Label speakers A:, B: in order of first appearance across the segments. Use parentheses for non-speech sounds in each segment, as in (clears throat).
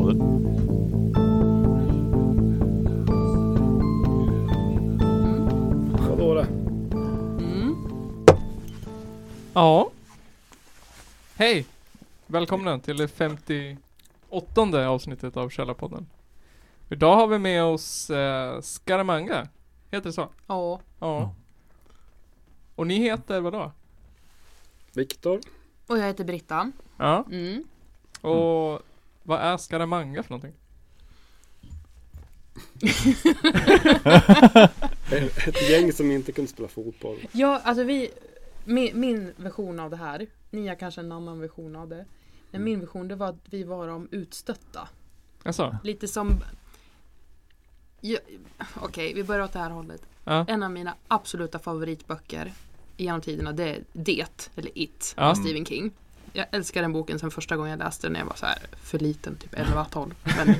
A: Källarpodden.
B: Vadå det?
C: Ja. Hej! Välkomna till det 58 avsnittet av Källarpodden. Idag har vi med oss eh, Skaramanga. Heter det så?
D: Ja,
C: Ja. Och ni heter vadå?
B: Viktor?
D: och jag heter Britta.
C: Ja.
D: Mm.
C: Och vad är Skaramanga för någonting?
B: Ett gäng som inte kunde spela fotboll.
D: Ja, alltså vi, min, min version av det här, ni har kanske en annan version av det. Men min version det var att vi var de utstötta.
C: Jaså?
D: Lite som... Ja, Okej, vi börjar åt det här hållet.
C: Ja.
D: En av mina absoluta favoritböcker genom tiderna det är Det, eller It,
C: Ja. Mm.
D: av Stephen King. Jag älskar den boken sen första gången jag läste den när jag var så här för liten,
C: (laughs)
D: typ 11-12. Men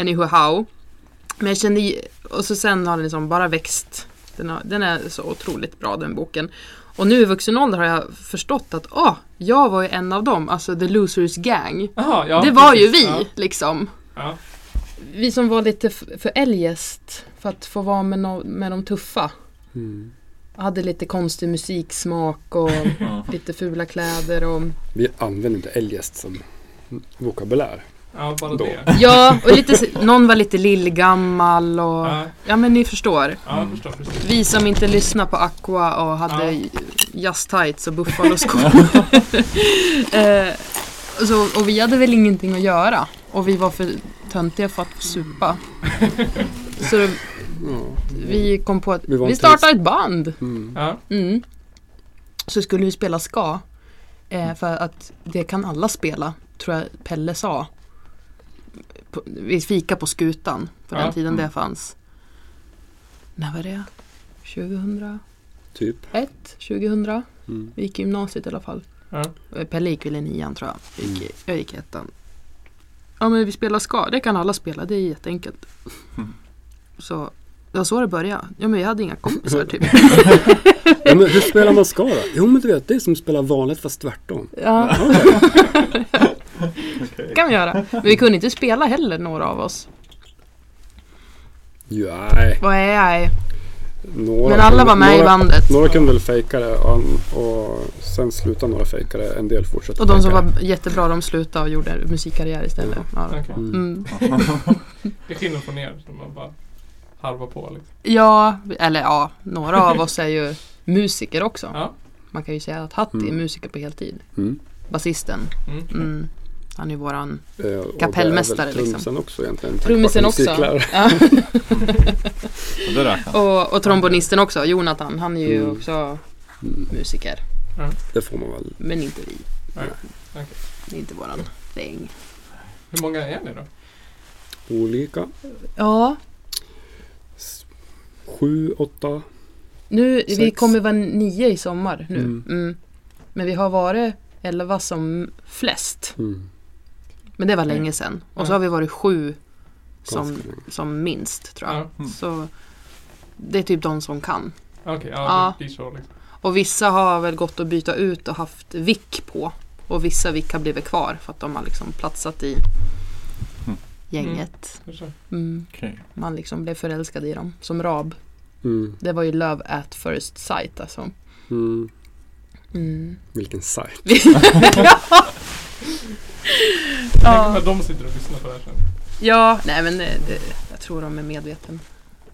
D: anyhow how. Men jag kände, ju- och så sen har den liksom bara växt. Den, har, den är så otroligt bra den boken. Och nu i vuxen ålder har jag förstått att åh, jag var ju en av dem, alltså the losers gang.
C: Jaha, ja.
D: det var ju
C: precis.
D: vi liksom.
C: Ja.
D: Vi som var lite f- för eljest för att få vara med, no- med de tuffa.
B: Mm.
D: Hade lite konstig
C: (laughs)
D: musiksmak och lite fula kläder och
B: Vi använder inte eljest som vokabulär.
C: Ja, ja bara
B: Då.
C: det.
D: Ja, och lite, s- någon var lite lillgammal och
C: Ja,
D: Ja men ni förstår.
C: ja jag förstår precis.
D: Vi som inte lyssnade på Aqua och hade
C: Ja.
D: Just Tights
C: (laughs)
D: och Buffaloskor. (laughs) eh, så, och vi hade väl ingenting att göra. Och vi var för töntiga för
C: (laughs)
D: att supa. Så det-
B: Ja.
D: Vi kom på att
B: Vi
D: vi,
B: var en
D: startar ett band.
B: Mm.
C: Ja.
D: Mm. Så skulle vi spela ska. Eh, för att det kan alla spela, tror jag Pelle sa. På, vi fika på skutan på
C: Ja. Mm.
D: den tiden det fanns. När var det? 2001?
B: Typ.
D: 2000?
B: Mm.
D: Vi gick i gymnasiet i alla fall.
C: Ja. Mm.
D: Och Pelle gick väl i nian tror jag. Jag gick, i- jag gick i ettan. Ja men vi spelar ska, det kan alla spela, det är jätteenkelt.
C: Mm.
D: Så det var så det började. Ja men jag hade inga kompisar
C: (laughs)
D: typ. (laughs)
B: Ja, men hur spelar man ska då? Jo men du vet, det är som att spela vanligt fast tvärtom.
D: Ja. (laughs) kan vi göra. Men vi kunde inte spela heller några av oss.
B: Ja, nej.
D: Vad är jag?
B: Några,
D: Men alla var med i
B: några,
D: bandet.
B: Några kunde väl fejka det och, och sen slutade några fejka det. En del fortsatte
D: Och de som
B: fejka det.
D: var jättebra de slutade och gjorde musikkarriär istället. Ja.
C: Okej.
B: Mm.
D: Mm.
C: Det är skillnad från er som man bara harvar på liksom.
D: ja, eller ja, några av oss är ju musiker också.
C: Ja.
D: Man kan ju säga att Hatti är
B: Mm.
D: musiker på heltid.
B: Mm.
D: Basisten.
C: Mm.
D: Mm. Han är ju våran
B: Eh, och det är väl
D: Kapellmästare, liksom.
B: Trummisen också egentligen. tack vare
D: Trummisen också.
B: musiklärare. (laughs)
D: Ja.
A: Och det räknas.
D: och, och trombonisten också, Jonathan. Han är ju
B: Mm.
D: också
B: Mm.
D: musiker.
B: Det får man väl.
D: Men inte vi.
C: Nej, okej.
D: Det är inte våran gäng.
C: Hur många är ni då?
B: Olika.
D: Ja,
B: S- Sju, åtta.
D: nu, vi
B: Sex.
D: kommer vara nio i sommar nu.
B: Mm.
D: Mm. Men vi har varit elva som flest.
B: Mm.
D: Men det var länge sedan. Och så
C: Ja.
D: har vi varit sju som,
B: Ganska länge.
D: som minst tror jag.
C: Ja.
A: Mm.
D: Så det är typ de som kan.
C: Okej, ja,
D: Ja.
C: det blir så liksom.
D: Och vissa har väl gått att byta ut och haft vick på. Och vissa vick har blivit kvar för att de har liksom platsat i
A: Mm.
D: gänget.
C: Det är så.
D: Mm.
A: Okej.
D: Man liksom blev förälskad i dem. Som Rab.
B: Mm.
D: Det var ju love at first sight alltså.
B: Mm.
D: Mm.
B: Vilken sajt.
C: Tänk när de sitter och lyssnar på det här sen.
D: (laughs) Ja, nej men det, det, jag tror de är medveten.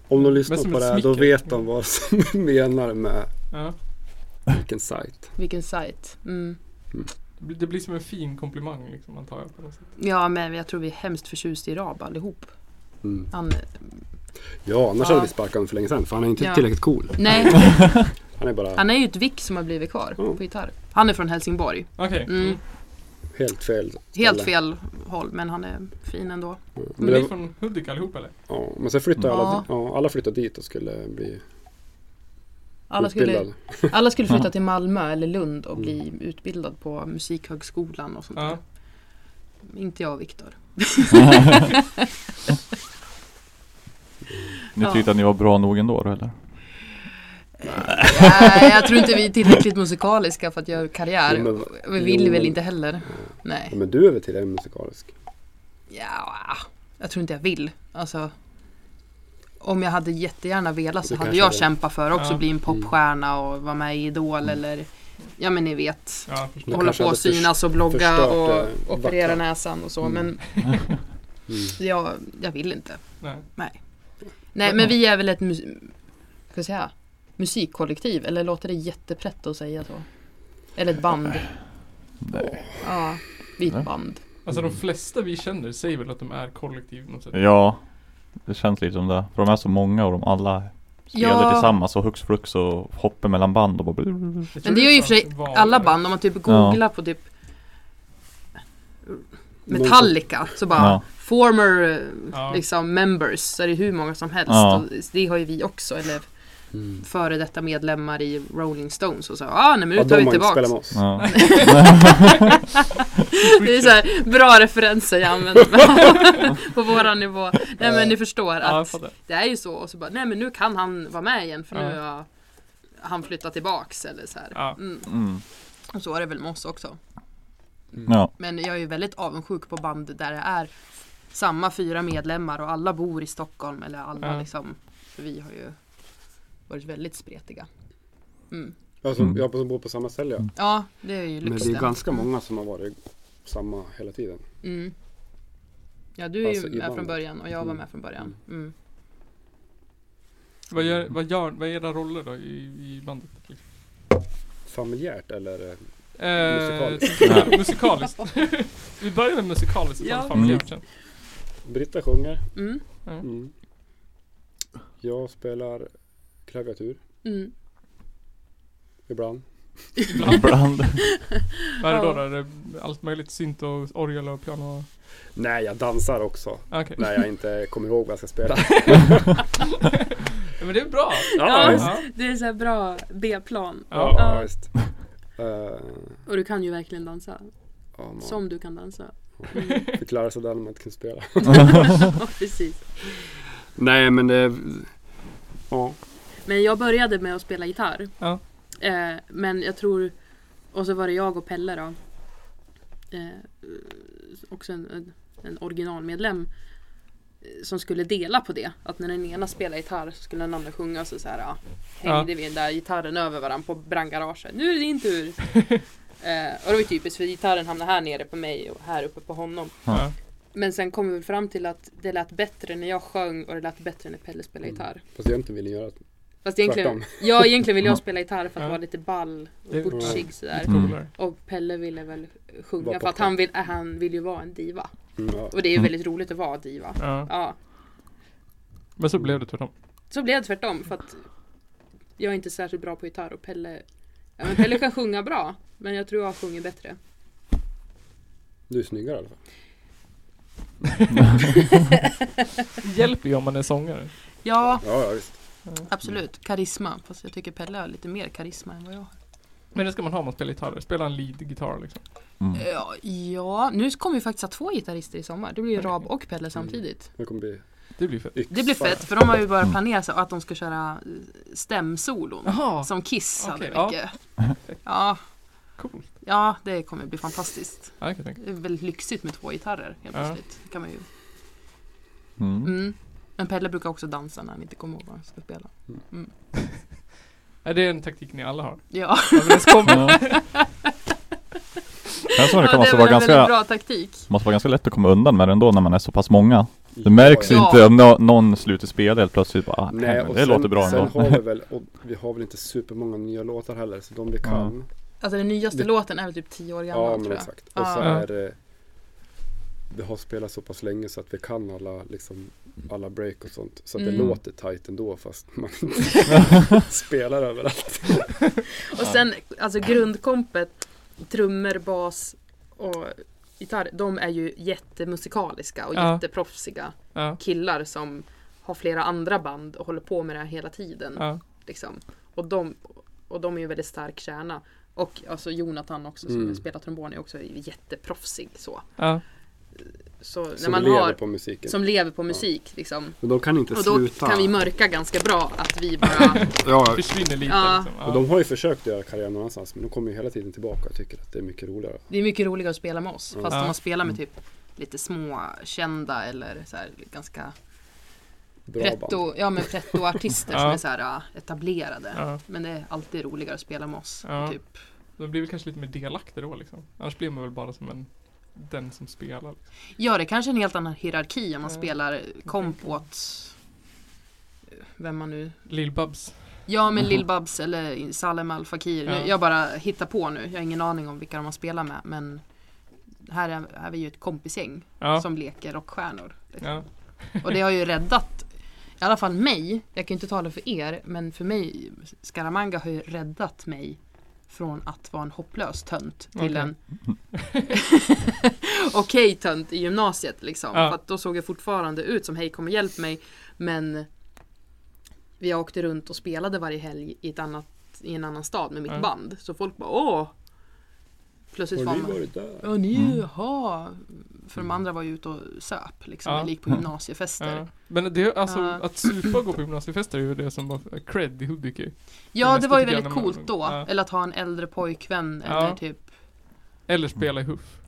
B: Om de lyssnar
C: Men som
B: på
C: ett
B: det här då
C: smicker.
B: vet de vad som (laughs) menar med
C: Ja.
B: vilken sajt.
D: Vilken sajt. Mm.
C: Det blir, det blir som en fin komplimang liksom antar jag på något sätt.
D: Ja, men jag tror vi är hemskt förtjusta i Rab allihop.
B: Mm.
D: Han,
B: Ja, annars
D: Ja.
B: hade vi sparkat honom för länge sedan för han är inte
D: Ja.
B: tillräckligt cool.
D: (laughs) nej,
B: Han är bara
D: han är ju ett vick som har blivit kvar
B: Mm.
D: på gitarr. Han är från Helsingborg.
C: Okej.
D: Oh. Mm.
C: Mm.
B: helt fel.
D: Helt
B: Eller-
D: fel håll, men han är fin ändå.
B: Ja. Men,
C: Men ni är
B: det,
C: från Hudik allihop eller?
B: ja, men sen flyttade
D: Mm.
B: alla, ja, alla flyttade dit och skulle bli
D: Alla skulle,
B: utbildade.
D: alla skulle flytta till Malmö eller Lund och bli
B: Mm.
D: utbildad på Musikhögskolan och sånt
C: Ja.
D: där. Inte jag och Viktor.
A: Ni tyckte att ni var bra nog ändå då eller?
D: Nej, jag tror inte vi är tillräckligt musikaliska för att göra karriär.
B: Jo, men-
D: vi vill
B: jo,
D: väl
B: men-
D: inte heller. Nej.
B: Men du är väl tillräckligt musikalisk?
D: Ja, jag tror inte jag vill. Alltså, om jag hade jättegärna velat så
B: Du
D: hade
B: kanske Mm.
D: jag
B: hade-
D: kämpat för också
C: Ja.
D: bli en popstjärna och vara med i Idol eller ja men ni vet.
C: Ja,
B: Du
D: hålla
B: Mm. kanske
D: på och
B: hade förs-
D: synas och blogga
B: förstört,
D: och
B: eh,
D: operera
B: vackra.
D: näsan och så
B: Mm.
D: men
B: Mm.
D: jag, jag vill inte.
C: nej.
D: Nej men vi är väl ett mus- vad ska jag säga, musikkollektiv eller låter det jätteprätt att säga så? Eller ett band.
A: Nej.
D: Ja, vi är
A: Nej.
D: ett band.
C: Alltså de
B: Mm.
C: flesta vi känner säger väl att de är kollektiv på något sätt.
A: Ja, det känns lite som det. För de är så många och de alla spelar
D: Ja.
A: tillsammans och hux flux och hoppar mellan band och bara...
C: Jag tror
D: Men det är ju i och
C: fan
D: för sig
C: vanligare.
D: alla band, om man typ googlar på typ Metallica så bara
A: Ja.
D: former eh,
C: Ja.
D: liksom members så är det hur många som helst
A: Ja.
D: och det har ju vi också eller
B: Mm.
D: före detta medlemmar i Rolling Stones och så ah nej men
B: Ja, de
D: nu tar
B: har
D: vi
B: inte spelat (laughs)
D: tillbaka
B: med oss.
A: Ja.
D: (laughs) det är så här, bra referenser jag använder (laughs) på våran nivå nej men ni förstår
C: Ja, jag
D: att
C: fattar.
D: det är ju så och så bara nej men nu kan han vara med igen för nu har han flyttat tillbaks eller så här
C: Ja.
D: mm.
A: Mm.
D: och så är det väl med oss också
A: ja.
D: Men jag är ju väldigt avundsjuk på band där det är samma fyra medlemmar och alla bor i Stockholm eller alla
C: Ja.
D: liksom för vi har ju varit väldigt spretiga. Mm.
B: Alltså,
A: Mm.
B: Jag som bor på samma ställe ja.
D: Ja, det är ju
B: Men
D: lyxen.
B: det är ganska
D: Mm.
B: många som har varit samma hela tiden.
D: Mm. Ja, du är
B: Alltså, i
D: ju med från
B: bandet.
D: början och jag var
B: Mm.
D: med från början. Mm.
C: Vad, gör, vad, gör, vad är era roller då i, i bandet? Liksom?
B: Familjärt eller? eh,
C: Eh,
B: Musikaliskt.
C: ja, (laughs) musikaliskt. Vi börjar med musikaliskt ifall
D: Ja.
C: fan vi
A: Mm.
C: gör det sen.
B: Britta sjunger.
D: Mm.
B: Mm. Jag spelar klaviatur
D: Mm.
B: ibland.
C: Ibland.
A: Ibland.
C: Vad är det då?
D: Ja.
C: då? Är det allt möjligt? Synt och orgel och piano? och-
B: Nej, jag dansar också.
C: Ah, Okej.
B: När jag inte kommer ihåg vad jag ska spela.
C: Ja, Men det är bra.
D: (laughs) Ja,
B: visst.
C: Ja.
D: Det är så bra B-plan.
C: Ja.
B: Ja,
D: Ja.
B: visst. Eh,
D: Och du kan ju verkligen dansa.
B: ja, man
D: du kan dansa. (laughs)
B: fick lära sig den när man inte kunde spela.
D: Precis.
B: Nej, men det... Ja.
D: Men jag började med att spela gitarr.
C: Ja.
D: Eh, men jag tror, och så var det jag och Pelle då. Eh, också en, en, en originalmedlem. eh, Som skulle dela på det. Att när den ena spelade gitarr så skulle den andra sjunga. och Så, så här, ja, hängde vi den där gitarren över varandra på brandgaraget. Nu är det din tur. eh, och det var ju typiskt för gitarren hamnade här nere på mig och här uppe på honom.
C: Ja.
D: Men sen kom vi väl fram till att det lät bättre när jag sjöng och det lät bättre när Pelle spelade
B: Mm.
D: gitarr.
B: Fast jag inte ville göra det.
D: Fast egentligen,
B: Tvärtom.
D: ja, egentligen ville
A: Ja.
D: jag spela gitarr för att
C: Ja.
D: vara lite ball
C: Det-
D: och butchig sådär.
A: Mm.
C: Coolare.
D: Och Pelle ville väl
B: Vara
D: sjunga för att
B: popcorn.
D: han vill, äh, han vill ju vara en diva.
B: Mm, ja.
D: Och det är ju
A: Mm.
D: väldigt roligt att vara diva.
C: Ja.
D: Ja.
C: Men så blev det typ tvärtom.
D: Så blev det tvärtom för att jag är inte särskilt bra på gitarr och Pelle, ja, men Pelle kan sjunga bra. Men jag tror jag sjunger bättre.
B: Du är snyggare i alla fall.
C: Det hjälper ju om man är sångare.
D: Ja,
B: Ja, ja visst.
D: absolut. Karisma. Fast jag tycker Pelle har lite mer karisma än vad jag har.
C: Men det ska man ha om man spelar gitarr. Spela en lead-gitarr liksom.
A: Mm.
D: Ja, ja, nu kommer vi faktiskt ha två gitarrister i sommar. Det blir ju Rab och Pelle samtidigt.
B: Det kommer bli
C: Det blir fett.
B: yxa.
D: Det blir fett för de har ju
A: Mm.
D: bara planerat så att de ska köra eh, stämsolon.
C: Jaha,
D: Som Kiss hade
C: Okej,
D: mycket. Ja.
C: coolt.
D: ja, det kommer bli fantastiskt.
C: Ja, jag kan tänka.
D: Det är väldigt lyxigt med två gitarrer helt
C: Ja.
D: plötsligt. Det Kan man ju.
A: Mm.
D: Mm. Men Pelle brukar också dansa när han inte kommer ihåg vad han ska spela.
C: Ja, det är en taktik ni alla har.
D: Ja, (laughs)
A: Ja. Känns som det kan
D: det
A: måste
D: är
A: vara
D: väl en väldigt
A: ganska
D: bra taktik.
A: måste vara ganska lätt att komma undan med det ändå när man är så pass många. Det märks
D: Ja.
A: inte om nå- någon slutar spela helt plötsligt bara, ah,
B: Nej,
A: nej, men
B: och
A: det
B: sen,
A: låter bra
B: sen
A: ändå.
B: har vi väl, och vi har väl inte supermånga nya låtar heller, så de vi kan.
D: Alltså den nyaste
B: Det-
D: låten är väl typ tio år
B: Ja,
D: gammal
B: men
D: tror jag.
B: exakt. Och så
D: Ja.
B: är det, vi har spelat så pass länge så att vi kan alla, liksom, alla break och sånt. Så att det
D: Mm.
B: låter tight ändå fast man inte (laughs) spelar överallt.
D: Och sen alltså grundkompet, trummor, bas och gitarr, de är ju jättemusikaliska och
C: Ja.
D: jätteproffsiga
C: Ja,
D: killar som har flera andra band och håller på med det här hela tiden.
C: ja.
D: Liksom. Och, de, och de är ju en väldigt stark kärna. Och alltså Jonathan också som
B: Mm.
D: spelar trombon är också jätteproffsig så.
C: ja.
D: så, när
B: Som
D: man
B: lever
D: har,
B: på musiken.
D: som lever på musik. Liksom.
B: Men de kan inte
D: Och då
B: sluta.
D: kan vi mörka ganska bra att
C: (laughs)
D: vi bara...
B: ja,
C: Försvinner lite
D: Ja.
C: liksom.
B: och
C: Ja.
B: de har ju försökt göra karriär någon annanstans men de kommer ju hela tiden tillbaka och tycker att det är mycket roligare.
D: det är mycket roligare att spela med oss. Fast
C: Ja.
D: om man spelar med
B: Mm.
D: typ lite små kända eller så här, ganska
B: Bra band.
D: pretto, ja, men
C: (laughs)
D: pretto-artister
C: Ja.
D: som är så här, ja, etablerade.
C: Ja.
D: Men det är alltid roligare att spela med oss.
C: Ja.
D: Typ.
C: De blir väl kanske lite mer delaktiga då liksom. Annars blir man väl bara som en, den som spelar. Liksom.
D: ja, det är kanske är en helt annan hierarki om man
C: Ja.
D: spelar komp åt vem man nu...
C: Lill-Babs.
D: Ja, men
A: Mhm.
D: Lil babs eller Salem Al Fakir. Nu-
C: Ja.
D: Jag bara hittar på nu. Jag har ingen aning om vilka de har spelat med. Men här är, här är vi ju ett kompisgäng
C: Ja.
D: som leker rockstjärnor. liksom.
C: ja.
D: Och det har ju räddat i alla fall mig, jag kan ju inte tala för er, men för mig, Scaramanga har ju räddat mig från att vara en hopplös tönt till
C: Okej.
D: en (laughs) okej tönt i gymnasiet liksom.
C: Ja.
D: För att då såg jag fortfarande ut som hej kom och hjälp mig. Men jag åkte runt och spelade varje helg i, ett annat, i en annan stad med mitt
C: Ja.
D: band. Så folk bara åh! Plötsligt
B: Har
D: var
B: ni
D: man
B: varit där?
D: Ja, ni
A: Mm.
D: jaha. För de andra var ju ute och söp liksom.
C: Mm. Ja. Mm.
D: Eller gick på gymnasiefester.
C: Ja. Men det, är alltså,
D: Ja.
C: att supa och gå på gymnasiefester är ju det som var cred i Hudiksvall.
D: Ja, det
C: mesta
D: var ju
C: tycker jag
D: väldigt
C: när man-
D: coolt då.
C: ja.
D: Eller att ha en äldre pojkvän
C: Ja.
D: eller typ
C: Eller spela i Huff.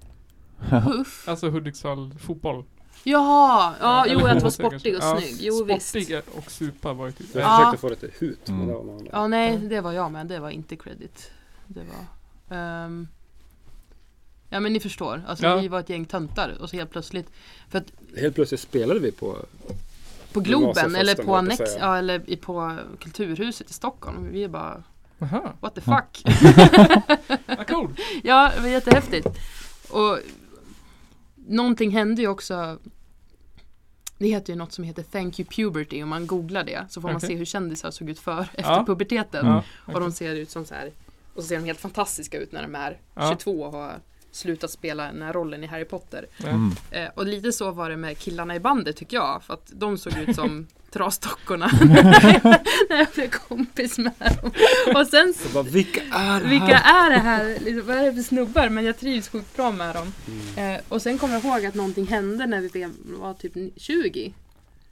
D: puff.
C: Alltså Hudiksvall fotboll.
D: Jaha, ja,
C: eller
D: jo att vara
C: fotboll kanske.
D: sportig och
C: Ja,
D: snygg. Jo visst.
C: sportig och supa var ju typ...
B: Jag
D: Ja.
B: försökte få det till hut men
A: Mm.
B: det var någon annan.
D: Ja, nej, det var jag med. Det var inte credit. Det var... ehm, Ja men ni förstår, alltså
C: Ja.
D: vi var ett gäng töntar och så helt plötsligt
B: Helt plötsligt spelade vi på
D: på Globen
B: Gymnasiefesten, höll
D: eller
B: jag på
D: på
B: att
D: Annex,
B: säga.
D: ja, eller i- på Kulturhuset i Stockholm. Vi är bara
C: Aha,
D: what the fuck.
C: vad cool!
D: Ja, det var jättehäftigt. Och någonting hände ju också. Det heter ju något som heter Thank you puberty. Om man googlar det så får man
C: Okej.
D: se hur kändisar såg ut för efter
C: Ja.
D: puberteten.
A: Mm.
C: Ja,
D: Och de ser ut som så här. Och så ser de helt fantastiska ut när de är
C: Ja.
D: 22 och har slutat spela den här rollen i Harry Potter.
C: ja.
A: Mm.
D: Eh, och lite så var det med killarna i bandet tycker jag. För att de såg ut som
C: (laughs)
D: trasdockorna. (laughs) när jag blev kompis med dem. Och sen
B: Så bara, vilka är det
D: vilka
B: här?
D: är det här? Liksom, vad är det för snubbar? Men jag trivs sjukt bra med dem.
B: Mm.
D: Eh, och sen kommer jag ihåg att någonting hände när vi blev- var typ 20.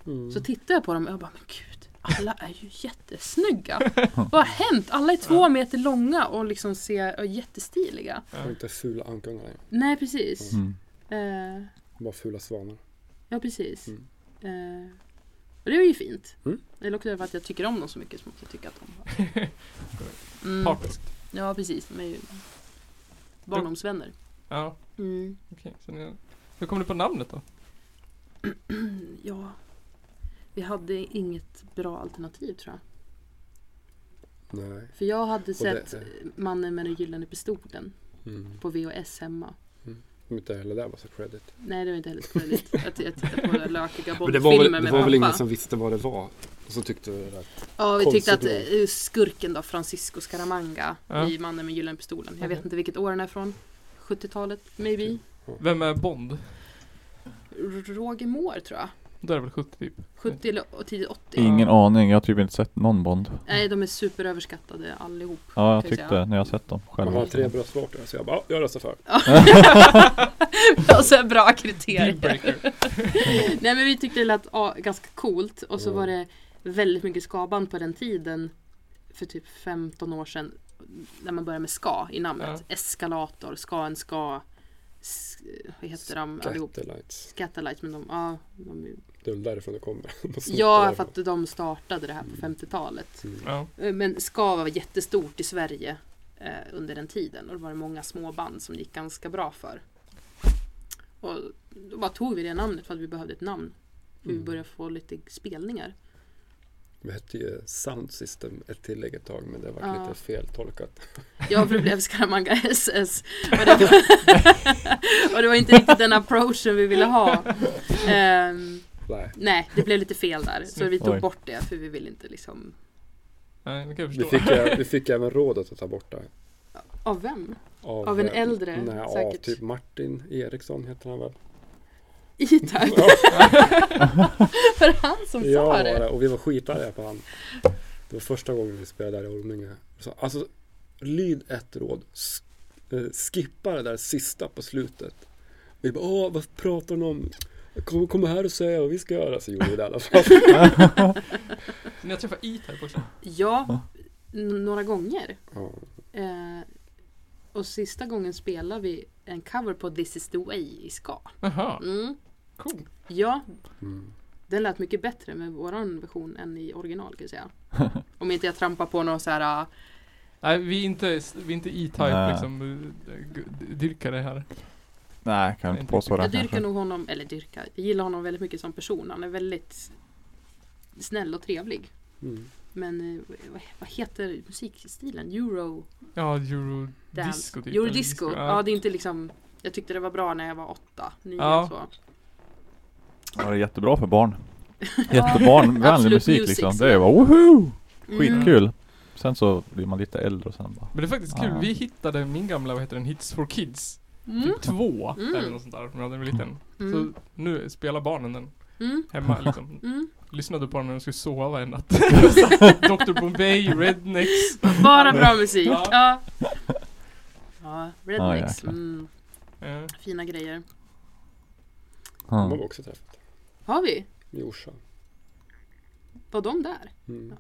B: Mm.
D: Så tittade jag på dem och jag bara, men gud, alla är ju jättesnygga.
B: (laughs)
D: Vad har hänt? Alla är två meter långa och liksom ser och jättestiliga.
B: Har inte fula ankungar längre.
D: Nej, precis.
A: Mm.
D: Eh,
B: Bara fula svanar.
D: ja, precis.
B: Mm.
D: Eh, och det var ju fint.
B: Mm.
D: Eller också är det för att jag tycker om dem så mycket som jag tycker att de
B: (laughs)
D: var. Mm.
C: Partiskt.
D: Ja, precis. De är ju barndomsvänner.
C: Ja,
D: Mm.
C: okej. Så ni- Hur kom du på namnet då?
D: Ja. Vi hade inget bra alternativ tror jag.
B: Nej.
D: För jag hade sett
B: det- eh.
D: Mannen med den gyllene pistolen
B: Mm.
D: på VHS hemma.
B: Om inte heller där var så credit.
D: Nej, det var inte heller så roligt. Jag, t- jag tittade på lökiga
B: Men det var,
D: Bondfilmer
B: väl, det
D: med
B: var
D: pappa.
B: väl ingen som visste vad det var? Och så tyckte vi det att
D: Ja, vi tyckte att
B: Konstigt nog.
D: eh, skurken då, Francisco Scaramanga
C: Ja.
D: i Mannen med gyllene pistolen. Jag
C: Okej.
D: vet inte vilket år den är från. 70-talet, maybe.
C: Vem är Bond?
D: R- Roger Moore tror jag.
C: Då är det väl 70 typ?
D: 70 eller och tidigt 80.
A: Ingen aning, jag har typ inte sett någon Bond.
D: Nej, de är superöverskattade allihop.
A: Ja, jag
D: Kan jag
A: tyckte det när jag sett dem själv.
B: man har tre bra svar till det. Så jag bara, ja, jag röstar för.
D: (laughs) Och så är bra kriterier.
C: Dealbreaker.
D: (laughs) Nej men vi tyckte det lät ja, ganska coolt och så
B: Mm.
D: var det väldigt mycket skaband på den tiden för typ 15 år sedan när man började med ska i namnet. Eskalator, ska en ska, s- vad heter de allihop?
B: Catelites.
D: Scatterlight men de, ja, de,
B: Det är väl därifrån det kommer. (laughs) De snott
D: ja
B: det
D: för att de startade det här på 50-talet.
B: därifrån. Mm.
C: Ja,
D: Eh, Men ska var jättestort i Sverige eh, under den tiden och det var det många små band som det gick ganska bra för. Och då bara tog vi det namnet för att vi behövde ett namn. För vi
B: Mm.
D: började få lite spelningar.
B: Det hette ju Sound System ett tillägg ett tag men det var
D: Ja.
B: lite feltolkat.
D: Jag blev Scaramanga (laughs) SS. Och det, var, (laughs) och det var inte riktigt den approachen vi ville ha. Ehm,
B: Nej,
D: nej, det blev lite fel där. Så vi
A: Oj.
D: tog bort det för vi ville inte liksom...
C: nej, det kan jag
B: vi
C: förstå.
B: fick, ju- vi fick även rådet att ta bort det.
D: Av vem? (laughs) Av en
B: eh,
D: äldre,
B: nej,
D: säkert.
B: Av typ Martin Eriksson heter
D: (laughs)
B: han väl?
D: Itak? Var det han som
B: Ja,
D: sa
B: var
D: det?
B: det. Och vi var skitarga på han. Det var första gången vi spelade där i Orminge. Så, alltså, lyd ett råd. S- eh, skippa det där sista på slutet. Vi bara, åh vad pratar de om? Kom, kom här och säg vad vi ska göra. Så gjorde vi det i alla
D: (laughs)
B: fall.
C: Ni har träffat
A: (laughs)
C: E-Type också?
D: Ja,
A: Ja.
D: n- några gånger.
B: Ja.
D: Eh, och sista gången spelade vi en cover på This is the way i ska.
C: Jaha,
D: Mm.
C: cool.
D: Ja,
B: Mm.
D: den lät mycket bättre med våran version än i original kan
A: (laughs)
D: jag säga. Om inte jag trampar på någon så här eh,
C: Nej, vi är inte, vi är inte E-Type
A: Nej.
C: liksom, eh, gu- dyrkare här.
A: Nej, kan
C: Inte
A: inte påstå det
D: Jag dyrkar
A: kanske.
D: nog honom, eller dyrkar, jag gillar honom väldigt mycket som person. Han är väldigt snäll och trevlig.
B: Mm.
D: Men eh, vad- vad heter musikstilen? Euro
C: Ja, Eurodisco typ. eller
D: Eurodisco. Ja,
C: Ja.
D: det är inte liksom... Jag tyckte det var bra när jag var åtta, nio
C: Ja.
D: så.
A: Ja, det är jättebra för barn.
D: (laughs)
A: Jättebarnvänlig
D: Absolute
A: musik
D: music,
A: liksom.
D: så.
A: Det är bara woho!
D: Mm.
A: Skitkul. Sen så blir man lite äldre och sen bara
C: Men det är faktiskt kul,
A: Ja.
C: vi hittade min gamla, vad heter den, Hits for Kids.
D: Mm.
C: Typ två,
D: Mm.
C: eller något sånt där, när jag var liten.
D: Mm.
C: Så nu spelar barnen den
D: Mm.
C: hemma liksom.
D: Mm.
C: Lyssnade på den när de skulle sova en natt. (laughs) Dr Bombay, Rednecks.
D: Bara bra musik.
C: Ja.
D: Ja. Ja, Rednecks.
A: jäklar.
D: mm.
C: Eh,
D: Fina grejer.
B: De har
A: ja.
B: vi också träffat.
D: Har vi?
B: I Orsa.
D: Var de där?
B: Mm.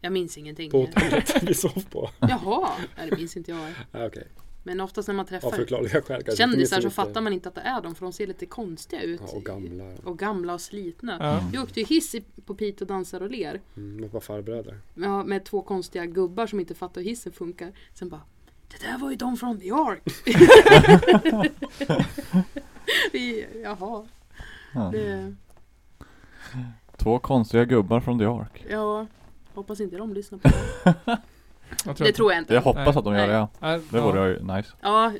D: Jag minns ingenting.
B: På hotellet vi sov
D: (laughs)
B: på.
D: Jaha, Nej, det minns inte jag.
B: Nej, okej.
D: Men oftast när man
B: Av
D: träffar
B: förklarliga skäl kanske.
D: kändisar så fattar man inte att det är dem för de ser lite konstiga ut.
B: Ja, och gamla.
D: och gamla och slitna.
C: ja.
D: Vi åkte ju hiss i- på Piteå dansar och ler
B: Mm, de var farbröder.
D: ja, med två konstiga gubbar som inte fattar hur hissen funkar. Sen bara Det där var ju de från New (laughs) York! Vi, jaha,
A: Ja.
D: det,
A: Två konstiga gubbar från New York.
D: ja Hoppas inte de lyssnar på det.
C: Jag
D: Det tror jag
A: Jag
D: inte.
A: hoppas att de gör det. Ja.
C: Nej,
A: Det
C: ja.
A: vore ju nice.
D: Ja,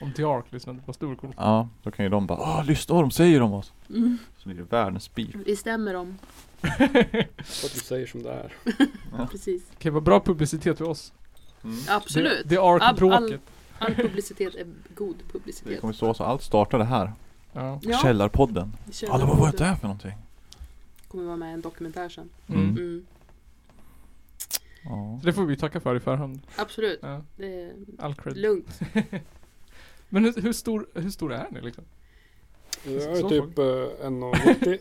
C: Om Diark lyssnade på Storkol.
A: Ja, då kan ju de bara Åh, lyssna vad de säger om oss.
D: mm,
A: Så blir det världens spik.
D: vi stämmer dem.
B: Så att du säger som det är.
D: Precis.
C: Okej, vad bra publicitet för oss.
A: Mm.
D: Absolut.
C: Diark-bråket.
D: All publicitet är god
A: Det
D: publicitet.
A: kommer stå så. Allt startade här.
C: Ja.
D: Ja,
A: Källarpodden.
D: vi kör
A: Alla, vad var det där för någonting?
D: Kommer vara med i en dokumentär sen.
C: Mm.
A: Mm.
D: Mm,
A: Ja.
C: Så det får vi tacka för i förhand.
D: absolut.
C: Ja.
D: Det är
C: All cred.
D: lugnt.
C: Men hur, hur, stor, hur stor är ni liksom?
B: Jag
C: Så
B: är typ eh, 1,90.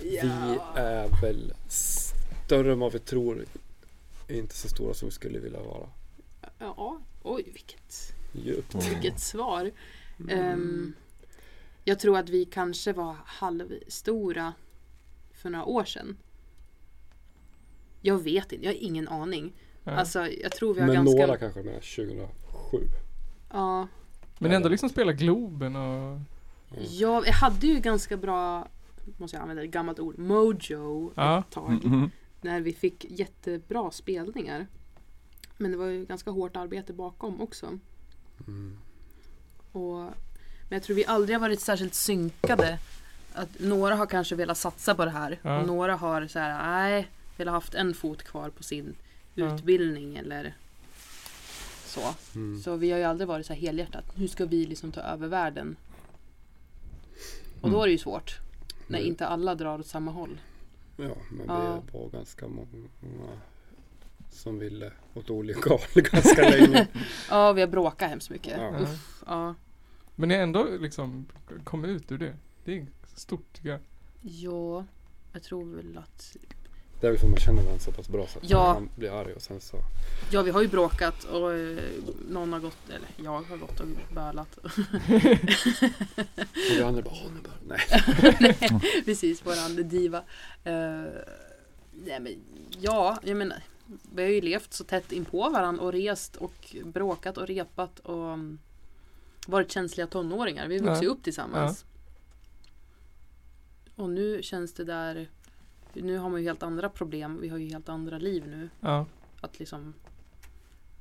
B: Vi
D: Ja.
B: är väl större än vad vi tror. Är inte så stora som vi skulle vilja vara.
D: ja. Oj, vilket,
B: Djupt.
D: vilket svar.
B: Mm.
D: Ehm, jag tror att vi kanske var halvstora för några år sedan. Jag vet inte, jag har ingen aning.
C: Ja.
D: Alltså, jag tror vi har
B: Men
D: ganska...
B: några kanske med 2007.
D: Ja,
C: Men ni ändå liksom spelar Globen och...
B: Mm.
D: jag, jag hade ju ganska bra, måste jag använda ett gammalt ord, mojo
C: Ja.
D: ett tag.
A: Mhm.
D: När vi fick jättebra spelningar. Men det var ju ganska hårt arbete bakom också.
B: Mm.
D: Och, men jag tror vi aldrig har varit särskilt synkade. Att några har kanske velat satsa på det här.
C: Ja.
D: Och några har så här, nej, velat haft en fot kvar på sin
C: Ja.
D: utbildning eller så.
B: Mm.
D: Så vi har ju aldrig varit så här helhjärtat. Nu ska vi liksom ta över världen. Och då
A: Mm.
D: är det ju svårt. När
B: Mm.
D: inte alla drar åt samma håll.
B: Ja, men
D: Ja.
B: vi var ganska många som ville åt olika (laughs) håll ganska länge.
D: Ja, vi har bråkat hemskt mycket.
B: Ja.
C: Ja.
D: Ja.
C: Men ni har ändå liksom kommit ut ur det. Det är stort tycker jag.
D: ja, jag tror väl att
B: Det är väl för man känner varandra så pass bra så att
D: Ja.
B: man blir arg och sen så.
D: Ja vi har ju bråkat och eh, någon har gått, eller jag har gått och bölat. (laughs)
B: Och vi andra bara, åh nu bara,
D: (laughs)
B: nej.
D: Precis, våran diva. Eh, nej men ja, jag menar. Vi har ju levt så tätt inpå varandra och rest och bråkat och repat och mm, varit känsliga tonåringar. Vi vuxit
C: Ja.
D: upp tillsammans. Och nu känns det där, nu har man ju helt andra problem. Vi har ju helt andra liv nu.
C: Ja.
D: att liksom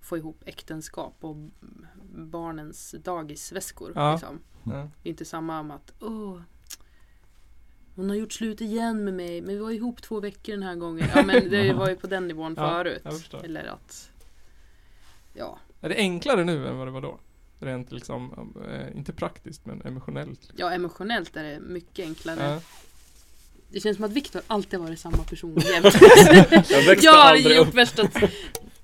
D: få ihop äktenskap och b- barnens dagisväskor.
C: Ja.
D: Liksom.
C: ja.
D: Det är inte samma om att Åh, hon har gjort slut igen med mig men vi var ihop två veckor den här gången. Ja
C: (laughs)
D: men det var ju på den nivån
C: Ja,
D: förut.
C: jag förstår.
D: Eller att Ja,
C: Är det enklare nu än vad det var då? Rent liksom, eh, inte praktiskt men emotionellt.
D: ja emotionellt är det mycket enklare.
C: Ja.
D: Det känns som att Viktor alltid har varit samma person jämt.
B: Jag växte
D: jag har
B: aldrig
D: gjort
B: upp.
D: värsta t-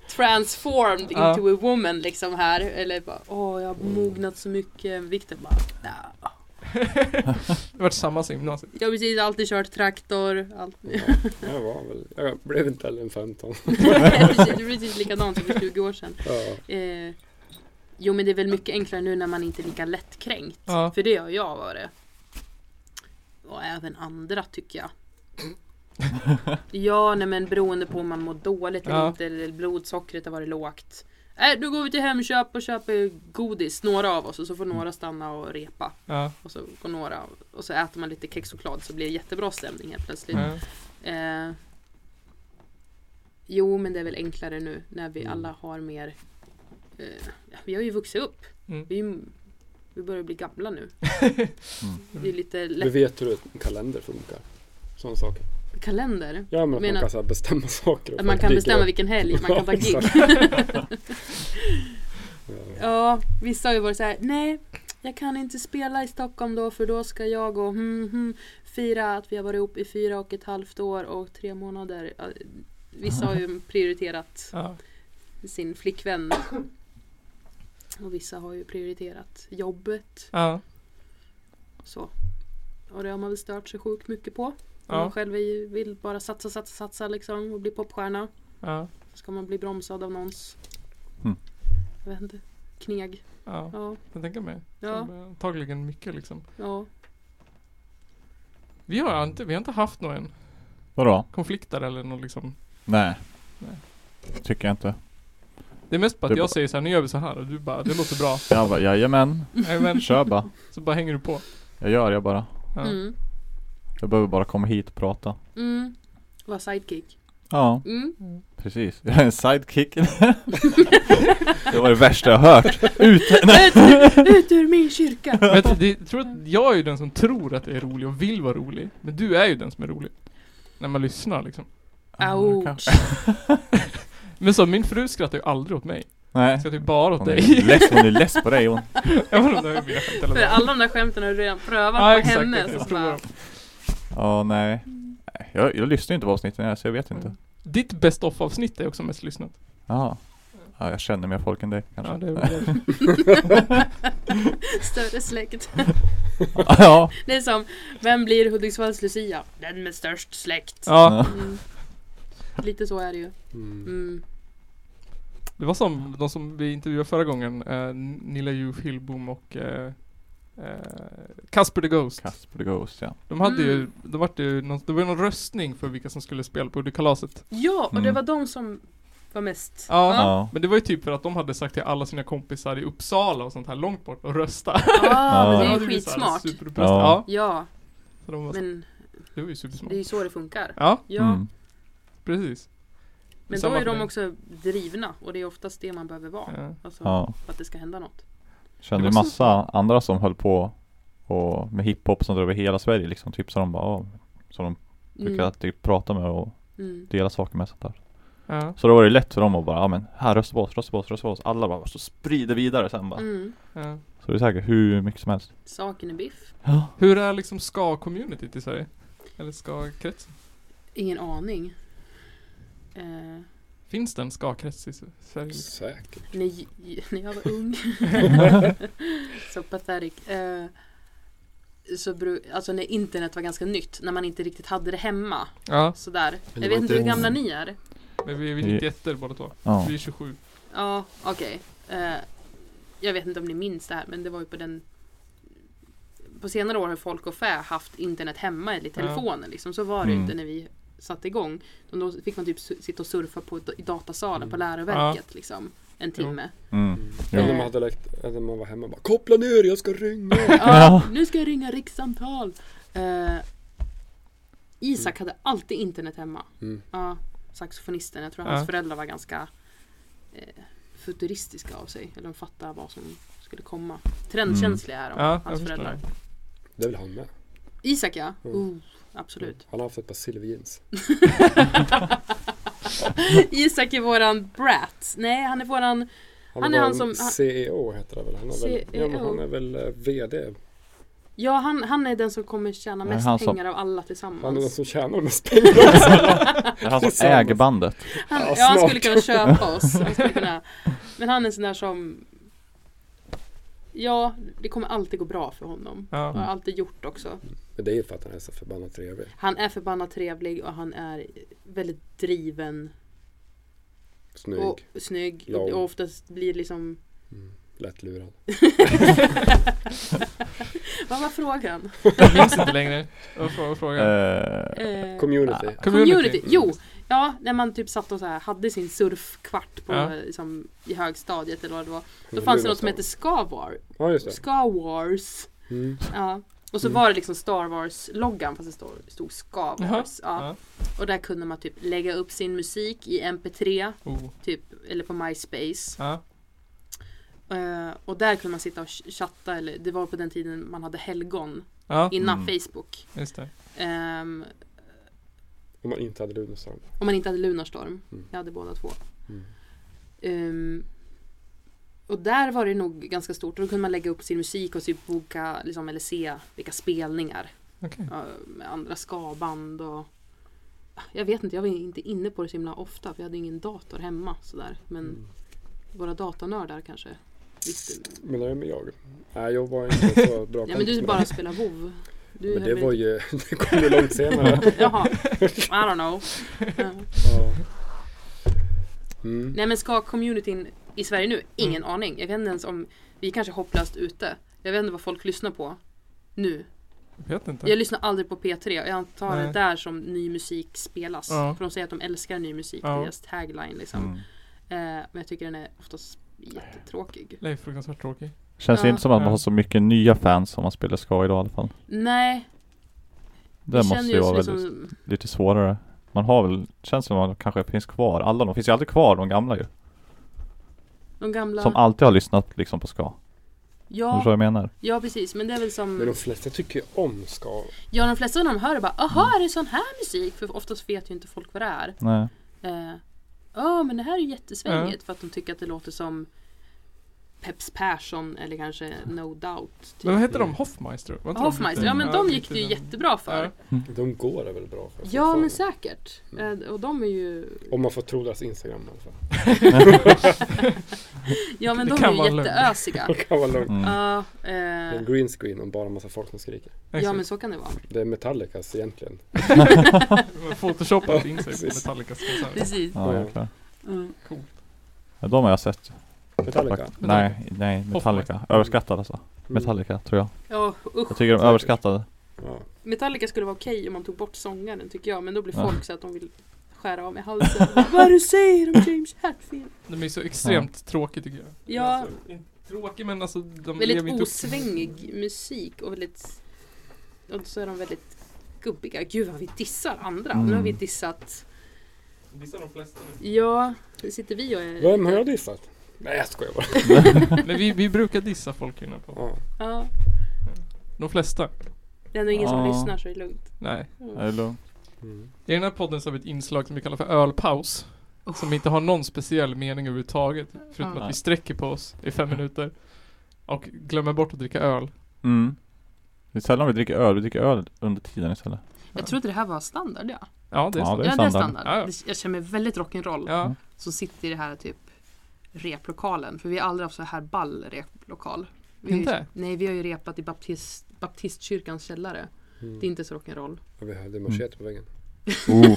D: transformed
C: Ja.
D: into a woman liksom här. Eller bara, åh jag har mognat så mycket. Viktor bara, nah.
C: Det var tillsammans i gymnasiet.
D: Jag har precis alltid kört traktor. Allt. (laughs)
B: Jag var väl, jag blev inte heller en 15.
D: precis, det är precis likadant som för 20 år sedan.
B: Ja.
D: Eh, jo men det är väl mycket enklare nu när man inte är lika lättkränkt.
C: Ja.
D: För det har jag varit. Och även andra
C: (laughs)
D: tycker jag. ja nej men beroende på om man mår dåligt eller
C: Ja.
D: inte. Eller blodsockret har varit lågt. Nej, då går vi till Hemköp och köper godis, några av oss. Och så får några stanna och repa.
C: Ja.
D: Och så går några och så äter man lite kexchoklad så blir det jättebra stämning helt plötsligt.
C: Ja.
D: Eh, jo, men det är väl enklare nu när vi alla har mer... Eh, ja, vi har ju vuxit upp.
C: Mm.
D: Vi, är ju- vi börjar bli gamla nu. Det är lite
B: Du
D: lätt
B: vet hur en kalender funkar. Sådana saker.
D: kalender.
B: Ja men att
D: Menar-
B: man kan så här bestämma saker. och
D: Att man
B: folk
D: kan
B: dyker
D: bestämma
B: upp.
D: vilken helg man kan
B: (laughs)
D: ta
B: Ja,
D: gig. (laughs)
B: Ja.
D: ja, vissa har ju varit så här. Nej, jag kan inte spela i Stockholm då för då ska jag och hmm, hmm, fira att vi har varit ihop i fyra och ett halvt år och tre månader. Ja, Vissa har ju prioriterat
C: Ja.
D: sin flickvän. Och vissa har ju prioriterat jobbet.
C: Ja.
D: Så. Och det har man väl stört sig sjukt mycket på. Om Man
C: Ja.
D: själv är ju- vill bara satsa, satsa, satsa liksom och bli popstjärna.
C: Ja.
D: Så ska man bli bromsad av någons...
A: Mm.
D: Jag vet inte. Kneg.
C: Ja.
D: Ja,
C: Jag tänker mig.
D: ja,
C: Som, eh, Antagligen mycket liksom.
D: ja.
C: Vi har inte, vi har inte haft någon
A: Vadå?
C: konflikt där eller någon liksom.
A: Nej.
C: Nej.
A: Tycker jag inte.
C: Det är mest bara
A: Det
C: att
A: är
C: jag
A: bara-
C: säger så här, nu gör vi så här och du bara, det låter
D: (laughs)
C: bra.
A: Jag bara, jajamän.
C: Nej, men,
A: Kör bara.
C: så bara hänger du på.
A: Jag gör det bara.
C: Ja.
D: Mm.
A: Jag behöver bara komma hit och prata.
D: Mm. Var sidekick.
A: Ja,
D: Mm.
A: precis. Jag är en sidekick. det var det värsta jag hört.
D: Ut, ur- ut ur min kyrka!
C: Men det, jag tror att jag är ju den som tror att det är rolig och vill vara rolig. Men du är ju den som är rolig. När man lyssnar liksom.
D: Ouch!
A: kanske.
C: Men så, min fru skrattar ju aldrig åt mig.
A: Nej.
C: Skrattar ju typ bara åt
A: Hon är,
C: dig.
A: less, hon är less på dig hon.
C: (laughs) Jag vet inte om det är mina skämt eller
D: För
C: vad.
D: alla de där skämten har du redan prövat
C: Ja,
D: på
C: exakt,
D: henne.
C: exakt.
D: så
C: Jag
D: bara,
C: provar dem.
A: Ja, nej. Nej, Jag, jag lyssnar ju inte på avsnitten här så jag vet inte.
C: Ditt best of avsnitt är också mest lyssnat.
A: Ja. ja, jag känner mer folk än dig kanske.
C: Ja, det är väl det.
D: (laughs) Större släkt.
A: ja.
D: Det är som, vem blir Hudiksvalls Lucia? Den med störst släkt.
C: ja,
D: Mm. Lite så är det ju.
B: Mm.
D: Mm.
C: det var som de som vi intervjuade förra gången. Eh, Nilla Juf Hillbom och eh, eh, Casper the Ghost.
A: Casper the Ghost ja.
C: De hade ju,
D: Mm.
C: de vart ju någon, det var ju någon röstning för vilka som skulle spela på Uddekalaset.
D: Ja, och det
A: Mm.
D: var de som var mest.
C: Ja.
A: Ja.
C: Men det var ju typ för att de hade sagt till alla sina kompisar i Uppsala och sånt här långt bort och rösta. (laughs)
D: Ah, men det är
C: Ja,
D: ju
C: ju så här
D: skitsmart.
C: superupplöst.
A: Ja.
C: Ja.
D: Ja,
C: Så de var så,
D: men
C: det var ju
D: det
C: supersmart.
D: är ju så det funkar.
C: Ja,
D: Ja,
A: Mm.
C: precis.
D: men då
C: samma
D: är
C: för
D: de
C: dig.
D: också drivna och det är oftast det man behöver vara.
C: Ja.
D: Alltså,
A: ja.
D: för att det ska hända något.
A: Kände
C: Det
A: ju
C: var så-
A: massa andra som höll på och med hiphop som drog över hela Sverige liksom. Typ så de bara, ja. Så de brukar
D: Mm.
A: alltid prata med och
D: Mm.
A: dela saker med sånt där.
C: Ja.
A: Så då var det lätt för dem att bara, ja men här rösta på oss, rösta på oss, rösta på oss. Alla bara, så sprider vidare sen bara.
D: Mm.
C: Ja.
A: Så det är säkert hur mycket som helst.
D: Saken är biff.
A: Ja.
C: Hur är liksom ska-communityt i Sverige? Eller ska-kretsen?
D: Ingen aning. Eh,
C: Finns det en ska-krets i S- Sverige? liksom?
B: Säkert.
D: när, j- när jag
B: (laughs)
D: var ung. så pathetic. Eh, så bru- alltså när internet var ganska nytt, när man inte riktigt hade det hemma.
C: Ja,
D: Sådär.
B: det
D: Jag
B: var
D: vet
B: inte-
D: inte hur gamla ni är.
C: men vi är väl
A: Vi-
C: inte jätter båda två.
A: Ja. Mm. (laughs)
C: Vi är 27.
D: Ja, okej. Eh, jag vet inte om ni minns det här, men det var ju på den... På senare år har folk och fä haft internet hemma eller i telefonen. Liksom. Så var det ju
A: Mm.
D: inte när vi satte igång. Då- Då fick man typ su- sitta och surfa på, i datasalen på
B: Mm.
D: läroverket liksom, en timme.
A: Mm.
B: Mm.
A: Jo.
B: Eller man hade lekt, eller man var hemma och bara koppla ner, jag ska ringa.
D: Ja, nu ska jag ringa rikssamtal! Eh, Isak hade alltid internet hemma.
B: Mm.
D: Ja, saxofonisten. Jag tror
C: Ja.
D: hans föräldrar var ganska eh, futuristiska av sig. Eller de fattade vad som skulle komma. Trendkänsliga är de,
C: Mm. Ja, jag
D: hans
C: förstår.
D: föräldrar.
B: Det vill han med.
D: Isak ja,
B: Mm.
D: oh,
C: (laughs)
D: absolut.
B: Han har haft ett par silverjeans.
D: Isak är våran brat. Nej, han är våran...
B: Han,
D: Han E är
B: var E
D: han som- han-
B: CEO heter det väl? Han är väl, ja, men
D: CEO.
B: han är väl eh, VD
D: Ja, han, han är den som kommer tjäna
A: Men
D: mest
A: han som-
D: pengar av alla
B: Han är den
D: tillsammans.
B: som tjänar mest pengar (laughs) också.
D: (laughs)
A: Det är han som
B: Tillsammans.
A: äger bandet.
D: Han,
B: Ja,
D: ja, han skulle
B: snart.
D: kunna köpa oss. Han
B: (laughs)
D: skulle kunna, men han är en sån där som Ja, det kommer alltid gå bra för honom.
C: Ja.
B: Mm.
D: Har alltid gjort också.
B: Men det är ju för att han är så förbannat trevlig.
D: Han är förbannat trevlig och han är väldigt driven
B: Snygg,
D: och snygg.
B: Lång.
D: Och oftast
B: (laughs)
D: blir liksom
B: lättlurad.
D: Vad var frågan?
C: (laughs) Jag minns inte längre. Vad var frågan?
A: Eh,
D: Eh,
B: Community. Mm.
D: Community.
C: Community.
D: Jo, ja, när man typ satt och så här, hade sin surfkvart på,
C: Ja.
D: liksom, i högstadiet eller vad det var. Då
B: Men
D: fanns
B: nu
D: det något som
B: nästan.
D: hette Skawar.
B: Ja just det.
D: Skawars.
B: Mm.
D: Ja. Och så
B: Mm.
D: var det liksom Star Wars-loggan fast det stod, stod Skawars. Ja.
C: Ja.
D: Och där kunde man typ lägga upp sin musik i MP3,
C: Oh.
D: typ, eller på MySpace.
C: Ja.
D: Eh, och där kunde man sitta och ch- chatta, eller det var på den tiden man hade helgon
C: ja,
D: innan
A: Mm.
D: Facebook.
C: just det.
D: Ehm,
B: Om man inte hade Lunarstorm.
D: Om man inte hade Lunarstorm.
B: Mm.
D: Jag hade båda två.
B: Mm.
D: Ehm, och där var det nog ganska stort. Då kunde man lägga upp sin musik och typ boka liksom, eller se vilka spelningar.
C: Okej.
D: ja, med andra skaband och... Jag vet inte, jag var inte inne på det så himla ofta. för Jag hade ingen dator hemma sådär. Men
B: Mm.
D: våra datornördar kanske visste.
B: Men det är med jag. Nej jag var inte
D: (laughs)
B: så bra
D: Ja men du
B: kompis med
D: bara
B: det.
D: spelar WoW. Du
B: Men
D: har
B: det
D: väl-
B: var ju, (laughs) det kom ju långt senare.
D: (laughs) Jaha, I
B: (laughs)
D: don't know. Ja.
B: Ja. Mm.
D: Nej men ska communityn i Sverige
C: Mm.
D: nu? Ingen aning. Jag vet inte ens om vi är kanske är hopplöst ute. Jag vet inte vad folk lyssnar på nu.
C: Jag vet inte.
D: Jag lyssnar aldrig på P3 jag antar
C: Nej.
D: det där som ny musik spelas.
C: Ja.
D: För de säger att de älskar ny musik,
C: Ja.
D: det är deras tagline liksom.
A: mm.
D: Eh, men jag tycker den är oftast jättetråkig.
C: Leif fruktansvärt tråkig.
A: Känns det
D: Ja.
A: inte som att man
C: Ja.
A: har så mycket nya fans som man spelar ska idag i alla fall.
D: Nej,
A: Det
D: jag
A: måste
D: känner
A: ju
D: just
A: vara väldigt,
D: liksom,
A: lite svårare. Man har väl, känns som att man kanske finns kvar. Alla de finns ju alltid kvar, de gamla ju.
D: de gamla...
A: Som alltid har lyssnat liksom på ska. Förstår du vad
D: ja,
A: jag menar?
D: ja, precis. Men det är väl
B: Men
D: som...
B: de flesta tycker ju om ska.
D: Ja, de flesta av dem hör bara
C: Mm.
D: ”Aha, är det sån här musik?” För oftast vet ju inte folk vad det är.
A: Nej.
D: Eh, Ja, men det här är ju jättesvängigt för att de tycker att det låter som Peps Persson eller kanske No Doubt.
C: Men
D: Typ.
C: vad hette de? Hoffmeister? Var inte de
D: Hoffmeister,
C: lite-
D: ja men de gick
C: lite
D: det ju
C: den-
D: jättebra för.
C: Ja.
B: De går det väl bra för
D: Ja men
B: fortfarande.
D: säkert. Eh, Och de är ju...
B: Om man får tro deras Instagram i alla fall.
D: Ja men
C: Det
D: de
C: kan
D: är
C: vara
D: ju
C: lugnt.
B: (laughs)
C: (laughs)
D: jätteösiga.
B: De kan vara lugnt.
A: Mm.
D: Ja, eh,
B: Det är en green screen och bara massa folk som skriker.
D: ja
C: Exakt.
D: men så kan det vara.
B: Det är Metallicas egentligen.
C: Photoshopat in sig på
B: Precis.
C: Metallicas konsert.
D: Precis.
A: Ja,
B: Ja.
A: jäklar.
D: Mm.
A: Ja, de har jag sett.
B: Metallica. Mm.
A: Nej, nej, Metallica. Överskattade alltså. Metallica tror jag.
D: Ja, usch.
A: Jag tycker de är överskattade.
B: Ja.
D: Metallica skulle vara okej om man tog bort sångaren tycker jag men då blir
A: Ja.
D: folk så att de vill skära av mig
C: (laughs)
D: halsen. Vad du säger om James Hetfield?
C: De är så extremt tråkiga tycker jag.
D: Ja.
C: Alltså, inte tråkiga men alltså de lever
D: Väldigt
C: inte upp-
D: osvängig musik och väldigt och så är de väldigt gubbiga. Gud vad vi dissar andra. Nu har
A: Mm.
D: vi dissat.
C: Dissar de flesta (laughs) nu.
D: Ja, nu sitter vi och är...
B: Vem har jag dissat? Nej jag skojar bara.
C: Men vi, vi brukar dissa folk i den här podden.
B: Ja.
D: Ja,
C: De flesta.
D: det är nog ingen som
A: Ja.
D: lyssnar så det är lugnt.
C: Nej.
A: Är det lugnt?
B: Mm.
C: I den här podden så har vi ett inslag som vi kallar för ölpaus. Som inte har någon speciell mening överhuvudtaget. Förutom
A: Ja.
C: att vi sträcker på oss i fem minuter. Och glömmer bort att dricka öl.
A: Mm. Det är sällan vi dricker öl, vi dricker öl under tiden istället.
E: Jag trodde det här var standard ja.
C: Ja det är
A: Ja,
C: sant.
A: det
E: ja
A: är
E: det är
A: standard.
E: standard.
C: Ja, ja.
E: Det- Jag känner mig väldigt rock'n'roll
C: Ja.
E: som sitter i det här typ replokalen. För vi har aldrig haft så här ball replokal. Vi har ju-
C: Inte?
E: Nej, vi har ju repat i baptist, baptistkyrkans källare.
B: Mm.
E: Det är inte så rock'n'roll.
B: Ja, Vi hade machete på väggen.
E: (laughs)
A: Oh.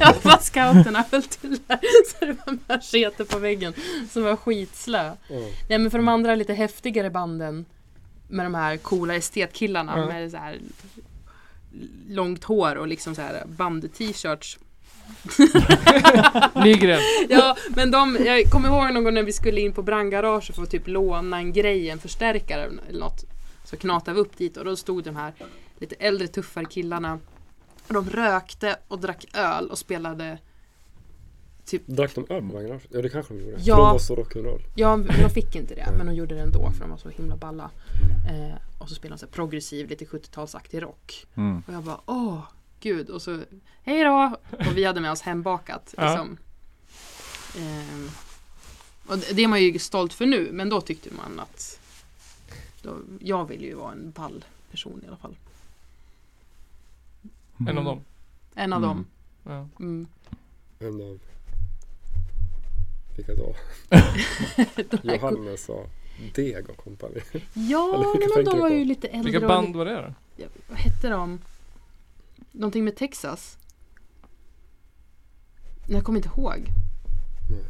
E: Ja, vad scouterna höll till där. Så det var machete på väggen som var skitslö.
B: Ja.
E: Nej men för de andra lite häftigare banden med de här coola estetkillarna
C: Ja.
E: med så här långt hår och liksom så här band-t-shirts.
C: Nygren.
E: (laughs) Ja, men de, jag kommer ihåg någon gång när vi skulle in på brandgaraget för att typ låna en grej, en förstärkare eller något. Så knatade vi upp dit och då stod de här lite äldre tuffare killarna. Och de rökte och drack öl och spelade
B: Drack de öl på vägen? Ja det kanske de gjorde.
E: Ja.
B: För de var så rock'n'roll.
E: Ja, de fick inte det, men de gjorde det ändå för de var så himla balla. Eh, och så spelade de så här progressiv, lite 70-talsaktig rock.
A: Mm.
E: Och jag bara åh, gud. Och så hej då! Och vi hade med oss hembakat.
C: Ja.
E: Liksom. Ehm, och det det är man ju stolt för nu, men då tyckte man att Då, jag vill ju vara en ball person i alla fall.
C: En av
E: Mm.
C: dem.
E: En av
A: Mm.
E: dem.
C: Ja.
B: (laughs)
E: Mm.
B: En av... Vilka då? Johannes och Deg och kompani.
E: Ja,
B: Eller vilka
E: men de
B: tänker du
E: var
B: på?
E: ju lite äldre.
C: Vilka
E: och-
C: band var det då?
E: Vad hette de? Någonting med Texas? Nej, Jag kommer inte ihåg.
D: Mm.
B: Nej.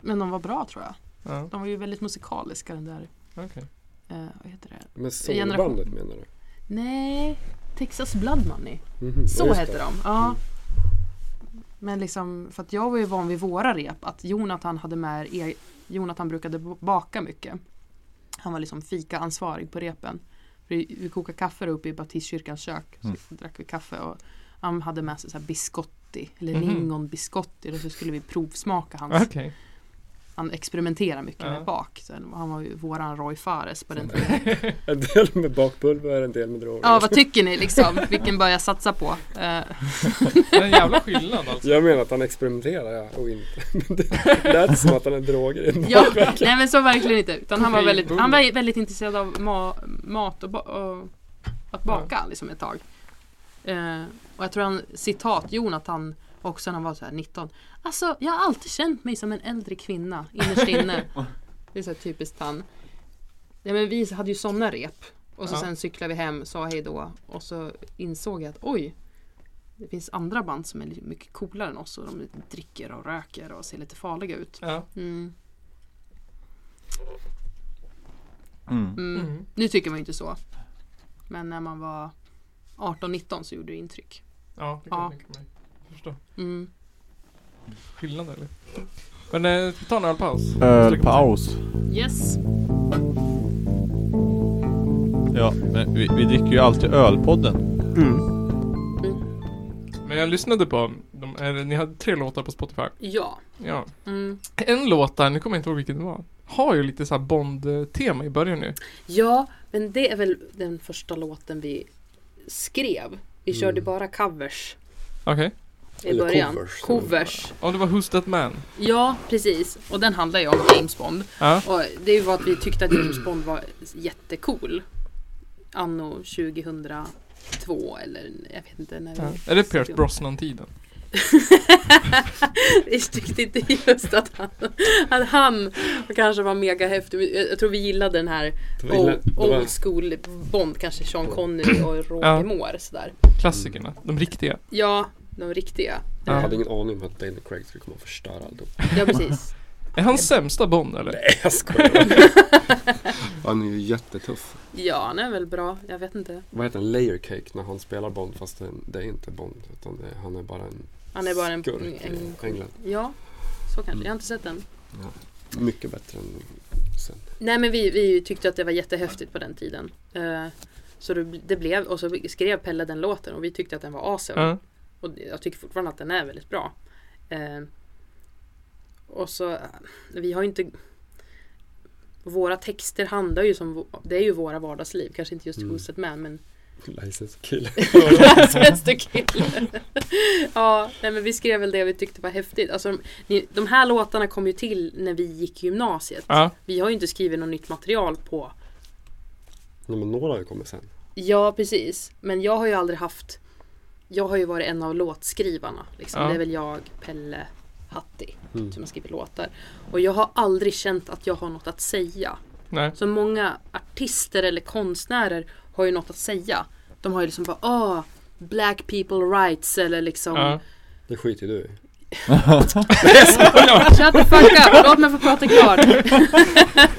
E: Men de var bra tror jag.
C: Ja,
E: De var ju väldigt musikaliska den där,
C: okej.
E: eh, vad heter det?
B: Men
E: Generation.
B: solbandet menar du?
E: Nej, Texas Blood Money.
B: Mhm,
E: Så
B: ja, just
E: hette
B: det.
E: de. Ja.
B: Mm.
E: Men liksom, för att jag var ju van vid våra rep att Jonathan hade med, e- Jonathan brukade b- baka mycket. Han var liksom fikaansvarig på repen. För vi vi kokade kaffe där uppe i baptistkyrkans kök. Så
A: Mm.
E: drack vi kaffe och han hade med sig så här biscotti, eller
C: Mhm.
E: lingonbiscotti. Och så skulle vi provsmaka hans,
C: Okej. (laughs)
E: han experimenterar mycket
C: Ja.
E: med bak. Så han var ju våran Roy Fares på den tiden.
B: En del med bakpulver, en del med droger.
E: Ja, vad tycker ni liksom? Vilken bör jag satsa på? Eh,
C: Det är en jävla skillnad alltså.
B: Jag menar att han experimenterar ja, och inte. (laughs) Men det lät som att han är droger.
E: Ja, (laughs) nej men så verkligen inte. Utan han var
C: Kokain,
E: väldigt,
C: bull.
E: han var väldigt intresserad av ma mat och, ba och att baka liksom ett tag. Eh, och jag tror han, citat Jonathan också när han var så här 19. Alltså jag har alltid känt mig som en äldre kvinna innerst inne. (laughs) Det är så här typiskt han. Nej men vi hade ju sådana rep. Och så
C: Ja.
E: sen cyklade vi hem, sa hej då och så insåg jag att oj, det finns andra band som är lite mycket coolare än oss och de dricker och röker och ser lite farliga ut.
C: Ja.
E: Mm.
A: Mm.
E: Mm.
C: Mm.
E: Nu tycker man ju inte så. Men när man var 18-19 så gjorde det intryck.
C: Ja, det kan
E: Ja.
C: jag tänka mig. Jag Förstår.
E: Mm.
C: Skillnad eller? Men eh, ska vi ta en ölpaus?
A: Ölpaus.
E: Yes.
A: Ja, men vi, vi dricker ju alltid ölpodden.
D: Mm.
C: Men jag lyssnade på, de, eller, ni hade tre låtar på Spotify.
D: Ja.
C: Ja.
E: Mm.
C: En låt där, nu kommer jag inte ihåg vilken det var. Har ju lite så här Bond-tema i början nu.
D: ja, men det är väl den första låten vi skrev. Vi
B: Mm.
D: körde bara covers
C: Okej.
D: i
B: Eller
D: början.
B: covers.
D: covers.
C: Ja, det var Who's That Man?
D: Ja, precis.
E: Och den handlar ju om James Bond.
C: Ja.
D: Och det var att vi tyckte att James Bond var jättecool. Anno 2002 eller jag vet inte när vi...
C: ja. Är det Pierce Brosnan-tiden?
D: (laughs) Vi tyckte inte just att han, att han kanske var mega häftig. Jag jag tror vi gillade den här
B: Det var illa-
D: old,
B: det var-
D: old school Bond, kanske Sean Connery
B: (clears throat)
D: och Roger
C: Ja.
D: Moore sådär.
C: Klassikerna, de riktiga.
D: Ja, de riktiga.
B: Jag
C: Ja.
B: hade ingen aning om att Daniel Craig skulle komma och förstöra alltihop.
D: Ja, precis.
C: Är han sämsta Bond eller?
B: Nej, jag
D: (laughs)
B: skojar. han är ju jättetuff.
D: Ja, han är väl bra. Jag vet inte.
B: Vad heter en layer cake när han spelar Bond fast det, det är inte Bond utan det, han är bara en
D: Han är bara en...
B: skurk
D: en
B: i England.
D: ja, så kanske.
B: Mm.
D: Jag har inte sett den.
B: Mycket bättre än sen.
D: Nej men vi, vi tyckte att det var jättehäftigt på den tiden. Eh, så det, det blev, och så skrev Pelle den låten och vi tyckte att den var awesome.
C: Ja.
D: Och jag tycker fortfarande att den är väldigt bra. Eh, och så, eh, vi har ju inte... Våra texter handlar ju som, vå- det är ju våra vardagsliv. Kanske inte just
B: Mm.
D: Who's That Man men... (laughs)
B: License kill.
D: Svenska killen. (laughs) ja, nej men vi skrev väl det vi tyckte var häftigt. Alltså, de, ni- de här låtarna kom ju till när vi gick i gymnasiet.
C: Ja.
D: Vi har ju inte skrivit något nytt material på
B: (laughs) Nej men några har ju kommit sen.
D: Ja, precis. Men jag har ju aldrig haft... Jag har ju varit en av låtskrivarna. Liksom.
C: Ja.
D: Det är väl jag, Pelle, Hatti
B: Mm.
D: som har skrivit låtar. Och jag har aldrig känt att jag har något att säga.
C: Nej.
D: Så många artister eller konstnärer har ju något att säga. De har ju liksom bara ah, Black people rights eller liksom
C: Ja.
B: Det skiter du i.
D: Shut the fuck up, låt mig få prata klart.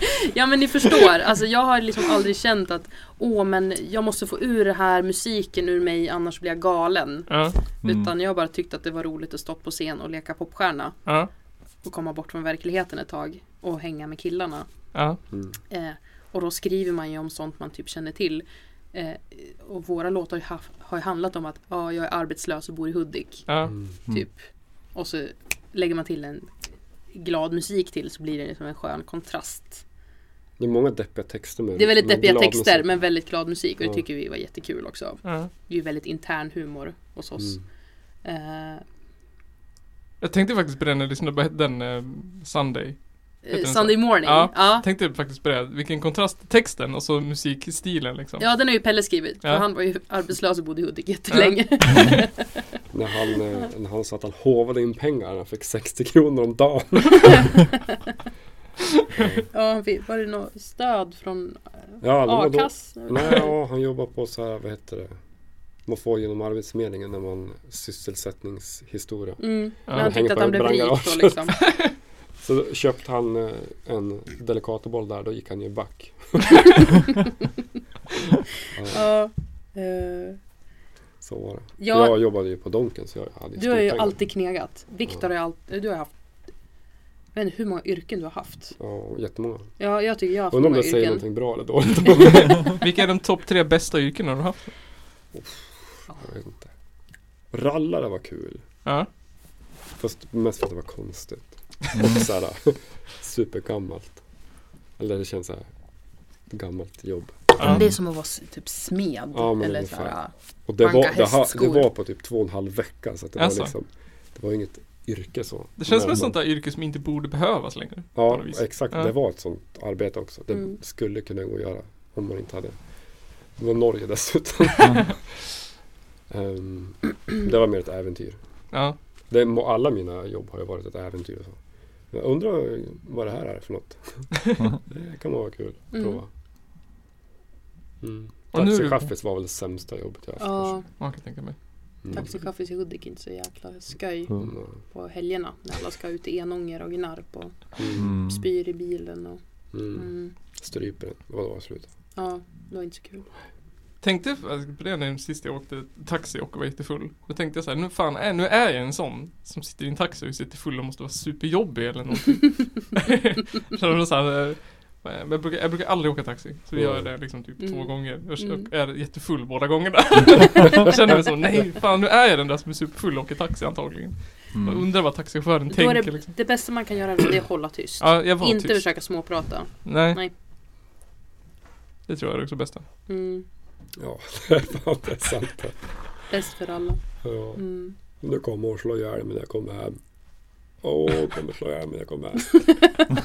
D: (laughs) ja men ni förstår, alltså jag har liksom aldrig känt att åh men jag måste få ur det här musiken ur mig annars blir jag galen.
C: Ja.
A: Mm.
D: Utan jag har bara tyckt att det var roligt att stå på scen och leka popstjärna
C: Ja.
D: och komma bort från verkligheten ett tag och hänga med killarna.
C: Ja.
B: Mm.
D: Eh, och då skriver man ju om sånt man typ känner till. Eh, och våra låtar har ju haft- har ju handlat om att ja, jag är arbetslös och bor i Hudik.
C: Ja.
B: Mm.
D: Typ. Och så lägger man till en glad musik till så blir det liksom en skön kontrast.
B: Det är många deppiga texter med
D: Det är väldigt
B: med
D: deppiga
B: glad
D: texter
B: musik.
D: men väldigt glad musik och det
B: Ja.
D: tycker vi var jättekul också.
C: Ja.
D: Det är ju väldigt intern humor hos oss.
B: Mm.
D: Eh,
C: Jag tänkte faktiskt på den när jag lyssnade på den eh, Sunday. Heter den så?
D: Sunday morning.
C: Ja.
D: Ja. Ja.
C: Tänkte faktiskt på det, vilken kontrast till texten och så musikstilen liksom.
D: den har ju Pelle skrivit. För
C: Ja.
D: han var ju arbetslös och bodde i Hudik jättelänge. (laughs)
B: När han, eh, när han sa att han hovade in pengar. Han fick 60 kronor om
D: (laughs)
B: dagen.
D: Ja, han fick, var det något stöd från
B: Ja, de var då,
D: A-kass?
B: nej, ja, han jobbar på så här, vad heter det? Man får genom Arbetsförmedlingen när man sysselsättningshistoria.
D: Mm. Men
C: Ja.
D: han tyckte att han blev rik då
B: brandgarage. (laughs)
D: liksom.
B: Så då köpte han eh, en Delicatoboll där, då gick han ju back. ja,
D: Ja. eh,
B: så var det.
D: ja,
B: Jag jobbade ju på Donken så jag hade
D: du har ju
B: skolpengar.
D: alltid knegat. Viktor har ju alltid, du har haft jag vet inte hur många yrken du har haft.
B: Ja, jättemånga.
D: Ja, jag tycker jag har haft
B: Undrar om
D: många
B: det säger
D: yrken.
B: någonting bra eller dåligt.
D: (laughs)
C: Vilka är de topp tre bästa yrkena du har haft?
B: jag vet inte. Rallare var kul.
C: Ja.
B: Fast mest för att det var konstigt.
A: Mm.
B: Och såhär (laughs) supergammalt. Eller det känns såhär gammalt jobb.
C: Ja.
D: Det är som att vara s- typ smed.
B: Ja, men
D: eller så
B: ungefär.
D: här,
B: Och det
D: Banka
B: var, det, ha,
D: hästskor.
B: det var på typ två och en halv vecka. Så att det,
C: Alltså.
B: var liksom, det var inget yrke så.
C: Det känns som
B: Men-
C: ett sånt där yrke som inte borde behövas längre. på
B: Ja,
C: något vis.
B: exakt.
C: Ja.
B: Det var ett sånt arbete också. Det
D: Mm.
B: skulle kunna gå att göra om man inte hade... Det var Norge
C: (laughs)
B: dessutom. Ehm, det var mer ett äventyr.
C: Ja.
B: Det, må- alla mina jobb har ju varit ett äventyr. Och så. Jag undrar vad det här är för
C: (laughs)
B: något. det kan nog vara kul att
D: Mm.
B: prova. Mm.
C: Och nu är du-
B: Taxichaffis var väl det sämsta jobbet jag haft.
D: Ja,
C: Man kan jag tänka mig.
B: kanske. Mm.
D: taxichaffis i Hudik är inte så jäkla skoj
A: Mm.
B: Mm.
D: på helgerna. När alla ska ut i Enånger och Gnarp och
B: Mm.
D: spyr i bilen. Och,
B: Mm.
D: mm.
B: Stryper den. Vad var slutet?
D: Ja, det var inte så kul.
C: Tänkte på det när sist jag åkte taxi och var jättefull. Då tänkte jag så här, nu fan är, nu är jag en sån som sitter i en taxi och är jättefull och måste vara superjobbig eller någonting. Känner mig så här, eh, men jag, brukar, jag brukar aldrig åka taxi. Så jag gör det liksom typ två
D: Mm.
C: gånger. Jag
D: Mm.
C: jag är jättefull båda gångerna. jag känner mig som, nej fan nu är jag den där som är superfull och åker taxi antagligen. Jag
A: Mm.
C: undrar vad taxichauffören
D: Då är
C: tänker
D: det,
C: liksom.
D: det bästa man kan göra då, det är att hålla tyst.
C: Ja, jag var
D: inte
C: tyst.
D: försöka småprata.
C: Nej.
D: Nej.
C: Det tror jag är också bästa.
D: Mm.
B: Ja, det är (laughs) fan det är sant.
D: Bäst för alla.
B: Ja.
D: Mm.
B: Nu kommer hon slå ihjäl mig när jag kommer hem. Åh, hon kommer slå ihjäl mig när jag kommer hem.
A: Mm.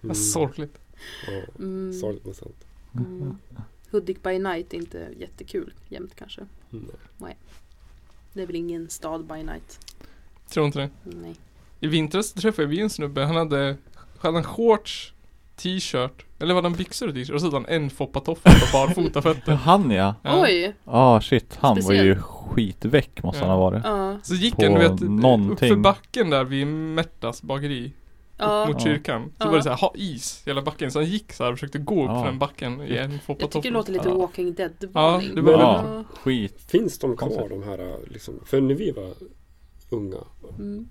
C: Vad sorgligt.
B: Ja,
D: Mm.
B: sorgligt men sant.
D: Mm. Hudik by night är inte jättekul jämt kanske.
B: Mm.
D: Det är väl ingen stad by night.
C: Tror inte det.
D: Nej.
C: I vintras träffade vi en snubbe, han hade, han hade shorts, t-shirt, eller var det en byxor och t-shirt? Och sedan en foppatoffla på barfota
A: Ja, (laughs)
C: fötter.
A: Han ja!
C: Ja.
D: Oj!
A: Ja shit, han var ju
D: Speciellt.
A: skitväck måste han
C: Ja.
A: ha varit.
D: Ja.
C: Så gick
A: På
C: han, du vet,
A: någonting.
C: uppför backen där vid Märtas bageri,
D: ja.
C: mot
A: Ja.
C: kyrkan. Så
D: Ja.
C: var det så här, ha is i hela backen. Så han gick så här och försökte gå upp
A: Ja.
C: för den backen i en
D: Jag tycker det
C: foppatoffla.
D: låter lite
A: Ja.
D: Walking Dead
C: Ja,
D: varning.
C: det var
A: Ja.
D: ja.
A: Skit.
B: Finns de kvar
A: Konstigt.
B: de här liksom? För när vi var unga,
D: Mm.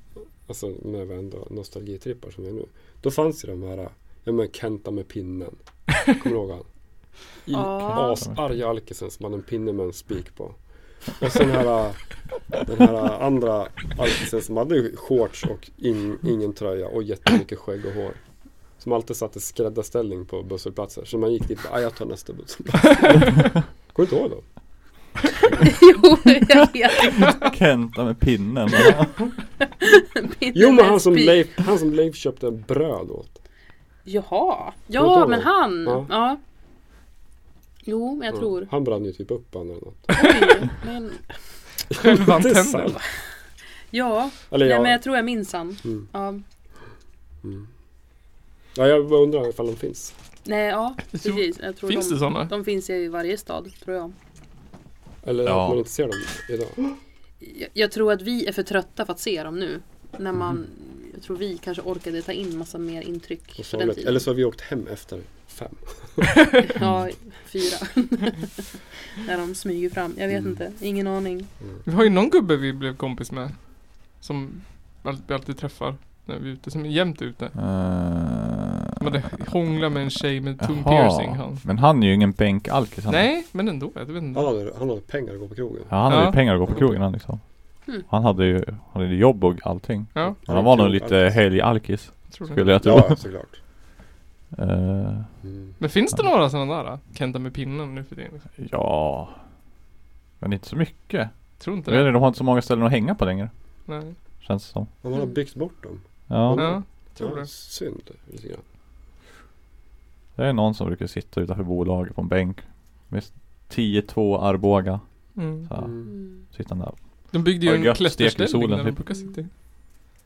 B: alltså när vi ändå nostalgitrippar som vi är nu. Då fanns ju de här, ja men Kenta med pinnen. Kommer du ihåg han? I
D: (laughs) Ja.
B: asarga alkisen som hade en pinne med en spik på. Och sen här, den här andra alkisen som hade shorts och in, ingen tröja och jättemycket skägg och hår. Som alltid satte skräddarställning på busshållplatser. Så man gick dit och bara, "Ah, jag tar nästa busshållplats. (laughs) Kommer du inte ihåg dem?
D: (laughs) jo, jag vet.
A: Kenta med (laughs) pinnen.
B: Jo men han som,
D: Spik.
B: Leif, han som Leif köpte bröd åt.
D: Jaha.
B: Kommer du
D: Ja,
B: ihåg
D: men
B: det?
D: han.
B: Ja.
D: Ja. Jo, men jag tror.
B: Han brann ju typ upp han eller något.
D: Oj, men,
C: Själva
B: Det är
C: tänder.
B: sant.
D: (laughs) ja.
B: Eller
D: Nej,
B: jag,
D: men jag tror jag minns han.
B: Mm.
D: Ja.
B: mm. ja, jag bara undrar ifall de finns.
D: Nej, ja.
C: Jag tror-
D: Precis. Jag tror
C: Finns
D: de,
C: det sådana?
D: de finns ju i varje stad, tror jag.
B: Eller
A: Ja.
B: att man inte ser dem
C: Mm.
B: idag.
D: jag. Jag tror att vi är för trötta för att se dem nu. När man,
B: Mhm.
D: jag tror vi kanske orkade ta in massa mer
B: Och
D: intryck på den
B: sorgligt.
D: tiden.
B: Eller så har vi åkt hem efter fem.
D: (laughs) Ja,
B: (laughs)
D: fyra. När de smyger fram. Jag vet
B: Mm.
D: inte. Ingen aning.
C: Vi har ju någon gubbe vi blev kompis med. Som all- vi alltid träffar när vi är ute, som är jämt ute.
A: Eh,
C: Men det hånglar med en tjej med tung
A: Jaha.
C: piercing han.
A: Men han är ju ingen bänkalkis han.
C: Nej, men ändå. Jag vet inte.
B: Han hade, han hade pengar att gå på krogen.
A: Ja, han hade
C: Ja.
A: ju pengar att gå på krogen han liksom.
D: Mm.
A: Han hade ju, hade ju jobb och allting.
C: Ja,
A: Men han var nog
B: Krog-
A: lite
B: alkis.
A: helgalkis
C: tror det.
A: skulle jag tro.
B: Ja, såklart.
A: Eh,
B: Mm.
C: Men finns det
A: Ja.
C: några sådana där? då? Kenta med pinnen nu för tiden? Liksom?
A: ja. Men inte så mycket.
C: Tror inte
A: Jag vet
C: det.
A: inte, de har inte så många ställen att hänga på längre.
C: Nej.
A: Känns det som.
B: Men man har
D: Mm.
B: byggt bort dem.
A: Ja.
B: Mm.
C: Ja. Tror
B: Ja,
C: det.
B: Synd lite grann.
A: Det är någon som brukar sitta utanför bolaget på en bänk. Med 10-2 Arboga.
C: Mm.
A: Så här,
B: Mm.
D: Mm.
A: sitter han där.
C: De byggde
A: Har det
C: ju en
A: gött, stek i
C: klätterställning
A: solen,
C: där de
A: typ.
C: brukar sitta i.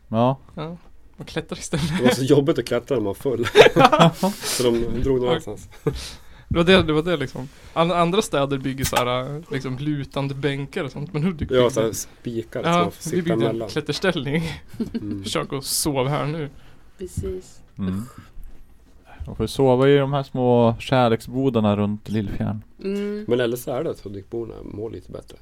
A: Ja,
C: Ja. Man klättrar
B: Det var
C: istället.
B: så jobbigt att klättra när man var
A: (laughs)
B: full. så de drog någon annanstans.
C: Det var det, det var det liksom. An- andra städer bygger så här äh, liksom lutande bänkar och sånt. Men Hudik
B: Ja,
C: byggde-
B: så här spikar som man
C: ja
B: får
C: vi
B: sitta
C: byggde
B: emellan.
C: en klätterställning.
B: Mm.
C: Försök att sova här nu.
D: Precis.
A: Mm. De får sova i de här små kärleksbodarna runt Lillfjärden.
D: Mm.
B: Men eller så är det att Hudikborna mår lite bättre.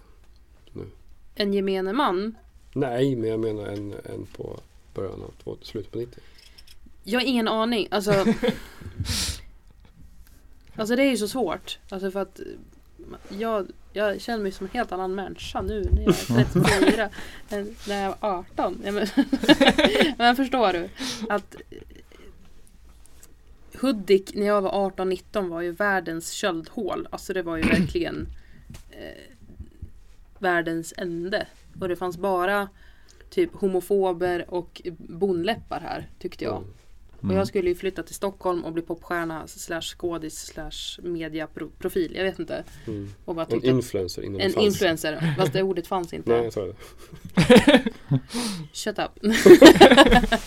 D: En gemene man.
B: Nej, men jag menar en, en på början av två, slutet på 90.
D: Jag har ingen aning. Alltså, alltså det är ju så svårt. Alltså för att eh, jag, jag känner mig som en helt annan människa nu när jag är 34 än när jag var 18. Ja, men, (laughs) men förstår du? Att eh, Hudik när jag var 18-19 var ju världens köldhål. Alltså det var ju verkligen eh, världens ände. Och det fanns bara typ homofober och bondläppar här tyckte jag.
A: Mm.
D: Och jag skulle ju flytta till Stockholm och bli popstjärna slash skådis slash mediaprofil. Jag vet inte.
B: Mm.
D: Och bara
B: En
D: tyckte att-
B: influencer innan
D: Typ en
B: det fanns.
D: influencer. Fast det ordet fanns inte.
B: Nej, jag sa det.
D: Shut up. (laughs)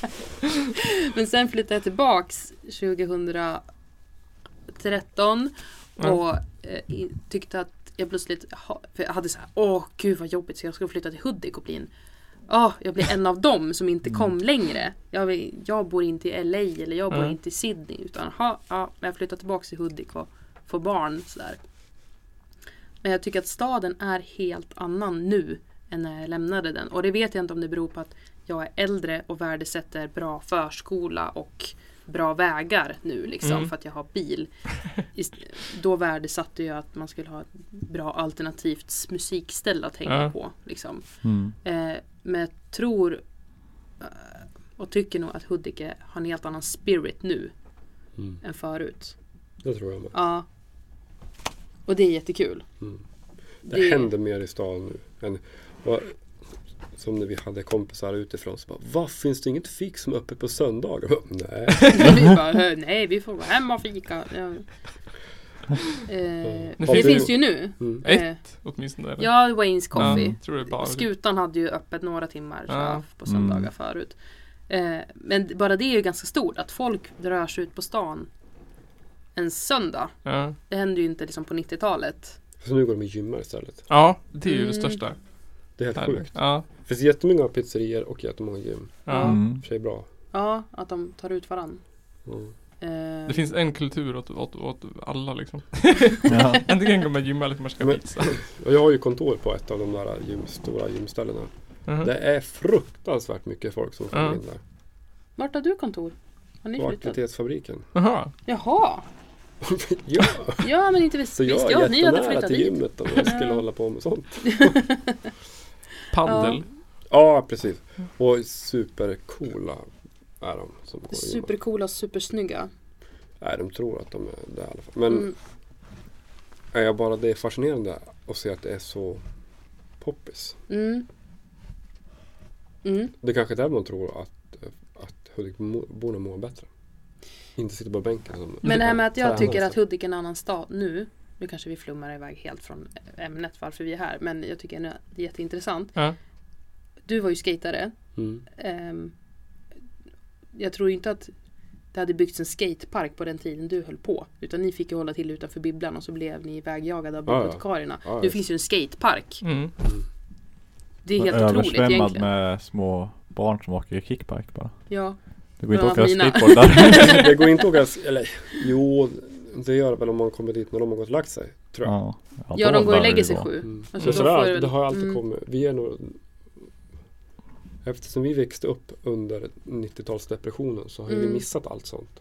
D: Men sen flyttade jag tillbaks 2013
C: Ja.
D: och eh, i- tyckte att jag plötsligt ha- för jag hade så här, åh gud vad jobbigt så jag skulle flytta till Hudik och bli en Ja, jag blir en av dem som
C: Mm.
D: inte kom längre. Jag, vill, jag bor inte i LA eller jag bor
C: Mm.
D: inte i Sydney. Utan ha, ja, men jag flyttar tillbaka till Hudik och får barn. Så där. Men jag tycker att staden är helt annan nu än när jag lämnade den. Och det vet jag inte om det beror på att jag är äldre och värdesätter bra förskola och bra vägar nu liksom
C: Mm.
D: för att jag har
C: (laughs)
D: bil. Ist- Då värdesatte jag att man skulle ha ett bra alternativt s- musikställe att hänga
C: Ja.
D: på. Liksom.
A: Mm.
D: Eh, men jag tror eh, och tycker nog att Huddike har en helt annan spirit nu
B: Mm.
D: än förut.
B: Det tror jag med.
D: Ja. Och det är jättekul.
B: Mm. Det,
D: Det-
B: händer mer i stan nu. Än, och, som när vi hade kompisar utifrån så bara, vad finns det inget fik som är öppet på söndagar? Jag bara, Nej.
D: (laughs) vi bara, "Eh, nej vi får gå hem och fika. Ja.
B: Mm.
D: Eh,
C: Nu
D: det
C: finns-
D: finns ju nu.
B: Mm.
C: Ett,
D: Eh,
C: åtminstone. Eller?
D: ja, Wayne's Coffee.
C: Ja, tror det är bara.
D: Skutan hade ju öppet några timmar så
C: Ja.
D: här, på söndagar
A: Mm.
D: förut. Eh, men d- bara det är ju ganska stort att folk rör sig ut på stan en söndag.
C: Ja.
D: Det hände ju inte liksom på 90-talet.
B: (laughs) Så nu går de i gymmar istället.
C: ja, det är ju det
D: Mm.
C: största.
B: Det är helt
C: här.
B: sjukt.
C: Ja.
B: Det finns jättemånga pizzerier och jättemånga gym.
C: Ja.
A: Mm.
B: I och för sig bra.
D: Ja, att de tar ut varann.
B: Mm.
D: Eh,
C: Det finns en kultur åt, åt, åt alla liksom. (laughs)
A: Ja.
C: Antingen går man gymma eller man ska
B: Men- (laughs)
C: pizza.
B: Och jag har ju kontor på ett av de där gym, stora gymställena.
C: Mhm.
B: Det är fruktansvärt mycket folk som kommer
C: Ja.
B: in där.
D: Vart har du kontor? Har ni
B: På (laughs)
D: flyttat?
B: aktivitetsfabriken.
C: Jaha.
D: Jaha!
B: ja,
D: Ja, men inte visst,
B: (laughs) så jag
D: visste
B: är
D: jag att ni hade
B: jättenära
D: flyttat
B: till
D: dit.
B: gymmet om jag skulle hålla på med sånt.
C: Paddel.
B: Ja, precis. Och supercoola är de som går i gymmet.
D: Supercoola, supersnygga.
B: Nej, de tror att de är det i alla fall. Men
D: Mm,
B: är jag bara det är fascinerande att se att det är så poppis.
D: mm. Mm.
B: Det är kanske är där man tror att, att Hudikborna mår bättre. Inte sitter på bänken. Som
D: Men det här med att jag
B: Tränar
D: tycker
B: sig.
D: att Hudik är en annan stad nu. Nu kanske vi flummar iväg helt från ämnet varför vi är här. Men jag tycker ändå att det är jätteintressant.
C: Ja.
D: Du var ju skatare.
B: Mm.
D: Ehm, Jag tror ju inte att det hade byggts en skatepark på den tiden du höll på. Utan ni fick ju hålla till utanför bibblan och så blev ni ivägjagade av
B: Ja, ja.
D: bibliotekarierna.
B: Ja,
D: Nu
B: ja.
D: finns ju en skatepark.
C: Mm.
D: (laughs)
C: (laughs)
D: Det är helt otroligt
A: Översvämmad
D: egentligen.
A: med små barn som åker kickbike bara.
D: Ja.
A: Det går inte att
D: Bland
A: åka
D: annat mina.
A: skateboard
D: (laughs)
A: där.
B: Det går inte att åka... Eller jo, det gör det väl om man kommer dit när de har gått och lagt sig. Tror jag.
A: Ja,
D: ja,
A: då
D: de går och
A: lär
D: lägger
A: det
D: sig
A: gå.
D: sju.
B: Mm.
D: Alltså,
B: Men
D: då
B: sådär,
D: får det väl-
B: det har alltid
D: mm.
B: kommit. Vi är nog... Eftersom vi växte upp under 90-talsdepressionen så har ju
D: Mm.
B: vi missat allt sånt.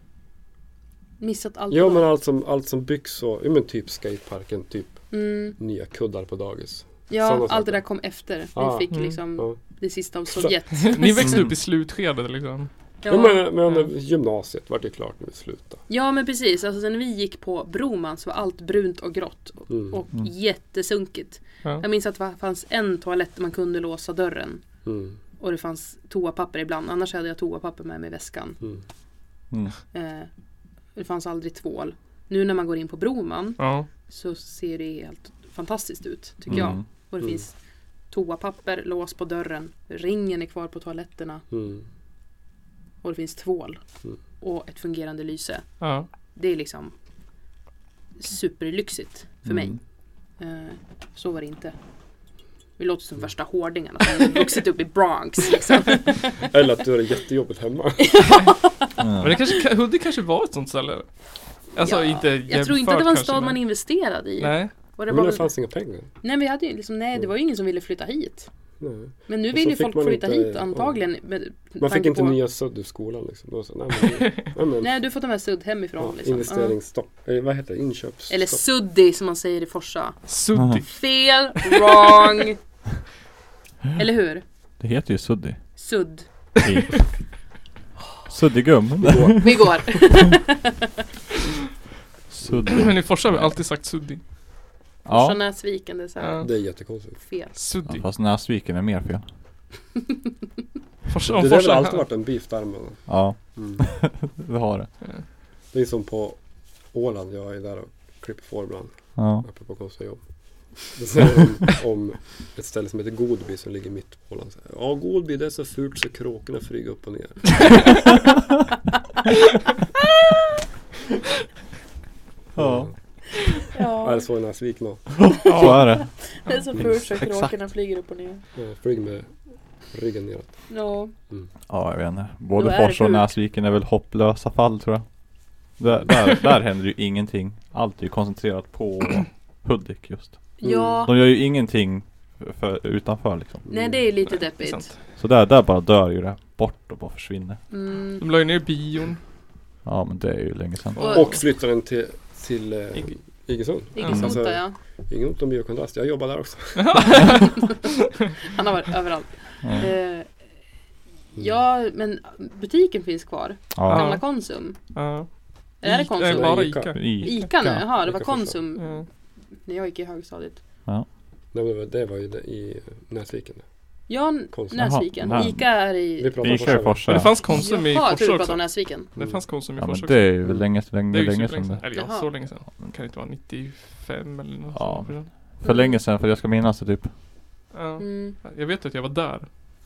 D: Missat allt.
B: Ja
D: då.
B: men allt som, allt som byggs och, ja, men typ skateparken, typ
D: mm.
B: nya kuddar på dagis.
D: ja
B: Sådana
D: allt det
B: saker.
D: där kom efter. Vi
B: Ah.
D: fick
C: Mm.
D: liksom
B: Ja.
D: det sista av Sovjet. Mm.
C: Ni växte
B: Mm.
C: upp i slutskedet liksom.
B: Ja. men, men gymnasiet vart ju klart när vi slutade.
D: Ja men precis, alltså när vi gick på Broman så var allt brunt och grått och-
B: Mm.
D: och
A: Mm.
D: jättesunkigt.
C: Ja.
D: Mm. Jag minns att det fanns en toalett där man kunde låsa dörren
B: Mm.
D: Och det fanns toapapper ibland. Annars hade jag toapapper med mig i väskan.
B: Mm.
A: Mm.
D: Eh, det fanns aldrig tvål. Nu när man går in på Broman
C: Ja.
D: så ser det helt fantastiskt ut tycker
A: Mm.
D: jag. Och det
B: Mm.
D: finns toapapper, lås på dörren, ringen är kvar på toaletterna
B: Mm.
D: och det finns tvål.
B: Mm.
D: Och ett fungerande lyse.
C: Ja.
D: Det är liksom superlyxigt för mig.
A: Mm.
D: Eh, så var det inte. Vi låter som värsta hårdingarna som har vuxit upp i Bronx.
C: (laughs)
D: Liksom.
C: Alltså,
B: Eller att du har det jättejobbigt
D: (laughs)
B: hemma.
A: Ja.
C: Men det kanske, Hudik kanske var ett sånt ställe? Alltså
D: Ja,
C: inte
D: jag tror inte att det var en
C: jämfört
D: stad
C: kanske,
D: man
C: men-
D: investerade i.
C: Nej.
D: Och det
B: Men
D: var
B: det
D: väl,
B: fanns inga pengar.
D: nej, vi hade ju liksom, nej, det var ju ingen som ville flytta hit.
B: Nej.
D: Men nu
B: Och
D: vill
B: så
D: ju
B: fick
D: folk
B: man
D: flytta
B: inte-
D: hit
B: ja.
D: antagligen. Med
B: Man fick
D: tanke
B: inte
D: på-
B: nya sudd ur skolan liksom. Då så, nej, men,
D: (laughs)
B: nej, men,
D: Nej, du får ta med sudd hemifrån.
B: ja,
D: liksom.
B: investeringsstopp. Eh, vad heter det?
D: Ja. Eller
B: Inköpsstopp.
D: suddi som man säger i Forsa.
C: Suddig.
D: Fel,
C: (laughs)
D: wrong. Eller hur?
A: Det heter ju suddig.
D: Sudd.
A: I- (laughs) Suddigum.
D: Vi går.
A: Suddig.
C: (clears throat)
D: (laughs)
C: Men i Forsa har vi alltid sagt suddig.
D: Forsa
A: Ja.
D: Näsviken, det är så här.
C: Ja.
B: Det är jättekonstigt.
D: Fel.
A: Ja,
C: Suddig.
A: Fast Näsviken är mer fel.
C: Forsa, om
B: Det där har väl
C: Forsa
B: alltid
C: här.
B: varit en beef där mellan.
A: Ja, (laughs)
B: Mm.
A: det har det.
B: Det är som på Åland, jag är där och klipper får ibland.
A: Ja.
B: Apropå konstiga jobb. Då säger de om ett ställe som heter Godby som ligger mitt på Åland. Så här, Ja, Godby det är så fult så kråkorna flyger upp och ner.
A: Ja.
B: Ja,
D: Ja,
B: det så i Näsviken då.
A: Så är det.
D: det är så fult så kråkorna flyger upp och ner.
B: Ja, Flyg eh, med ryggen neråt.
D: Ja.
C: Mm.
A: Ja, jag vet inte.
D: Då
A: Både
D: är det
A: Forsa och
D: sjukt.
A: Näsviken är väl hopplösa fall tror jag. Där, där, där händer ju ingenting. Allt är ju koncentrerat på Hudik just.
D: ja.
C: Mm.
A: De gör ju ingenting för, utanför liksom.
D: Nej, det är lite
C: Det är
D: deppigt.
C: sant.
A: Så där, där bara dör ju det. Bort och bara försvinner.
D: Mm.
C: De la ju ner bion.
A: Ja men det är ju länge sedan.
D: Och-
B: Mm. Och flyttar den till, till eh,
C: I-
B: Iggesund.
D: Iggesund,
B: Mm.
C: (laughs)
D: ja.
B: Ingen ont om biokontrast, jag jobbar där också.
D: Han har varit överallt.
A: Mm.
D: Eh, ja, men butiken finns kvar.
A: Ja.
D: Gamla Konsum.
C: Ja.
D: Eller är det
C: Ica-
D: Konsum?
C: Nej, bara
B: Ica.
C: Ica.
A: I,
D: Ica nu?
C: Ica.
D: Jaha, det var
B: Ica första.
D: Konsum
C: Ja.
D: när jag gick i högstadiet.
B: Nej, men det var- det var ju det i Näsviken.
D: Ja, N-
B: Konsum.
D: Näsviken.
A: Jaha, nej.
D: Ica är
B: Vi
D: i...
B: pratar om
A: Ica i
B: Forsa. va?
A: Forsa.
C: Men det fanns Konsum i
D: Jaha, jag tror
C: Forsa
D: du pratade
C: också.
D: om Näsviken.
C: Det fanns Konsum i
A: Ja men
C: Forsa
A: det
C: också.
A: är ju länge,
C: Det
A: länge,
C: är ju
A: länge
C: superlänge
A: sedan det.
C: Eller ja,
D: Jaha.
C: så länge sedan. Det kan ju inte vara 95 eller något
A: Ja.
C: sånt.
A: För länge sedan för jag ska minnas det typ.
C: Ja.
D: Mm.
C: Jag vet att jag var där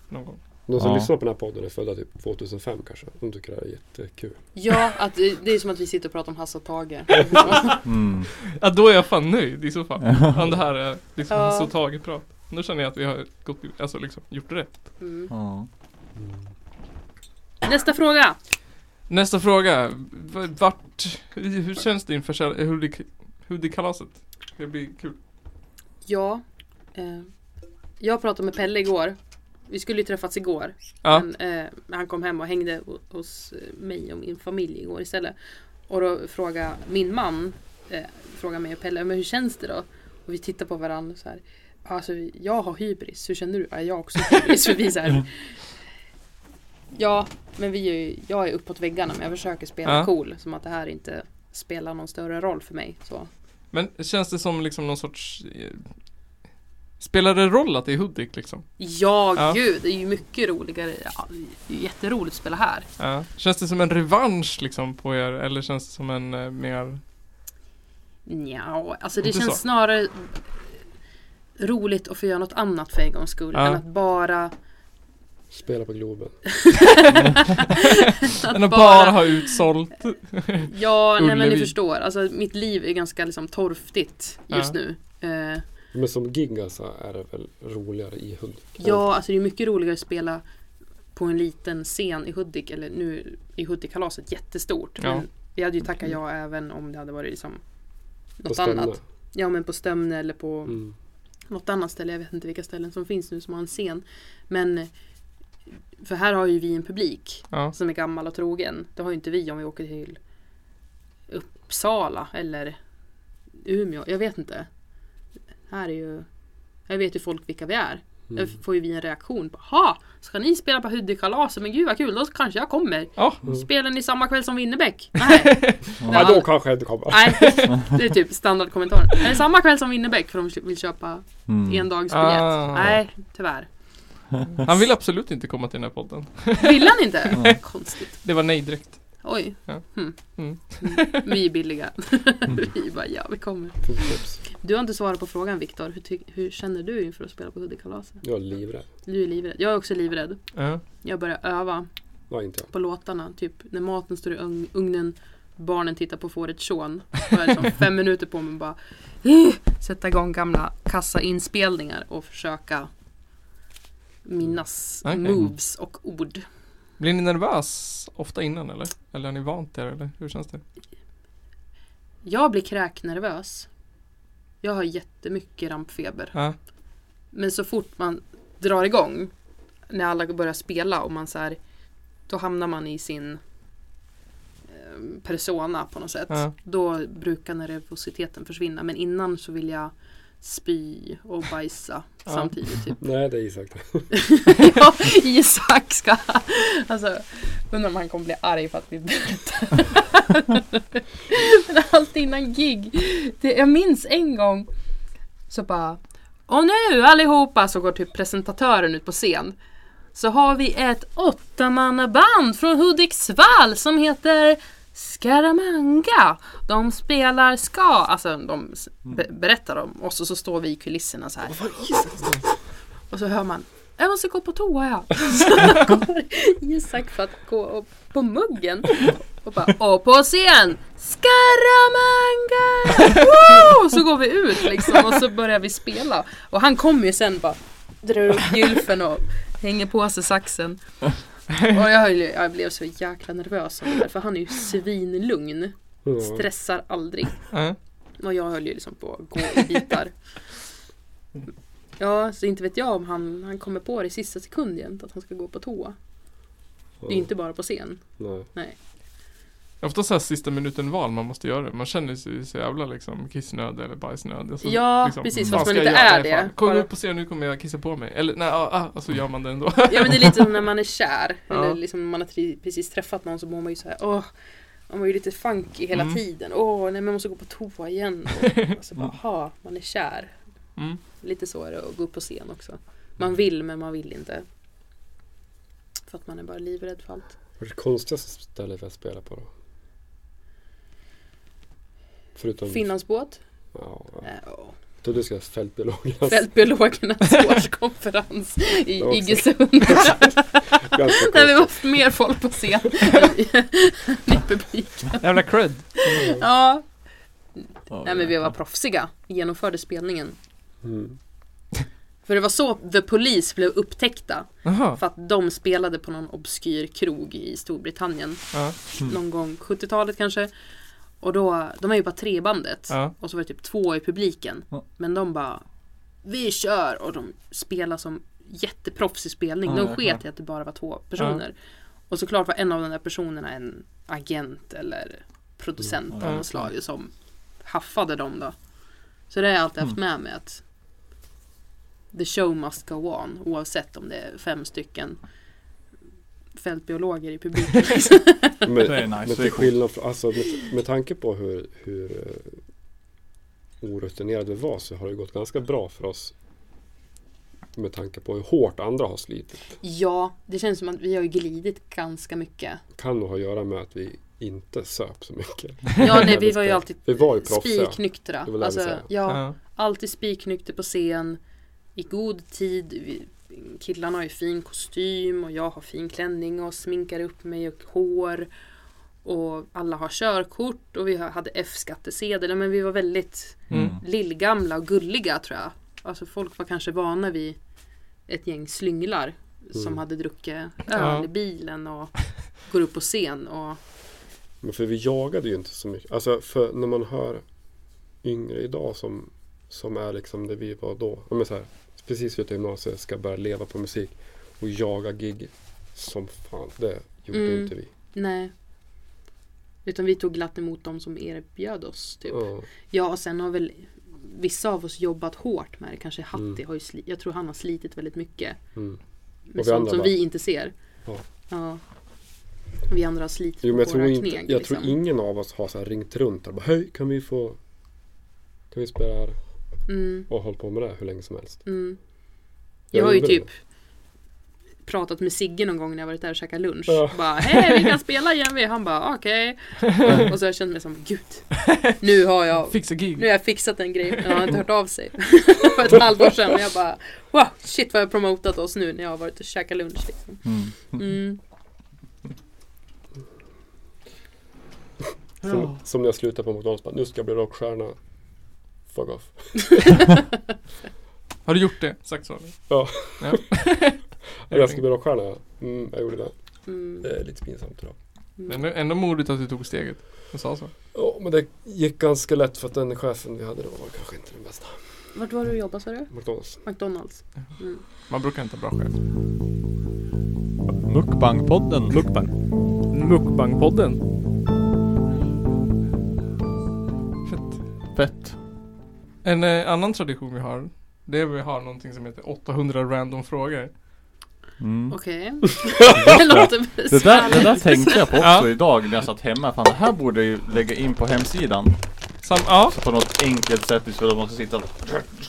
C: någon gång.
B: De som
A: Ja.
B: lyssnar på den här podden är födda typ 2005 kanske. De tycker det här är jättekul.
D: Ja, att det, det är som att vi sitter och pratar om Hasse
C: (laughs)
D: och Tage.
A: Mm.
C: (laughs)
A: (laughs)
C: Ja, då är jag fan nöjd i så fall. Om det här är liksom
D: Ja.
C: så taget prat. Nu känner jag att vi har gått, alltså liksom gjort rätt.
D: Mm.
A: Ja.
D: Nästa fråga!
C: Nästa fråga. V- Vart, hur känns det inför kär- hudik- Hudikkalaset? Det blir kul.
D: Ja, eh, jag pratade med Pelle igår. Vi skulle ju träffats igår.
C: Ja,
D: Men eh, han kom hem och hängde ho- hos eh, mig och min familj igår istället. Och då frågade min man, eh, frågade mig och Pelle, men hur känns det då? Och vi tittar på varandra och så här. Alltså jag har hybris, hur känner du? Ja, jag har också
C: (laughs)
D: hybris. För vi är så här, ja, men vi är ju, jag är uppåt väggarna men jag försöker spela
C: Ja.
D: cool. Som att det här inte spelar någon större roll för mig. Så.
C: men känns det som liksom någon sorts... eh, Spelar det roll att det är Hudik liksom?
D: Ja,
C: Ja.
D: gud, det är ju mycket roligare. Ja, det är ju jätteroligt att spela här.
C: Ja. Känns det som en revansch liksom på er eller känns det som en eh, mer...
D: Nja, alltså det
C: Inte
D: känns
C: så?
D: snarare roligt att få göra något annat för en gångs skull
C: Ja.
D: än
C: (laughs)
D: att bara...
B: Spela på Globen.
C: Än att bara ha utsålt?
D: Ja, nej men ni
C: Ullevi.
D: förstår. Alltså mitt liv är ganska liksom torftigt just
C: Ja.
D: nu. Eh,
B: Men som gig alltså är det väl roligare i Hudik?
D: ja, alltså det är mycket roligare att spela på en liten scen i Hudik. Eller nu är Hudikkalaset jättestort.
C: Ja. Mm.
D: Men vi hade ju tackat ja även om det hade varit liksom
B: På
D: något
B: Stämne.
D: annat. Ja, men på Stömne eller på...
B: Mm.
D: något annat ställe, jag vet inte vilka ställen som finns nu som har en scen. Men eh, för här har ju vi en publik
C: Ja.
D: som är gammal och trogen. Det har ju inte vi om vi åker till Uppsala eller Umeå, jag vet inte. Här är ju... Här vet ju folk vilka vi är. Där
B: Mm.
D: får ju vi en reaktion. på, Ha, ska ni spela på Hudikkalaset? Men gud vad kul, då kanske jag kommer.
C: Ja,
B: Mm.
D: Spelar ni samma kväll
B: (laughs)
D: som Winnerbäck? Nej.
B: Ja, då kanske jag inte kommer.
D: Nej,
C: (laughs)
D: det är typ standardkommentaren. Är det samma kväll som Winnerbäck för de vill köpa
A: Mm.
D: endagsbiljett.
C: Ah.
D: Nej, tyvärr.
C: Han vill absolut inte komma till den här podden.
D: Vill han inte?
A: Nej.
D: Konstigt.
C: Det var nej direkt.
D: Oj.
C: Ja.
D: Hmm.
C: Mm.
D: Vi är billiga. (laughs) vi bara, ja vi kommer.
B: Tips.
D: Du har inte svarat på frågan Viktor. Hur, ty- hur känner du inför att spela på Hudikkalaset?
B: Jag är livrädd.
D: Du är livrädd. Jag är också livrädd.
C: Ja.
D: Jag börjar öva
B: Nej, inte jag.
D: på låtarna. Typ när maten står i ugn- ugnen, barnen tittar på Fåret Sean. Har jag liksom fem minuter på mig och bara "Ugh", sätta igång gamla kassainspelningar och försöka minnas
C: Okej.
D: moves och ord.
C: Blir ni nervös ofta innan eller? Eller är ni vant er eller hur känns det?
D: Jag blir kräknervös. Jag har jättemycket rampfeber.
C: Ja.
D: Men så fort man drar igång, när alla börjar spela och man så här, då hamnar man i sin eh, persona på något sätt.
C: Ja.
D: Då brukar nervositeten försvinna. Men innan så vill jag spy och bajsa
C: Ja.
D: samtidigt. Typ.
B: Nej, det är Isak.
D: (laughs) ja, Isak ska... Alltså, undrar om han kommer bli arg för att vi berättar. Men (laughs) allt innan gig. Det, jag minns en gång så bara Och nu allihopa så går typ presentatören ut på scen. Så har vi ett åttamannaband från Hudiksvall som heter Scaramanga. De spelar ska, alltså de s- be- berättar om oss och så står vi i kulisserna så här. Och så hör man jag måste gå på toa ja. (laughs) Så går Isak för att gå upp på muggen och (laughs) bara och på scen Scaramanga! Woo! Så går vi ut liksom och så börjar vi spela och han kommer ju sen bara drar upp gylfen och hänger på sig saxen. Och jag, höll ju- jag blev så jäkla nervös av det där, för han är ju svinlugn,
B: Ja.
D: stressar aldrig.
C: Ja.
D: Och jag höll ju liksom på att gå i
C: (laughs)
D: bitar. Ja, så inte vet jag om han, han kommer på det i sista sekund jämt att han ska gå på toa. Det är inte bara
C: (laughs)
D: på scen.
B: Nej.
C: Det är Ofta så här sista minuten val man måste göra. Man känner sig så jävla liksom kissnödig eller bajsnödig. Och så,
D: Ja,
C: liksom,
D: precis,
C: vad
D: fast man
C: ska jag
D: inte
C: göra?
D: är
C: Nej, fan.
D: det.
C: Kom
D: Bara-
C: upp på scen, nu kommer jag kissa på mig. Eller nej, ah, ah, och så gör man det ändå. (laughs)
D: Ja men det är lite som när man är kär.
C: Ja.
D: Eller liksom när man har tri- precis träffat någon så mår man ju så här, åh. Man var ju lite funky hela
C: Mm.
D: tiden. Åh, nej men jag måste gå på toa igen.
C: (laughs)
D: Och så bara, aha, man är kär.
C: Mm.
D: Lite så är det att gå upp på scen också. Man vill men man vill inte. För att man är bara livrädd för allt.
B: Vad är det konstigaste stället jag spelar på då? Förutom...
D: Finlandsbåt.
B: Ja, ja.
D: Eh, åh.
B: Då du ska fältbiologernas
C: (laughs)
D: Fältbiologernas årskonferens i
B: Det var också-
D: Iggesund. (laughs)
B: ganska
D: Där vi
B: konstigt.
D: var mer folk
C: (laughs)
D: på scen än i- än i publik.
C: Jävla cred.
D: Ja,
A: Ja,
D: nej men vi var proffsiga. Vi genomförde spelningen.
B: Mm.
D: För det var så The Police blev upptäckta.
C: Jaha.
D: För att de spelade på någon obskyr krog i Storbritannien.
C: Ja. Mm.
D: Någon gång 70-talet kanske. Och då, de är ju bara tre i bandet.
C: Ja.
D: Och så var det typ två i publiken.
A: Ja.
D: Men de bara Vi kör! Och de spelar som jätteproffsig spelning.
A: Ja,
D: De
A: ja,
D: sket i
A: klart.
D: att det bara var två personer. Och såklart var en av de där personerna en agent eller producent
A: Mm,
D: av
C: ja,
D: något slag som haffade dem då. Så det har jag alltid haft med mig att The show must go on oavsett om det är fem stycken fältbiologer i publiken.
B: Men,
A: Det är nice,
B: men
A: det är
B: till
A: coolt.
B: skillnad från, alltså med, med tanke på hur, hur eh, orutinerade vi var så har det gått ganska bra för oss. Med tanke på hur hårt andra har slitit.
D: ja, det känns som att vi har ju glidit ganska mycket.
B: Kan nog ha att göra med att vi inte söp så mycket.
D: Ja, nej, vi var ju alltid
B: Vi var ju proffsiga. Det var
D: spiknyktra.
B: det jag ville
D: Alltså,
B: säga.
D: ja,
C: Ja.
D: alltid spiknykter på scen. I god tid. Vi, killarna har ju fin kostym och jag har fin klänning och sminkar upp mig och hår. Och alla har körkort och vi har- hade F-skattesedel. Men vi var väldigt
C: Mm.
D: lillgamla och gulliga tror jag. Alltså folk var kanske vana vid ett gäng slynglar som
B: Mm.
D: hade druckit öl
C: Ja.
D: i bilen och går upp på scen och
B: Men för vi jagade ju inte så mycket. Alltså för när man hör yngre idag som, som är liksom det vi var då. Ja, Men så här, precis ute i gymnasiet ska börja leva på musik och jaga gig som fan. Det gjorde
D: Mm.
B: inte vi.
D: nej. Utan vi tog glatt emot dem som erbjöd oss typ.
B: Ja.
D: Ja, och sen har väl vissa av oss jobbat hårt med det. Kanske Hatti
B: Mm.
D: har ju sli- Jag tror han har slitit väldigt mycket.
B: Mm. vi
D: Med sånt
B: andra
D: som
B: bara-
D: vi inte ser.
B: Ja.
D: Ja. Och Vi andra har slitit
B: Jo, men jag
D: på
B: tror,
D: våra liksom.
B: inte,
D: kneg.
B: jag tror ingen av oss har så här ringt runt och bara Hej, kan vi få kan vi spela här
D: mm,
B: och hålla på med det här hur länge som helst?
D: mm.
B: Jag
D: Jag har ju
B: gjorde det.
D: typ pratat med Sigge någon gång när jag varit där och käkat lunch.
B: Ja.
D: Bara, hej vi kan spela igen vi. Han
B: (laughs)
D: bara, okej. Och så har jag känt mig som, gud. Nu har jag,
C: Fixa gig.
D: nu har jag fixat en grej. Men han har inte hört av sig. (laughs) För ett halvår sedan. Och jag bara, wow, shit vad jag promotat oss nu när jag har varit och käkat lunch. Liksom.
A: Mm.
D: Mm.
B: Som, som när jag slutade på McDonalds. Bara, nu ska jag bli rockstjärna. Fuck off.
C: Har du gjort det? Sagt så? eller?
B: Ja.
C: ja.
B: Jag ska bli rockstjärna. ja. Mm, jag gjorde det.
D: Mm.
B: Det är lite pinsamt idag.
C: Det är ändå- ändå modigt att du tog steget och sa så.
B: Ja, men det gick ganska lätt för att den chefen vi hade då var kanske inte den bästa.
D: Vart var du och jobbade sa du?
B: McDonalds.
D: McDonalds. Mm.
C: Man brukar inte ha bra chef.
A: Mukbang-podden.
F: Mukbang.
C: Mukbangpodden.
A: Fett.
C: En eh, annan tradition vi har, det är att vi har någonting som heter 800 random frågor.
A: Mm.
D: (laughs) Okej. det låter
A: Det där, det där
D: besvärligt.
A: tänkte jag på också
C: (laughs) Ja.
A: idag när jag satt hemma. Fan det här borde jag ju lägga in på hemsidan.
C: Sam, ja,
A: På något enkelt sätt istället för att man ska sitta och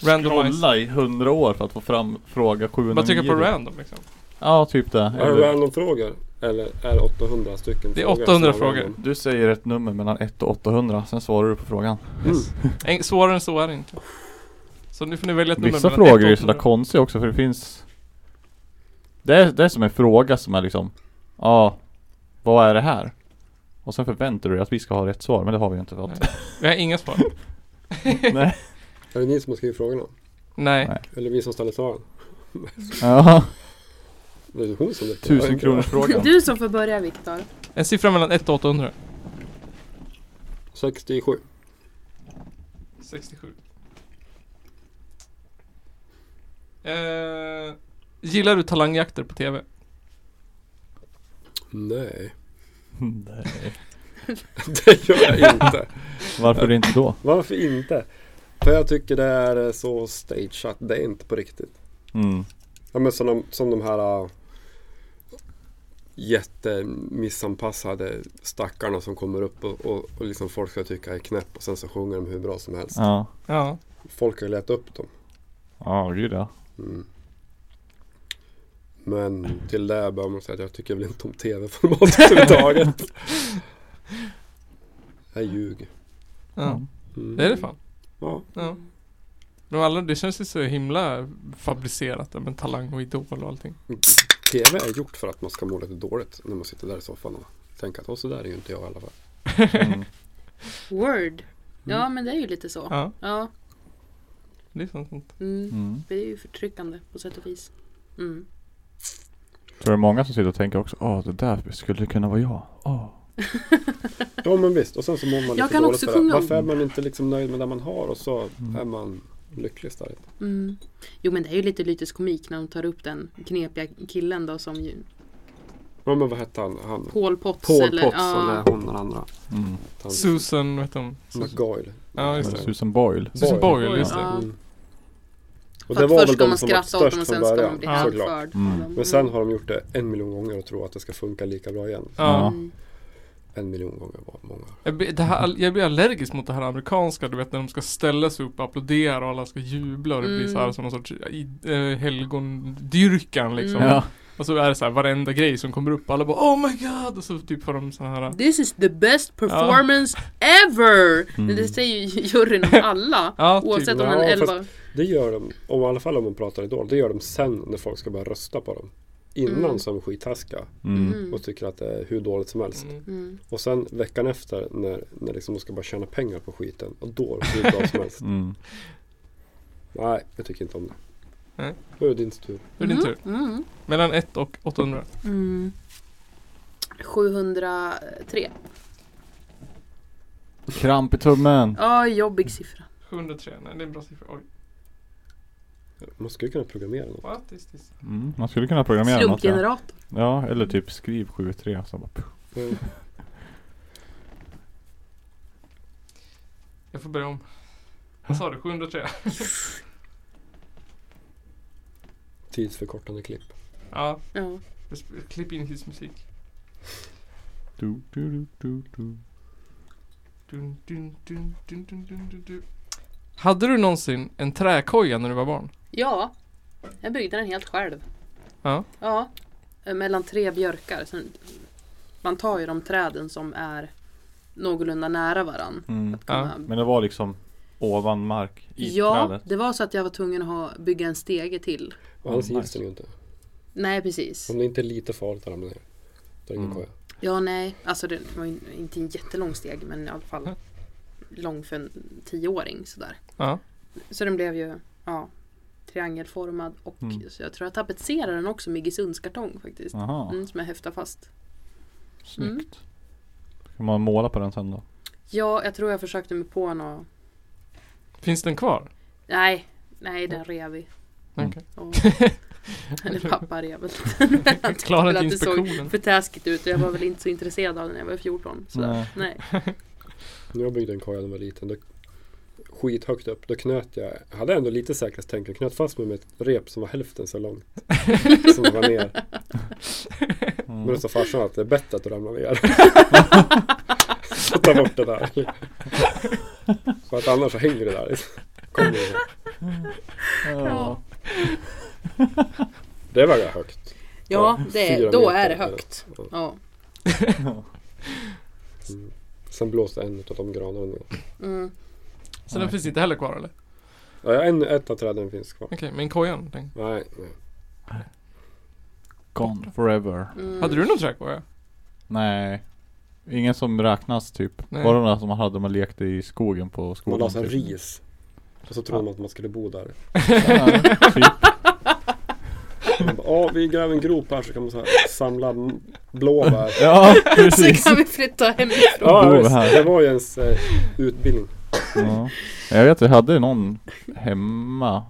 C: randomize.
A: scrolla i hundra år för att få fram fråga 709.
C: Bara trycka på random liksom.
A: Ja, typ det.
B: Är det
A: Eller,
B: random frågor? Eller är det 800 stycken
C: Det är
B: frågor
C: 800
B: som är
C: frågor.
B: random?
A: du säger ett nummer mellan 1 och 800, sen svarar du på frågan.
B: Mm.
C: En, svårare än så är det inte. Så nu får ni välja ett nummer
A: Vissa
C: mellan ett
A: frågor är ju
C: och
A: sådär
C: åtta.
A: konstiga också för det finns det är, det är som en fråga som är liksom Ja Vad är det här? Och sen förväntar du dig att vi ska ha rätt svar men det har vi ju inte fått
C: Nej. Vi har
A: (laughs)
C: inga svar.
A: Nej
B: Är det ni som har skrivit frågorna?
C: Nej.
A: Nej.
B: Eller vi som ställer svaren?
A: Ja, (laughs)
B: Det är hon som lyckas.
A: tusen kronor
D: Du som får börja Viktor.
C: En siffra mellan 1 och 800.
B: 67.
C: 67. Eh, gillar du talangjakter på TV?
B: Nej.
A: Nej
B: (laughs) Det gör
C: (laughs)
B: jag inte.
A: Varför inte då?
B: Varför inte? För jag tycker det är så stageat. Det är inte på riktigt.
A: Mm.
B: Ja men som de, som de här äh, jättemissanpassade stackarna som kommer upp och, och, och liksom folk ska tycka är knäpp och sen så sjunger de hur bra som helst.
A: Ja
C: Ja.
B: Folk har ju letat upp dem.
A: Ja gud ja
B: Mm. Men till det bör man säga att jag tycker väl inte om tv-format
C: (laughs)
B: överhuvudtaget. Jag ljuger.
C: ja.
B: Mm.
C: Det är det fan.
B: Ja.
C: Ja. Men alla, det känns ju så himla fabricerat där med talang och idol och allting.
B: Tv är gjort för att man ska må lite dåligt när man sitter där i soffan och tänker att "Åh, så där är ju inte jag i alla fall.
A: mm.
D: Word. Ja men det är ju lite så.
C: Ja,
D: Ja.
C: det är sant.
D: Mm.
A: Mm.
D: Det är ju förtryckande på sätt och vis. Mm.
A: Tror det är många som sitter och tänker också Åh det där skulle kunna vara jag Åh
B: Ja men visst, och sen så mår man lite
D: Jag kan
B: dåligt
D: också
B: för
D: sjunga
B: det.
D: om-
B: Varför är man inte liksom nöjd med det man har och så
A: Mm.
B: är man lycklig istället?
D: Mm. Jo men det är ju lite lytisk komik när de tar upp den knepiga killen då som ju
B: Ja men vad hette han? han
D: Paul Potts
B: Paul
D: eller
B: Potts och
D: ja.
B: när hon den andra.
A: mm.
B: Han,
C: Susan, vet hon?
B: McGoyle.
C: Ja, just det.
A: Susan Boyle
C: Susan Boyle, just det.
D: Ja.
B: Mm. Och
D: För
B: det
D: att
B: var
D: först
B: väl
D: ska
B: de
D: man
B: som var
D: skratta
B: störst
D: åt dem och
B: från
D: sen ska man
B: början.
D: bli
C: Ja.
B: såklart.
D: hänförd.
A: Mm.
D: av dem.
B: Men sen har de gjort det en miljon gånger och tror att det ska funka lika bra igen.
C: Ja.
D: Mm.
B: En miljon gånger var många.
C: Jag blir, det här, jag blir allergisk mot det här amerikanska, du vet när de ska ställa sig upp och applådera och alla ska jubla och det blir
D: Mm.
C: så här som någon sorts i- eh, helgondyrkan liksom.
A: Ja Mm.
C: Och så är det så här varenda grej som kommer upp, alla bara Oh my god! Och så typ får de så här
D: This is the best performance ever!
A: Mm.
D: Det säger ju (laughs) juryn om alla.
C: Ja, typ.
D: Oavsett om den
B: Ja,
D: är
B: fast-
D: 11.
B: Det gör de, om, i alla fall om man pratar Idol, det gör de sen när folk ska börja rösta på dem. Innan
D: Mm.
B: så är de skittaskiga
A: mm.
D: Mm.
B: och tycker att det är hur dåligt som helst.
C: Mm.
D: Mm.
B: Och sen veckan efter när, när liksom de ska bara tjäna pengar på skiten. Och då är det hur bra
A: (laughs)
B: som helst.
A: Mm.
B: Nej, jag tycker inte om det.
C: Nej.
B: Då är det din tur.
C: Nu är det din tur.
D: Mm.
C: Mellan 1 och 800.
D: Mm. 703.
A: Kramp i tummen
D: Ja, jobbig siffra.
C: 703, nej det är en bra siffra. Oj,
B: Man skulle kunna programmera något.
C: what is this?
A: mm. Man skulle kunna programmera något ja.
D: Slumpgenerator.
A: Ja, eller typ skriv 73 så bara, pff.
B: Mm.
C: Jag får börja om. Vad sa du? 703?
B: Tidsförkortande klipp.
C: Ja,
D: Ja.
C: jag sp- klipp in his musik.
A: du, du, du, du, du.
C: Dun, dun, dun, dun, dun, dun, dun, dun. Hade du någonsin en träkoja när du var barn?
D: ja, jag byggde den helt själv.
C: Ja.
D: Ja, eh, mellan tre björkar. Sen, man tar ju de träden som är någorlunda nära varann.
A: Mm.
C: Ja,
D: Kunna-
A: Men det var liksom ovan mark i
D: ja,
A: trädet.
D: det var så att jag var tvungen att ha, bygga en stege till.
B: Och hans
A: Mm,
B: gills
A: nice.
B: den ju inte.
D: Nej precis.
B: Om det inte är lite farligt att ramla ner. Då är det ingen
A: Mm.
B: koja.
D: Ja nej, alltså det var ju inte en jättelång steg men i alla fall lång för en tioåring sådär.
C: Ja.
D: Så den blev ju ja, triangelformad och
A: Mm.
D: så jag tror jag tapetserade den också med Iggesundskartong faktiskt.
A: Aha,
D: Mm, som jag häftade fast.
A: snyggt. Kan man måla på den sen då?
D: Ja, jag tror jag försökte mig på något.
C: Finns den kvar?
D: Nej, nej den rev vi.
A: Mm.
C: Okej.
D: Och... Eller pappa rev väl. Han tyckte
C: Klarar
D: väl
C: inte
D: att det såg
C: inspektionen.
D: för taskigt ut och jag var väl inte så intresserad av den när jag var 14. Så
A: Nej.
D: nej.
B: När jag byggde en koja när jag var liten, då skithögt upp, då knöt jag, jag hade ändå lite säkerhetstänk, jag knöt fast mig med ett rep som var hälften så långt. som det var ner. Men
A: Mm.
B: då sa farsan att det är bättre att du ramlar ner. så ta bort det där. För att annars så hänger det där. Kom igen.
A: Ja.
B: Det var ganska högt.
D: Ja, det,
B: fyra
D: är- då
B: meter.
D: är det högt.
B: Ja.
D: Ja.
B: Mm. Sen blåste en av de granarna ner.
D: Mm.
C: Så den finns inte heller kvar eller?
B: Ja, en, ett av träden finns kvar.
C: Okej, men kojan? Den.
B: Nej, nej.
A: Gone forever.
D: Mm.
C: Hade du någon träkoja?
A: Nej. Ingen som räknas typ.
C: Nej.
A: Bara de där som man hade när man lekte i skogen på
B: man
A: skolan.
B: la sån här
A: typ.
B: ris. Och så trodde man att man skulle bo där.
A: Ja, typ.
B: Man bara, Ja, vi gräver en grop här så kan man så här samla m- blåbär.
A: (laughs) Ja,
D: (laughs) Så
A: precis.
D: kan vi flytta hemifrån.
A: Bor
B: Ja, visst.
A: här.
B: Det var ju ens eh, utbildning.
A: Ja. Jag vet, jag hade någon hemma.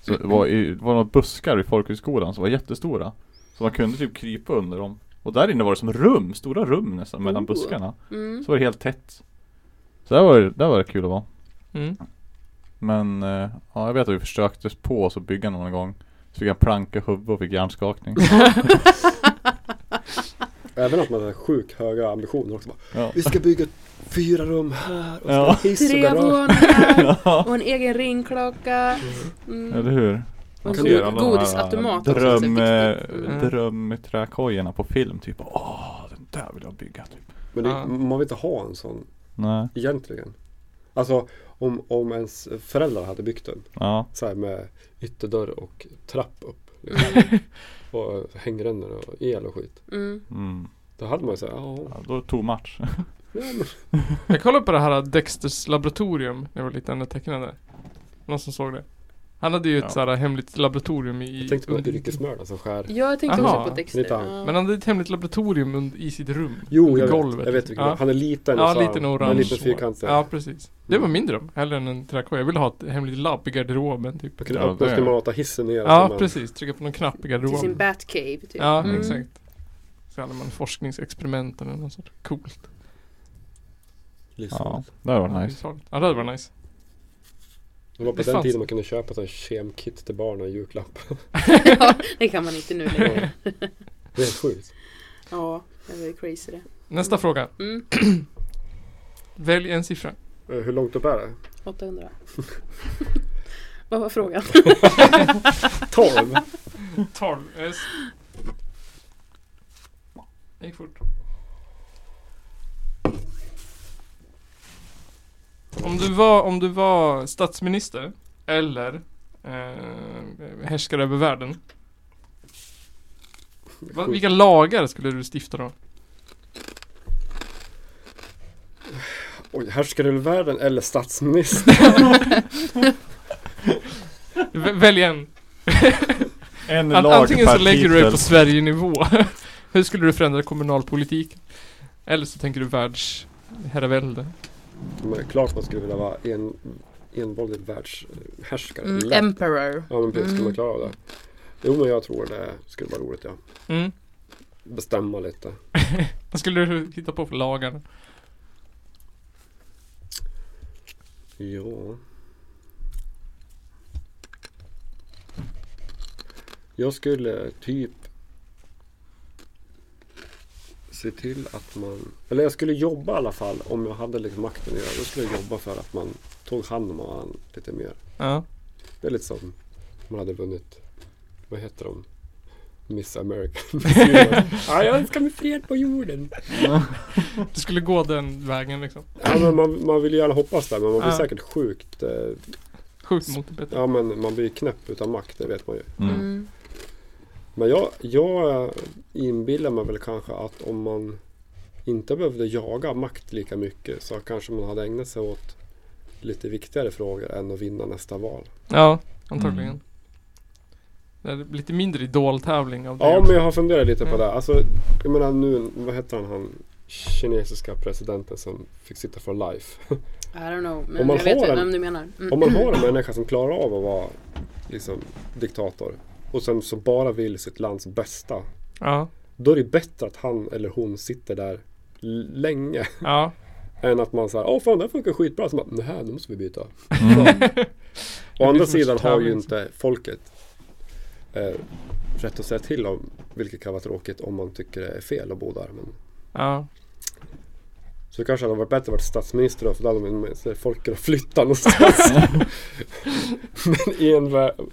A: Så det, var i, det var några buskar i folkhögskolan som var jättestora. Så man kunde typ krypa under dem. Och där inne var det som rum, stora rum nästan mellan
D: Oh.
A: buskarna.
D: Mm.
A: Så var det helt tätt. Så där var det, där var det kul att vara.
C: Mm.
A: Men eh, ja, jag vet att vi försökte på oss att bygga någon gång. Så fick jag en planka i huvudet och fick
D: (laughs)
A: hjärnskakning.
B: Även att man hade sjukt höga ambitioner också. Bara,
A: Ja.
B: vi ska bygga fyra rum här och så
A: Ja.
B: en hiss och
D: Tre
B: garage.
D: våningar och en egen ringklocka.
A: Eller
D: Mm. alltså,
A: hur?
D: Och
B: Kan
D: en
B: du-
D: god- godisautomat också. så
A: äh, dröm,
D: viktigt.
A: eh,
D: Mm.
A: drömträkojorna på film typ. Åh, den där vill jag bygga typ.
B: Men det,
C: Ja.
B: man vill inte ha en sån
A: Nej,
B: egentligen. Alltså om, om ens föräldrar hade byggt den.
A: ja.
B: Så här med ytterdörr och trapp upp.
A: (laughs)
B: Liksom.
D: Mm.
B: Och hängrännor och el och skit.
D: Mm.
A: Mm.
B: Då hade man ju såhär, ja.
A: Ja, då är det tog match.
B: ja, men-
C: Jag kollade på det här Dexters laboratorium när jag var liten, det tecknade. Någon som såg det? Han hade ju ett
A: Ja.
C: så här hemligt laboratorium i...
B: Jag tänkte på yrkesmördaren som skär.
D: Ja, jag tänkte
C: Aha.
D: också på Dexter.
B: Lite
D: Ja.
C: Men han hade ett hemligt laboratorium und- i sitt rum.
B: Jo,
C: under
B: jag
C: golvet.
B: vet. Jag vet vilken.
C: ja.
B: Han är liten
C: Ja,
B: och så
C: liten
B: Han är
C: orange.
B: lite fyrkantig.
C: Ja, precis. Det var min dröm. Hellre än en träkoja. Jag ville ha ett hemligt labb i garderoben typ.
B: Man kunde
A: Ja,
B: öppna
A: det-
B: och mata hissen ner. så
C: Ja,
B: man-
C: precis. Trycka på någon knapp i
D: Till sin
C: garderoben.
D: Batcave. Typ.
C: Ja,
D: Mm.
C: exakt. Så hade man forskningsexperiment eller något sånt coolt.
A: Ja,
B: Liksom.
A: det var nice.
C: Ja, det hade varit nice.
B: Det var på
C: Det
B: den
C: fanns-
B: tiden man kunde köpa sån här kemkit till barnen i
C: (laughs)
B: julklapp.
D: (laughs) ja, det kan man inte nu längre.
B: Ja. Det är sjukt.
D: Ja, det var ju crazy det.
C: Nästa fråga.
D: Mm.
C: Välj en siffra.
B: Eh, Hur långt upp är det?
D: 800.
C: (laughs)
D: Vad var frågan?
B: 12!
C: 12. Yes. Det gick fort. Om du var, om du var statsminister eller eh, härskare över världen. Va, vilka lagar skulle du stifta då?
B: Oj, härskare över världen eller statsminister?
C: (laughs) V- välj en.
A: En
C: An-
A: lag
C: antingen
A: per
C: så lägger du dig
A: titel.
C: på Sverigenivå. (laughs) Hur skulle du förändra kommunalpolitik? Eller så tänker du världsherravälde.
B: Men klart man skulle vilja vara en, envåldig världshärskare.
E: Mm,
B: Lätt.
E: Emperor.
B: Ja men precis, skulle
E: Mm.
B: man klara av det? Jo men jag tror det skulle vara roligt ja.
C: Mm.
B: Bestämma lite.
C: Vad skulle du hitta på för lagar?
B: Ja. Jag skulle typ se till att man... Eller jag skulle jobba i alla fall om jag hade liksom makten att göra. Då skulle jag jobba för att man tog hand om varandra lite mer.
C: Ja.
B: Det är lite som om man hade vunnit... Vad heter de? Miss America. (laughs) ja, jag önskar mig fred på jorden.
C: Du skulle gå den vägen liksom.
B: Ja, men man, man vill ju gärna hoppas där, men man blir
C: Ja.
B: säkert sjukt... Eh,
C: Sjukt motarbetad.
B: ja, men man blir knäpp utav makt, det vet man ju.
A: Mm.
E: Mm.
B: Men jag, jag inbillar mig väl kanske att om man inte behövde jaga makt lika mycket så kanske man hade ägnat sig åt lite viktigare frågor än att vinna nästa val.
C: Ja, antagligen.
A: Mm.
C: Det är lite mindre idoltävling av det.
B: Ja,
C: också.
B: men jag har funderat lite på
C: Mm.
B: det. Alltså, jag menar nu, vad heter han, han kinesiska presidenten som fick sitta for life.
D: I don't know. Men
B: Om man
D: jag vet
B: har
D: inte
B: en-
D: vem du menar. Mm.
B: Om man har en människa som klarar av att vara liksom, diktator och sen så bara vill sitt lands bästa.
C: ja.
B: Då är det bättre att han eller hon sitter där l- länge
C: ja.
B: Än att man såhär, åh fan det här funkar skitbra. Så bara, nej nu måste vi byta.
A: Mm.
C: (laughs)
B: Å
C: blir
B: andra
C: som en
B: sidan har ju
C: tävling.
B: inte folket eh, rätt att säga till om, vilket kan vara tråkigt om man tycker det är fel att bo där. Men,
C: ja.
B: så det kanske hade varit bättre att vara statsminister då, för då hade man- så folk kunnat flytta
C: (laughs)
B: någonstans. men i en vä-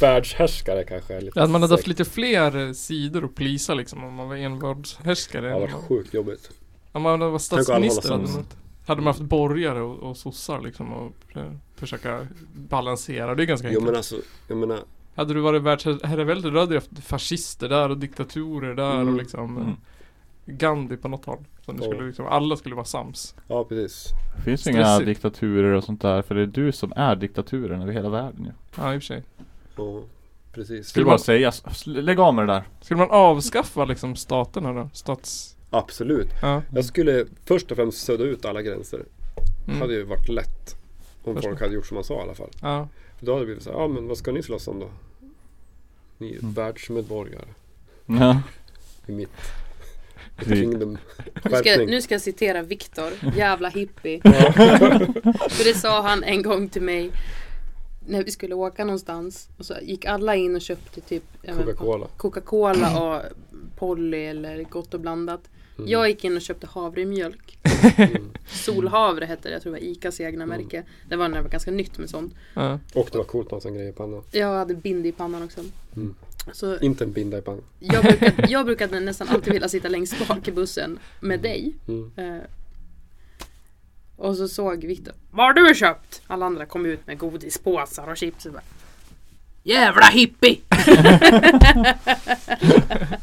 B: världshärskare kanske. är Lite
C: Att man hade haft
B: säkert.
C: lite fler eh, sidor att plisa liksom om man var envåldshärskare.
B: Det
C: än
B: hade
C: om
B: varit
C: man-
B: sjukt jobbigt.
C: Om man hade varit
B: alla hålla
C: statsminister hade man,
B: sams.
C: haft- hade man haft borgare och, och sossar liksom och eh, försöka balansera. Det är ganska
B: Jo
C: enkelt.
B: men alltså, jag menar,
C: Hade du varit världsherravälde då hade du haft fascister där och diktatorer där
B: Mm.
C: och liksom eh,
A: Mm.
C: Gandhi på något håll. Så nu
B: Ja.
C: skulle liksom, alla skulle vara sams.
B: ja precis.
A: Finns ju inga
C: Stressigt.
A: diktaturer och sånt där för det är du som är diktaturen över hela världen ju.
C: Ja i och för sig.
B: Ja, precis.
A: Skulle bara säga, s- sl- lägg av med det där.
C: Skulle man avskaffa liksom staterna då? Stats...
B: Absolut.
C: Ja.
B: Jag skulle först och främst sudda ut alla gränser.
C: Mm.
B: hade ju varit lätt om
C: Förstå.
B: folk hade gjort som man sa i alla fall.
C: ja.
B: För då hade det blivit så här, ja men vad ska ni slåss om då? Ni är
A: Mm.
B: världsmedborgare
A: Ja. (laughs)
B: i mitt mitt
A: Krig.
B: kingdom.
D: Nu ska,
B: Skärpning.
D: nu ska jag citera Viktor, jävla hippie. För det sa han en gång till mig när vi skulle åka någonstans. Och så gick alla in och köpte typ (laughs) ja, men,
B: Coca-Cola.
D: Coca-Cola och Polly eller Gott och blandat.
B: Mm.
D: Jag gick in och köpte havremjölk.
B: Mm.
D: Solhavre hette det, jag tror det var Icas egna märke. Det var när det var ganska nytt med sånt.
C: ja.
B: Och det var coolt med en sån grej i pannan.
D: Jag hade bind i pannan också.
B: Mm.
D: Så
B: Inte en binda i pannan.
D: jag brukade, jag brukade nästan alltid vilja sitta längst bak i bussen med dig.
B: Mm.
D: Eh, Och så såg Viktor. Vad har du köpt? Alla andra kom ut med godispåsar och chips. Och bara, Jävla hippie! (laughs)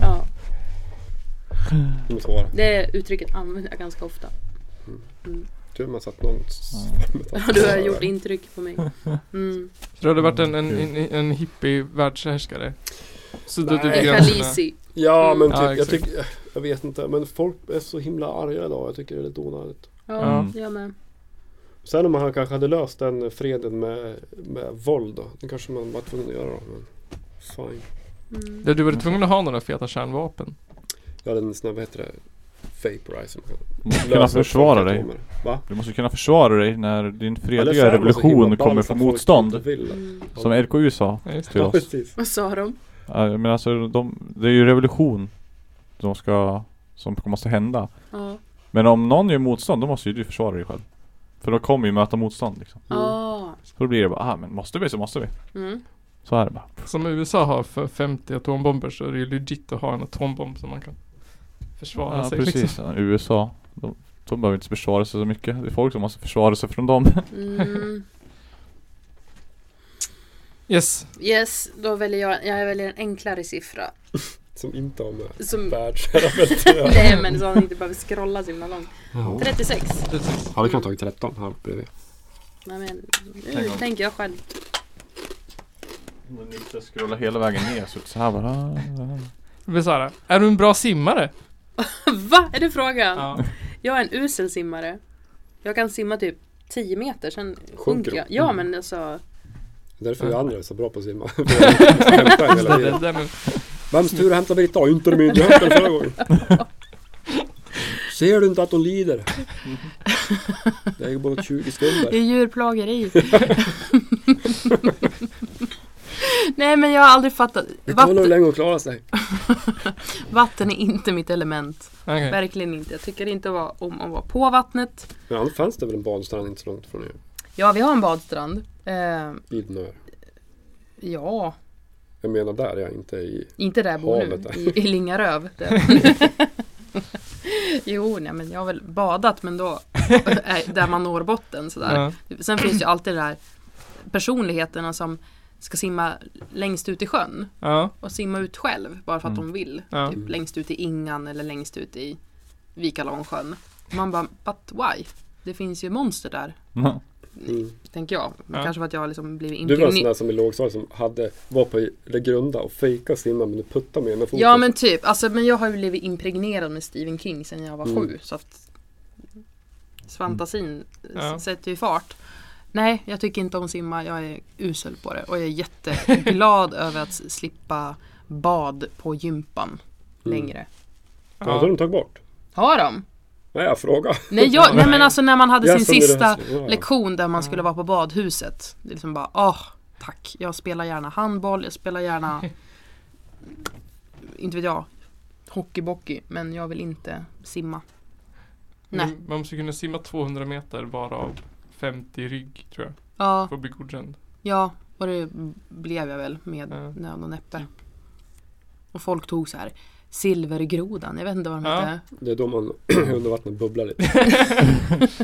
A: Ja.
D: Ja,
B: Det var svåra.
D: det uttrycket använder jag ganska ofta.
B: Tur man satt någon... s-
D: Och du har gjort intryck på mig. Mm.
C: Tror du det hade varit en, en, en, en hippie världshärskare? Suddat
B: Nej.
C: ut gränserna.
D: Kalisi.
B: Ja men
C: Ja,
B: typ, jag
C: exakt.
B: tycker... Jag vet inte men folk är så himla arga idag. Jag tycker det är lite onödigt.
D: Ja,
A: Mm.
D: jag med.
B: Sen om han kanske hade löst den freden med, med våld då. Det kanske man var tvungen att göra då. Men fine.
D: Mm.
C: Ja, Du var tvungen att ha några feta kärnvapen.
B: Jag hade en sån här, vad heter det? Vaporizer.
A: Du måste kunna försvara dig.
B: Va?
A: Du måste kunna försvara dig när din
B: Eller
A: fredliga
B: så är man så himla
A: revolution
B: ball
A: kommer
B: så
A: få
B: folk
A: motstånd.
B: inte vill det.
D: Mm.
A: Som
B: (laughs)
A: RKU sa
C: Ja, just det.
A: till
B: Ja,
A: oss.
B: precis.
D: (laughs) Vad sa de?
A: Ja, Men alltså de, det är ju revolution som ska, som måste hända.
D: Ja.
A: Men om någon gör motstånd då måste ju du försvara dig själv. För då kommer ju möta motstånd liksom.
D: Ah.
A: Så då blir det bara, ah men måste vi så måste vi.
D: Mm.
A: Så är det bara.
C: Som USA har för 50 atombomber så är det ju legit att ha en atombomb som man kan försvara
A: Ja
C: sig
A: precis,
C: liksom.
A: Ja, USA. De, de behöver inte försvara sig så mycket. Det är folk som måste försvara sig från (laughs) dem.
D: Mm.
C: Yes.
D: Yes, då väljer jag, jag väljer en enklare siffra.
B: Som inte har med
D: Som,
B: världsherraväldet
D: nej men så att ni inte behöver scrolla så himla långt. 36.
C: Precis.
B: Hade kunnat tagit 13 här bredvid.
D: Nej men, nu
A: Tänk om.
D: tänker jag själv. (laughs)
A: Om ni inte scrollar hela vägen ner så så här bara. ah, ah.
C: Det blir så här, är du en bra simmare?
D: Va? Är det frågan?
C: Ja.
D: Jag är en usel simmare. Jag kan simma typ 10 meter, sen sjunker
B: Sjunker
D: jag.
B: du?
D: Ja men alltså,
B: Därför är vi andra så bra på att simma. (laughs)
C: Det, det, det,
B: Vems tur att hämta Britta? Inte min. Jag hämtade
A: (laughs)
B: förra gången. Ser du inte att hon lider? Det är ju bara 20
E: Det
B: sekunder.
E: är djurplågeri. Nej men jag har aldrig fattat.
B: Vi kollar hur
E: Vatten,
B: länge hon klarar sig.
E: vatten är inte mitt element.
C: Okej.
E: Verkligen inte. Jag tycker inte va- om att vara på vattnet.
B: Men annars fanns det väl en badstrand inte så långt från er?
E: Ja vi har en badstrand. Eh,
B: Idnö.
E: ja.
B: Jag menar där jag inte i...
D: Inte där jag bor nu,
B: Havet där.
D: i, i Lingaröv. Där. jo, nej men jag har väl badat men då eh, där man når botten sådär.
C: Ja.
D: Sen finns ju alltid de där personligheterna som ska simma längst ut i sjön
C: Ja.
D: och simma ut själv bara för att
A: Mm.
D: de vill.
C: Ja.
D: Typ längst ut i Ingan eller längst ut i Vikalångsjön. Man bara, but why? Det finns ju monster där,
A: Ja.
B: Mm.
D: tänker jag.
C: Ja.
D: Kanske för att jag har liksom blivit
B: Du var en sån där
D: impregnerad.
B: som i lågstadiet som hade, var på det grunda och fejkade och simma men du puttade med ena foten.
D: Ja men typ, alltså, men jag har ju blivit impregnerad med Stephen King sedan jag var
B: Mm.
D: sju. Så att fantasin
C: Mm. Ja.
D: s- sätter ju fart. Nej, jag tycker inte om simma. Jag är usel på det. Och jag är jätteglad (laughs) över att s- slippa bad på gympan
B: Mm.
D: längre.
B: Ja, då har de tagit bort.
D: Har de?
B: Nej, jag frågar.
D: Nej, jag, nej men alltså när man hade sin
B: Jag som är det här-
D: sista
B: ja, ja.
D: lektion där man
C: Ja.
D: skulle vara på badhuset. Det är liksom bara, ah, tack. Jag spelar gärna handboll, jag spelar gärna, inte vet jag, hockeybockey. Men jag vill inte simma. Nej.
C: Man måste kunna simma 200 meter varav 50 rygg tror jag.
D: Ja,
C: För att bli godkänd. Eh,
D: ja, och det blev jag väl med
C: Ja.
D: nöd och näppe. Och folk tog så här, silvergrodan, jag vet inte vad de
C: Ja.
D: hette.
B: Det är då man (clears throat) under vattnet bubblar lite.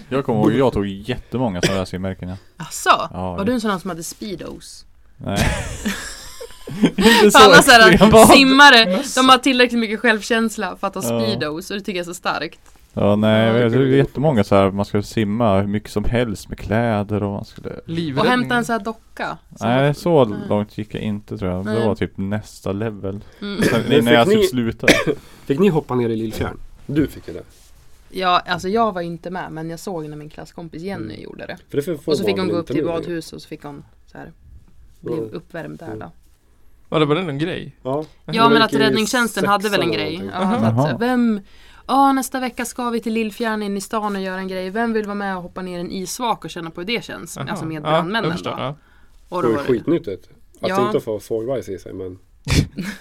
A: (laughs) Jag kommer ihåg, jag tog jättemånga sådana där simmärken ja.
D: Asså?
A: ja
D: Var du en sån här som hade speedos?
A: Nej. (laughs) Inte så
D: Alla såhär
A: extremt.
D: simmare, de har tillräckligt mycket självkänsla för att ha
A: Ja.
D: speedos och det tycker jag är så starkt.
A: Ja nej,
D: Ja,
A: jag
B: det
A: tror det
B: blir-
A: är jättemånga så här man skulle simma hur mycket som helst med kläder och man skulle
D: Och
C: Livräddning.
D: hämta en sån här docka. som- Mm.
A: Nej så
D: Nej.
A: långt gick jag inte tror jag,
D: Nej.
A: det var typ nästa level
D: Mm.
A: Sen, När jag
B: fick ni-
A: typ slutade
B: (laughs) Fick ni hoppa ner i Lillfjärn? Du fick ju det.
D: Ja, alltså jag var inte med men jag såg när min klasskompis Jenny
C: Mm.
D: gjorde det.
B: För det får
D: Och så fick
B: barn
D: hon gå
B: inte
D: upp
B: nu
D: till
B: längre.
D: badhus och så fick hon så här bli
B: Mm.
D: uppvärmd där då.
C: Ja, det var någon grej.
B: Ja,
D: Ja
B: Hon
D: men
B: gick
D: att
B: i
D: räddningstjänsten hade väl en
B: sexan eller
D: grej.
B: någonting.
D: Ja, så
A: Jaha.
D: att, vem, ja nästa vecka ska vi till Lillfjärden in i stan och göra en grej. Vem vill vara med och hoppa ner i en isvak och känna på hur det känns?
C: Jaha.
D: Alltså med
C: Ja,
D: brandmännen
C: jag förstår,
D: då.
C: ja.
D: Och
B: det
D: då
B: var ju
D: var det,
B: skitnyttigt. Att
D: Ja.
B: inte få fågelbajs i sig
D: (laughs)
B: men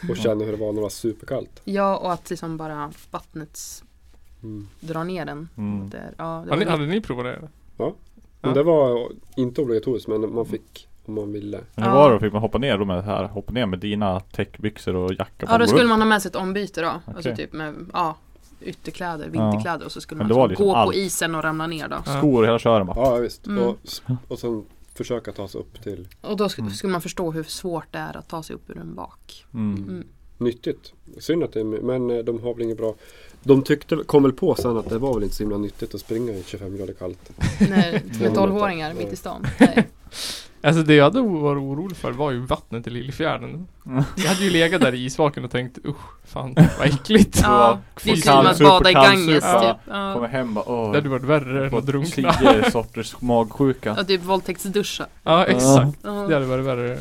B: och känna hur det var när det var superkallt.
D: ja och att liksom bara vattnet
B: Mm.
D: drar ner den.
A: Mm.
D: Där, ja, det
C: Har
D: var
C: ni,
D: ja,
C: hade ni provat det? eller?
B: Men
C: Ja.
B: det var inte obligatoriskt men man fick om man ville.
A: Men hur
D: Ja.
A: var det? Fick man hoppa ner då med det här? Hoppa ner med dina täckbyxor och jacka på
D: ja då
A: och gå
D: skulle
A: upp?
D: man ha med sig ett ombyte då. Alltså
A: Okej.
D: typ med ja, ytterkläder, vinterkläder och så skulle
A: Men
D: man
A: det var
D: liksom
A: liksom
D: gå
A: allt.
D: på isen och ramla ner då.
C: Ja.
A: Skor och hela kören bara
B: Ja visst.
D: Mm.
B: Och, och sen försöka ta sig upp till
D: Och då sk-
A: Mm.
D: skulle man förstå hur svårt det är att ta sig upp ur en vak.
A: mm.
D: Mm.
B: nyttigt. Synd att det är, men eh, de har väl inget bra. De tyckte, kom väl på sen att det var väl inte så himla nyttigt att springa i 25 grader kallt.
D: När, med tolvåringar mitt i stan. Nej.
C: Alltså det jag hade o- var orolig för var ju vattnet i Lillfjärden.
A: Mm.
C: Jag hade ju legat där i isvaken och tänkt usch, fan vad äckligt. (laughs)
D: Ja, det är
A: Och
D: ju som att
A: kallsup och
D: bada i
A: kallsup,
D: Ganges
A: ja.
D: typ.
A: Kommer
D: Ja.
A: hem bara
C: Det
A: åh
C: hade varit värre än att
A: fått
C: drunkna.
A: Tio sorters magsjuka
D: Och typ våldtäktsduscha.
C: Ja, exakt.
D: Ja.
C: Det hade varit värre.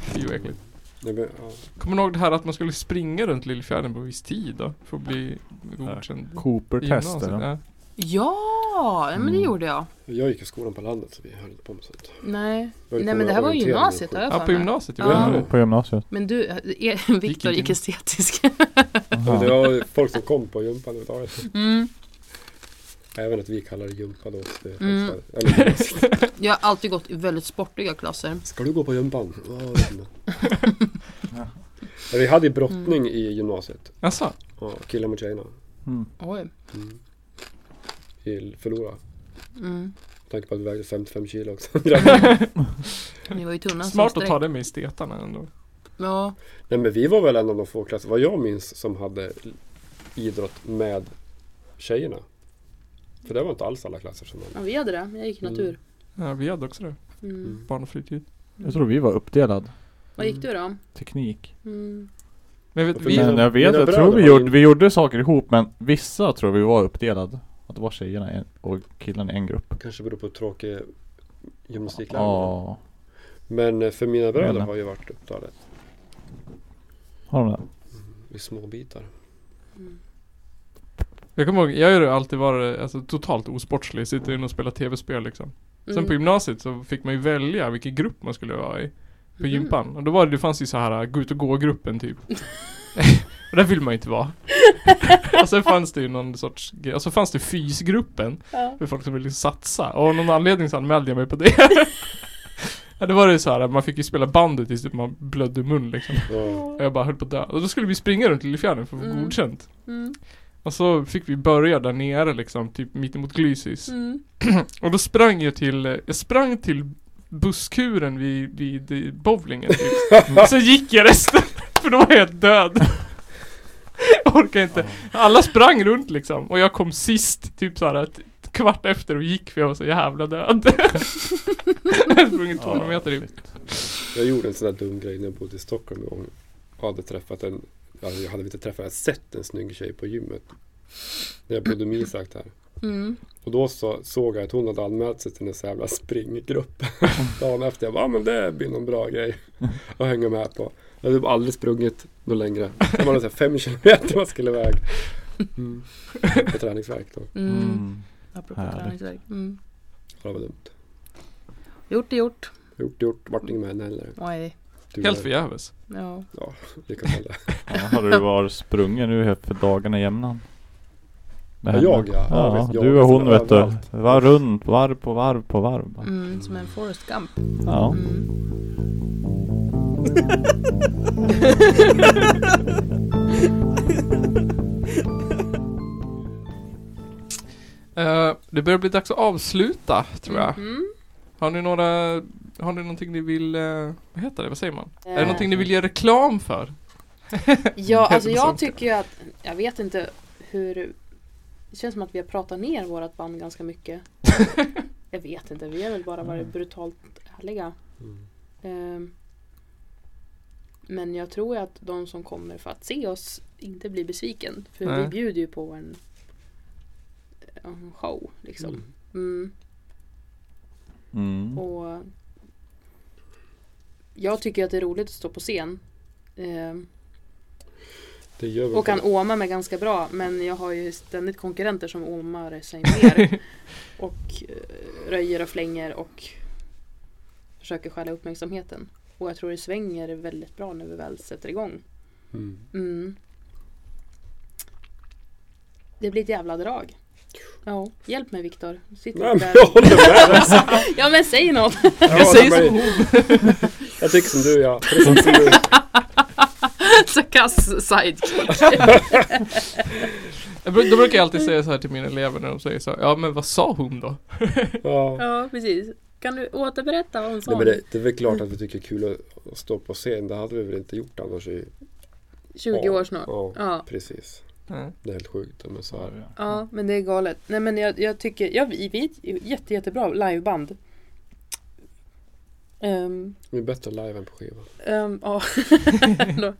C: Fy vad äckligt.
B: Det blir- ja.
C: Kommer ni ihåg det här att man skulle springa runt Lillfjärden på viss tid då? För att bli godkänd? i
A: Cooper-test
C: gymnasiet?
A: eller?
C: Ja.
D: Ja, men det
A: Mm.
D: gjorde jag.
B: Jag gick i skolan på landet så vi höll inte på med sånt.
D: Nej,
B: Jag gick
D: Nej
B: på
D: men det här var ju
B: orientering och
D: gymnasiet
B: skit.
D: har jag
C: ja,
D: för
C: på
D: mig.
C: gymnasiet.
D: Ja.
C: Ja.
A: På gymnasiet?
D: Men du, er, Viktor gick
C: gym.
D: estetisk. (laughs)
B: Ja, Det
A: Jaha.
B: var folk som kom på gympan överhuvudtaget.
D: Mm.
B: Även att vi kallar det gympa då. så det-
D: Mm.
B: Eller,
D: Jag har alltid gått i väldigt sportiga klasser.
B: ska du gå på gympan? Ja, jag vet inte. Men Vi hade ju brottning i gymnasiet.
C: Jaså?
B: Ja, killar mot tjejerna.
A: Mm.
D: Oj.
B: Mm. Vi förlorade.
D: Mm.
B: Med tanke på att vi vägde 55 kilo också. Nej
D: Ni var ju tunna som
C: Smart att
D: streck.
C: ta det med i stetarna ändå.
D: Ja.
B: men vi var väl en av de få klasser, vad jag minns, som hade idrott med tjejerna. För det var inte alls alla klasser som hade.
D: ja, vi hade det. Jag gick i natur.
C: Ja, vi hade också det.
D: Mm.
C: Barn och fritid.
A: Jag tror vi var uppdelad
D: Vad gick du då? Mm. Teknik.
C: Men jag vet,
B: Varför
C: vi,
B: mina-
A: Men jag vet,
B: mina
A: jag
B: bröder
A: tror vi
B: var
A: gjorde,
B: in-
A: vi gjorde saker ihop men vissa tror vi var uppdelad Att det var tjejerna i en, och killarna i en grupp
B: Kanske beror på tråkig gymnastiklärare.
A: Ja,
B: Men eh, för mina bröder
A: Gärna.
B: har ju varit upptalet
A: har de det?
B: i små bitar.
C: jag kommer ihåg, jag har ju alltid varit alltså, totalt osportslig. Sitter inne och spelar tv-spel liksom. Sen
D: Mm.
C: på gymnasiet så fick man ju välja vilken grupp man skulle vara i. På
D: Mhm.
C: gympan. Och då var det, det fanns ju så här äh, gå ut och gå-gruppen typ. och där vill man ju inte vara. (laughs) och sen fanns det ju någon sorts grej. Och så fanns det fysgruppen.
D: Ja.
C: liksom För folk som ville satsa. Och av någon anledning så anmälde jag mig på det. Ja, det var ju så här, äh, man fick ju spela bandet tills typ man blödde i mun liksom.
B: Ja.
C: (laughs)
B: (laughs)
C: Och jag bara höll på att dö. Och då skulle vi springa runt Lillefjärden för att få
D: Mm.
C: godkänt.
D: Mm.
C: Och så fick vi börja där nere liksom, typ mittemot Glysis.
D: Mm.
C: Och då sprang jag till, eh, jag sprang till busskuren vid, vid eh, bowlingen
B: (laughs)
C: typ. Och Sen gick jag resten, (laughs) för då var jag helt död. Jag orkar inte. Alla sprang runt liksom och jag kom sist, typ såhär ett ett kvart efter och gick för jag var så jävla död. jag hade sprungit 200
A: Ja,
C: meter typ.
A: shit.
B: Jag gjorde en sån där dum grej när jag bodde i Stockholm en gång. Jag hade träffat en, alltså jag hade inte träffat, jag hade sett en snygg tjej på gymmet. När jag bodde med Isak där.
D: Mm.
B: Och då så, såg jag att hon hade anmält sig till en sån jävla springgrupp. Dagen efter, jag bara, ah, men det blir någon bra grej att hänga med på. Jag hade typ aldrig sprungit något längre. Det var så här fem kilometer man skulle iväg. Mm. På träningsvärk då.
D: Mm.
A: Mm.
D: Apropå
A: Härligt.
D: träningsvärk. Mm.
B: Ja, Det var dumt.
D: Gjort är gjort.
B: Gjort gjort, vart inget med henne heller.
D: Oj.
B: Tur
C: Helt
B: är-
C: förgäves.
D: Ja.
B: Lycka till.
A: Ja, hade du varit sprungen nu här för dagarna jämnan? Med
B: Ja,
A: henne?
B: jag, ja. Ja,
A: ja
B: visst, jag
A: du och hon
B: visste
A: vet du.
B: överallt.
A: Var runt, varv på varv på varv. bara.
D: Mm, som en Forrest Gump.
A: Ja.
D: Mm.
C: Eh, det börjar bli dags att avsluta, tror jag.
D: Mm.
C: Har ni några, har ni någonting ni vill, eh, vad heter det, vad säger man? Är det
D: Eh,
C: någonting ni vill göra reklam för?
D: Ja, alltså jag
C: Sånt.
D: tycker ju att, jag vet inte hur, det känns som att vi har pratat ner vårt band ganska
C: (laughs)
D: mycket. jag vet inte, vi har väl bara varit
A: Mm.
D: brutalt ärliga.
B: Mm.
D: Ehm, Men jag tror att de som kommer för att se oss inte blir besviken. För
C: Nej.
D: vi bjuder ju på en, en show liksom. Mm.
A: Mm.
D: Och jag tycker att det är roligt att stå på scen. Ehm,
B: Det gör vi.
D: Och kan åma mig ganska bra men jag har ju ständigt konkurrenter som åmar sig mer. och eh, röjer och flänger och försöker stjäla uppmärksamheten. Och jag tror det svänger väldigt bra när vi väl sätter igång.
B: Mm.
D: Mm. Det blir ett jävla drag. Ja, hjälp mig Viktor. Sitter
B: Nej,
D: du
B: men
D: där?
B: jag håller med dig.
D: (laughs) Ja men säg något!
B: Jag,
C: säger
B: som Jag tycker som du (laughs) ja. Precis som du.
E: Så kass sidekick.
C: Jag bru- då brukar jag alltid säga så här till mina elever när de säger så här, ja men vad sa hon då?
B: Ja.
D: Ja precis. Kan du återberätta vad hon sa?
B: Nej, men det, det är väl klart att vi tycker det är kul att, att stå på scen. Det hade vi väl inte gjort annars. I,
D: 20 år snart.
B: ja,
D: Ja.
B: precis.
C: Nej.
B: Det är helt sjukt. Men så är det.
D: Ja, men det är galet. Nej men jag, jag tycker, ja, vi, vi är ett jätte, jättebra liveband. Ehm,
B: Vi är bättre live än på skiva.
D: ehm, ja, (laughs) Då,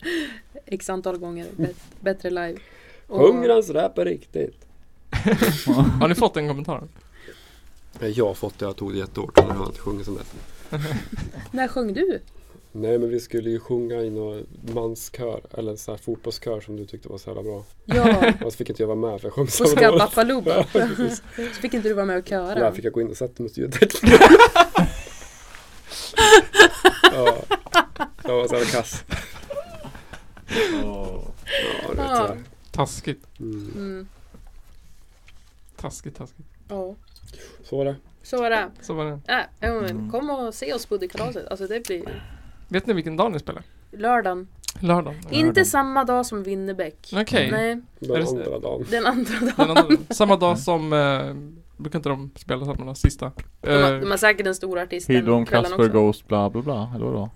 D: x antal gånger bet, bättre live. Och-
B: Hungrans rap är riktigt.
C: Har ni fått den kommentaren?
B: Nej, Jag har fått det. Jag tog det jättehårt. men Jag har inte sjungit som det.
D: När sjöng du?
B: Nej men vi skulle ju sjunga i någon manskör. Eller en sån här fotbollskör som du tyckte var så jävla bra. (laughs)
D: Ja,
B: Och så fick inte jag vara med för jag sjöng
D: på
B: så dåligt.
D: Skabbafalooba.
B: (laughs) Ja, precis.
D: Så fick inte du vara med och köra.
B: Där fick jag gå in och sätta mig mot ljudet. (laughs) ja. Jag var så jävla kass. Ja, det
D: Ja.
B: är tyvärr.
C: Taskigt,
B: mm.
D: Mm.
C: taskigt, taskigt.
D: Ja.
B: Så var det.
D: Så var det.
C: Så var det.
D: Äh, ja, men
A: Mm.
D: kom och se oss på Budikalaset. Alltså det blir
C: Vet ni vilken dag ni spelar?
D: lördagen.
C: Lördagen?
D: Inte samma dag som Winnerbäck.
C: Okej.
D: Nej,
C: Är
B: Den
C: det-
B: andra dagen.
D: den andra
C: Den
D: dagen.
C: andra
D: (laughs)
C: dagen. Samma dag som, eh, brukar inte de spela samma dag, sista?
D: De har,
C: Eh,
D: de har säkert en stor artist
A: Hidon,
D: den kvällen
A: Kasper,
D: också.
A: Ghost, bla bla bla. Eller vadå?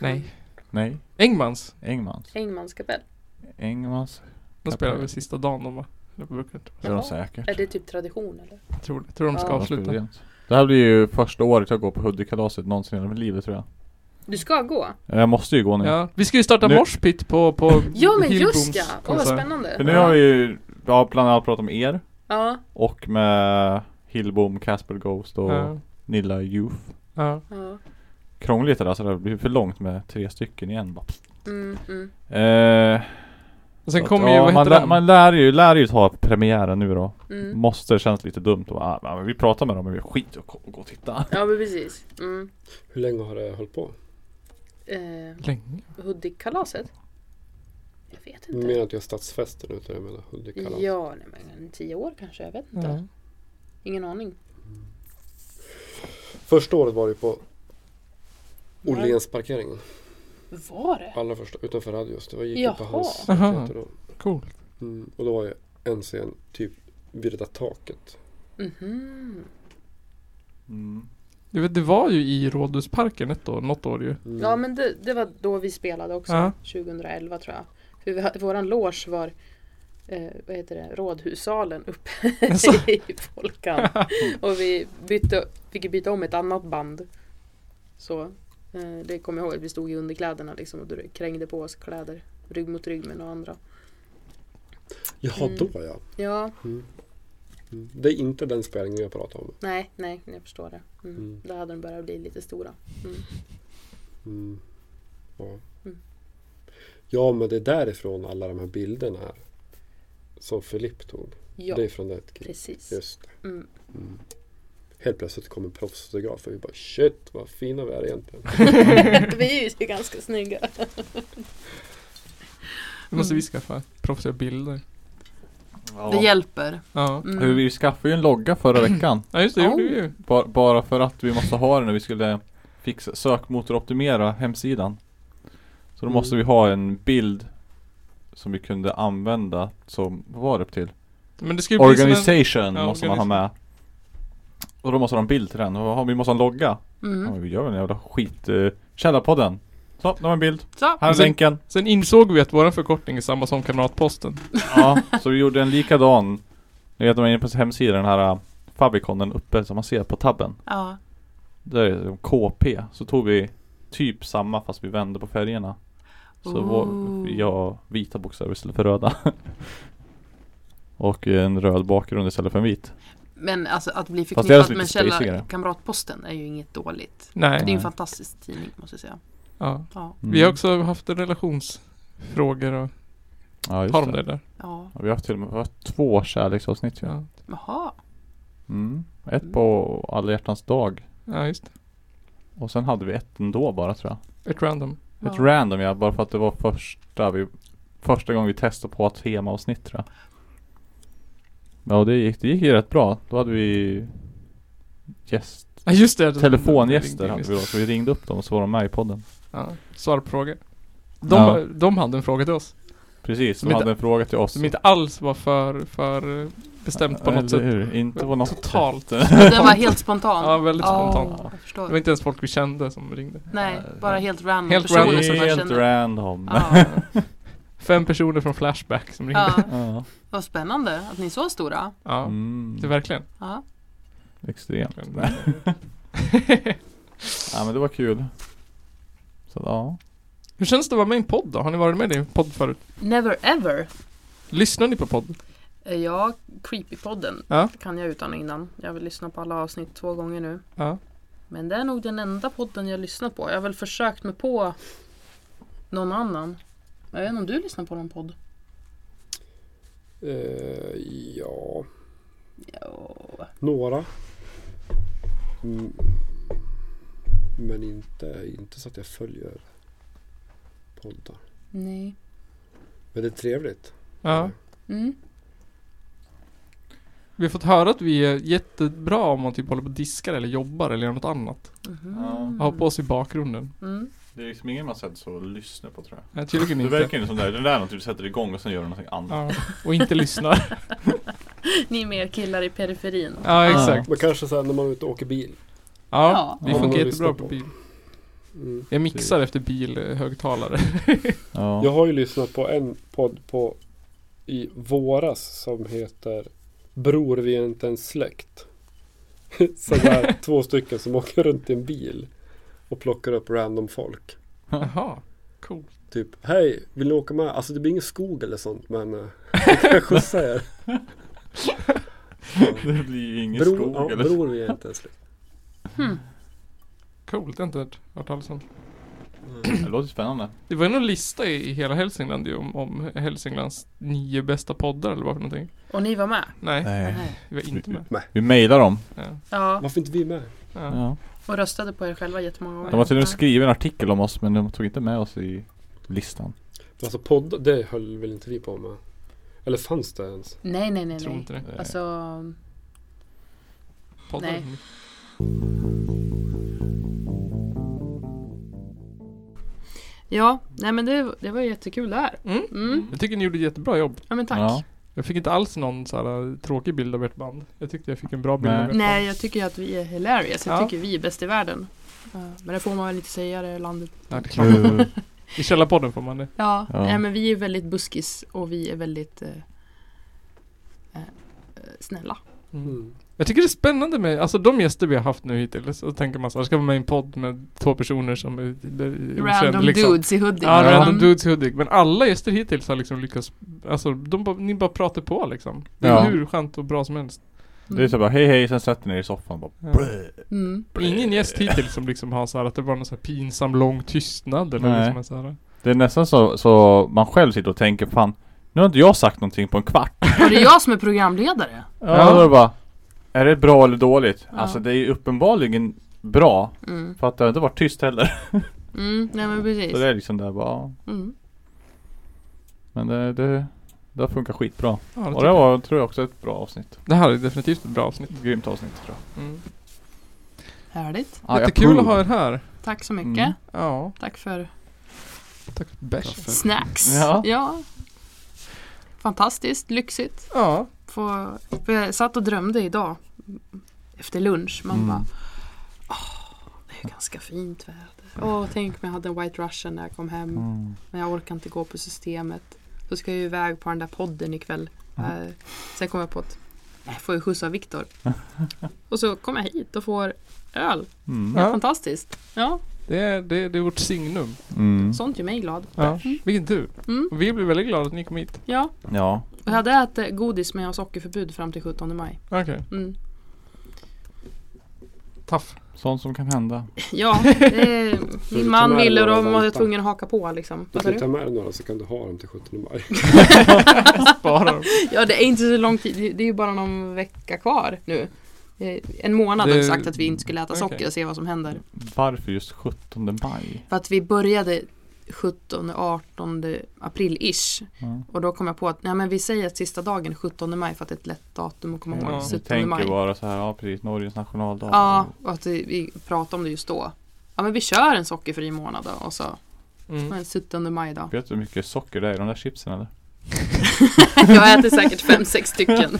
C: nej.
A: Nej,
C: Engmans.
A: Engmans.
D: Engmans kapell.
A: Engmans.
C: De spelar väl sista dagen de va? Det brukar inte.
A: Det är de
D: Jaha.
A: säkert.
D: Är det typ tradition eller?
C: Jag tror, jag tror de ska
D: Ja.
A: De spelar
C: avsluta.
A: jämt. Det här blir ju första året jag går på Huddekalaset någonsin i hela mitt liv tror jag. Eh,
D: Du ska gå?
A: Jag måste ju gå nu.
C: Ja. Vi ska ju starta
A: Nu-
C: morspit på, på
D: Ja men
C: Hillbooms
D: just ja! Åh vad
C: konsert.
D: spännande!
A: För nu har vi ju, ja, bland annat pratat om er.
D: Ja,
A: Och med Hillbom, Casper Ghost och
C: Ja.
A: Nilla Youth.
C: Ja.
D: ja.
A: Krångligt det där så det blir för långt med tre stycken igen bara.
D: Mm, mm.
A: Eh,
C: Och sen
A: så att,
C: kommer ju,
A: ja,
C: vad
A: man,
C: heter
A: lär,
C: han?
A: man lär ju, lär ju ta premiären nu då.
D: Mm.
A: Måste känns lite dumt och ah, men vi pratar med dem men vi skiter och gå och titta.
D: Ja men precis. Mm.
B: Hur länge har det hållit på?
D: Eh,
C: Länge.
D: Hudikkalaset? Jag vet
B: Du
D: inte.
B: menar att jag har stadsfesten ute? Jag menar Hudikkala.
D: Ja, nej, men tio år kanske. Jag vet inte.
C: Ja.
D: Ingen aning.
B: Första året var det på Åhlénsparkeringen.
D: Var det?
B: Allra första, utanför Radios. Det var gick
D: Jaha.
B: upp på hans
C: Aha.
B: teater då.
C: Coolt.
B: Mm. Och då var ju en scen typ vid det där taket.
D: Mhm.
A: Mm.
C: Du vet, det var ju i Rådhusparken ett år, något år ju.
B: Mm.
D: Ja men det, det var då vi spelade också.
C: Ja.
D: 2011 tror jag. För vi, hade- våran loge var eh, vad heter det? Rådhussalen uppe
C: Jaså?
D: (laughs) i Folkan. Och vi bytte, fick byta om ett annat band. Så eh, det kommer jag ihåg att vi stod i underkläderna liksom och dr- krängde på oss kläder. Rygg mot rygg med några andra.
B: Jaha,
D: Mm.
B: då ja.
D: Ja,
B: Mm. Mm. Det är inte den spelningen jag pratar om.
D: nej, nej, jag förstår det. Mm.
B: Mm.
D: Då hade de börjat bli lite stora.
B: Mm. Ja.
D: Mm.
B: ja, men det är därifrån alla de här bilderna är. Som Filipp tog.
D: Ja,
B: Det är från det kriget.
D: precis.
B: Just det.
D: Mm.
B: Mm. Helt plötsligt kom en proffsfotograf och vi bara shit vad fina vi är egentligen.
D: (laughs) vi är ju ganska snygga.
C: Det måste vi skaffa proffsiga bilder.
E: Det hjälper.
C: Ja,
A: Hur
E: Mm.
A: vi skaffade ju en logga
C: (clears throat)
A: förra veckan.
C: ja just det,
E: Oh.
C: gjorde vi ju.
A: Bara, bara för att vi måste ha den när vi skulle fixa, sökmotoroptimera hemsidan. Så då
B: Mm.
A: måste vi ha en bild som vi kunde använda som, vad var det till?
C: Men det ska ju bli som en...
A: Organisation
C: ja,
A: måste man ha med. Och då måste de ha en bild till den. Och vad har- vi måste ha en logga. Ja,
E: Mm.
A: men vi gör väl en jävla skit... Uh, källarpodden. Så, nu har vi en bild.
E: Så.
A: Här är
C: Och sen-
A: länken.
C: Sen insåg vi att våran förkortning är samma som Kamratposten.
A: Ja, så vi gjorde en likadan. Ni vet, om man är inne på hemsidan, den här eh, favikonen uppe som man ser på tabben.
E: Ja.
A: Där är det KP. Så tog vi typ samma fast vi vände på färgerna. Så var
E: Ooh.
A: jag vita bokstäver istället för röda. (laughs) Och en röd bakgrund istället för en vit.
E: Men alltså att bli
A: Fast det är
E: förknippat
A: alltså lite
E: med
A: spacigare.
E: Källa Kamratposten är ju inget dåligt. Det är ju
C: Nej.
E: en fantastisk tidning måste jag säga.
C: Ja.
E: Ja.
A: Mm.
C: Vi har också haft relationsfrågor och
A: Ja, just
C: har de
A: det.
C: det där?
E: Ja.
A: Ja, Vi har haft till och med vi har haft två kärleksavsnitt ju.
C: Ja.
E: Jaha.
A: Mm. Ett på alla hjärtans dag.
C: ja, just det.
A: Och sen hade vi ett ändå bara tror jag.
C: Ett random.
A: Ett
E: Ja.
A: random ja, bara för att det var första vi Första gången vi testade på ett temaavsnitt tror jag. Ja och det gick, det gick ju rätt bra. Då hade vi gäst,
C: Ja, just det.
A: telefongäster hade
C: Ringde
A: vi
C: in.
A: då. Så vi ringde upp dem och så var de med i podden.
C: Ja. Svarpfrågor. De,
A: Ja.
C: de hade en fråga till oss.
A: Precis,
C: Som
A: de
C: inte-
A: hade en fråga till oss.
C: Som inte alls var för, för eh, bestämt på
A: Ja,
C: något
A: eller
C: sätt.
A: Hur? Inte på något
C: Totalt.
A: sätt.
E: Den var helt spontan.
C: Ja, väldigt
E: Ja,
C: spontan.
E: Jag
C: Det
E: förstår.
C: var inte ens folk vi kände som ringde.
E: Nej, bara helt random
C: Helt
E: personer
C: random.
E: som man
A: Helt
E: känner.
A: random.
E: Ja,
C: (laughs) Fem personer från Flashback som ringde.
E: ja.
A: (laughs) Ja.
E: Vad spännande att ni är så stora.
C: Ja,
A: Mm.
C: det är verkligen.
E: Ja.
A: Extremt.
C: verkligen.
A: Nej. Ja men det var kul. Så ja.
C: Hur känns det att vara med i en podd då? Har ni varit med i en podd förut?
E: Never ever.
C: Lyssnar ni på podd?
E: Eh, Ja, Creepypodden
C: Ja.
E: kan jag utan och innan. Jag vill lyssna på alla avsnitt två gånger nu.
C: Ja.
E: Men det är nog den enda podden jag lyssnar på. Jag har väl försökt mig på någon annan. Jag vet inte om du lyssnar på någon podd?
B: Eh, ja,
E: Ja.
B: några. Mm. Men inte, inte så att jag följer poddar.
E: Nej.
B: Men det är trevligt.
C: Ja.
E: Mm.
C: Vi har fått höra att vi är jättebra om man typ håller på och diskar eller jobbar eller gör något annat.
E: Mhm.
C: Har på oss i bakgrunden.
E: Mm.
A: Det är liksom ingen man sett så lyssnar på tror jag.
C: Nej, tydligen
A: Det
C: inte.
A: verkar ju som det där, det där är något du sätter igång och sen gör du någonting annat.
C: Ja. Och inte lyssnar.
E: Ni är mer killar i periferin.
C: Ja, exakt.
B: Men kanske sen när man är ute och åker bil.
C: Ja,
E: Ja.
C: vi
B: Ja,
C: funkar
B: man
C: jättebra
B: lyssnar
C: på
B: på.
C: bil.
B: Mm.
C: Jag mixar efter bilhögtalare.
A: Ja.
B: Jag har ju lyssnat på en podd på i våras som heter Bror vi är inte en släkt. (laughs) Så det är två stycken som åker runt i en bil och plockar upp random folk.
C: Jaha, cool.
B: Typ, hej, vill ni åka med? Alltså det blir ingen skog eller sånt men eh, jag kan skjutsa er.
A: (laughs) Det blir ju ingen
B: Bror,
A: skog
B: ja,
A: eller
B: bror vi är inte en släkt.
C: Coolt, det har jag inte hört, hört talas om.
A: Det låter spännande.
C: Det var ju någon lista i, i hela Hälsingland ju om, om Hälsinglands nio bästa poddar eller vad för någonting.
E: Och ni var med?
C: Nej,
A: Nej.
E: Nej.
C: vi var inte med.
A: Vi mejlar dem.
C: Ja.
E: Ja,
B: Varför inte vi med?
C: Ja.
A: Ja.
E: och röstade på er själva jättemånga gånger.
A: De har till och med
E: Ja.
A: skrivit en artikel om oss men de tog inte med oss i listan.
B: Alltså podd, det höll väl inte vi på med? Eller fanns det ens?
E: Nej, nej, nej.
C: Tror
E: nej.
C: inte det.
A: Eh,
E: Alltså,
C: Poddar.
E: Nej.
D: Ja, nej men det, det var jättekul där.
C: Mm.
D: Mm.
C: Jag tycker ni gjorde ett jättebra jobb.
D: Ja men tack.
A: Ja.
C: Jag fick inte alls någon så här eh, tråkig bild av ert band. Jag tyckte jag fick en bra bild
A: Nej.
C: av ert
D: Nej,
C: band.
D: jag tycker ju att vi är hilarious. Jag
C: Ja.
D: tycker vi är bäst i världen. Ja, Men det får man väl inte säga det i landet.
C: Nej, det är klart. I Källarpodden får man det.
D: Ja,
A: Ja.
D: Nej, men vi är väldigt buskis och vi är väldigt eh, eh, snälla.
B: Mm.
C: Jag tycker det är spännande med, alltså de gäster vi har haft nu hittills, så tänker man så här, ska vara med i en podd med två personer som är, är okänd,
D: Random
C: liksom.
D: dudes i hoodie. Mm.
C: Ja,
A: Ja.
C: random dudes i Hudik. Men alla gäster hittills har liksom lyckats, alltså de, bara- ni bara pratar på liksom. Det är
A: Ja.
C: hur skönt och bra som helst.
A: Det är så bara hej hej, sen sätter ni er i soffan bara
C: Ja.
D: Mm.
C: Ingen gäst hittills som liksom har så här att det var någon så här pinsam lång tystnad eller
A: Nej.
C: liksom en så här.
A: Det är nästan så, så man själv sitter och tänker fan Nu har inte jag sagt någonting på en kvart
D: Och det är jag som är programledare.
A: Ja, då är det bara Är det bra eller dåligt?
D: Ja.
A: Alltså det är ju uppenbarligen bra
D: Mm.
A: För att det har inte varit tyst heller
D: Mm. Nej men
A: Så det
D: precis.
A: är liksom där bara ja.
D: Mm.
A: Men det, det, det har funkat skitbra
C: Ja, det,
A: Och det
C: tycker jag.
A: var tror jag också ett bra avsnitt
C: det här är definitivt ett bra avsnitt.
A: Ett grymt avsnitt tror jag
C: Mm.
D: Härligt.
A: I
C: Jättekul att
A: approve.
C: ha er här.
D: Tack så mycket.
A: Mm.
C: Ja,
D: Tack för
C: tack för bärs.
D: snacks.
A: Ja.
D: Fantastiskt, lyxigt.
C: Ja,
D: Få, för jag satt och drömde idag efter lunch. Man
A: Mm.
D: bara Åh, det är ganska fint väder. Åh, tänk om jag hade en White Russian när jag kom hem.
A: mm.
D: Men jag orkar inte gå på systemet. Så ska jag ju iväg på den där podden ikväll.
A: Mm.
D: Eh, sen kom jag på att jag får ju skjuts
A: (laughs)
D: av Viktor. och så kommer jag hit och får öl.
A: Mm.
C: Ja.
D: Fantastiskt. Ja,
C: det är, det, det är vårt signum.
A: Mm.
D: sånt gör mig glad.
C: Ja. Vilken tur.
D: Mm.
C: Och vi blir väldigt glada att ni kom hit.
D: Ja,
A: Ja
D: och jag hade ätit godis men jag har sockerförbud fram till 17 maj.
C: Okej,
D: Mm.
C: taff.
A: Sånt som kan hända
D: Ja, eh,
B: du
D: min
B: ta
D: man
B: med dig
D: ville och
B: några
D: de var
B: vantar?
D: tvungen att haka på liksom.
B: Du
D: Vad sa
B: kan
D: du? (laughs)
B: ta med dig några så kan du ha dem till 17 maj.
C: Spara dem.
D: Ja, det är inte så lång tid. Det- Det är ju bara någon vecka kvar nu. Eh, En månad har vi
C: Det-
D: sagt att vi inte skulle äta
C: okej.
D: socker och se vad som händer.
A: Varför just 17 maj?
D: För att vi började 17-18 april-ish.
A: Ja.
D: Och då kom jag på att nej, men vi säger att sista dagen 17 maj för att det är ett lätt datum att komma ihåg.
C: Ja.
A: Jag
D: 17
A: tänker
D: maj.
A: bara så här, ja precis, Norges nationaldag
D: Ja, och att vi, vi pratade om det just då. Ja men vi kör en sockerfri månad då och så
C: (laughs) Mm.
D: men 17 maj då.
A: Vet du hur mycket socker det är i de där chipsen eller?
D: (laughs) jag äter säkert 5-6 stycken.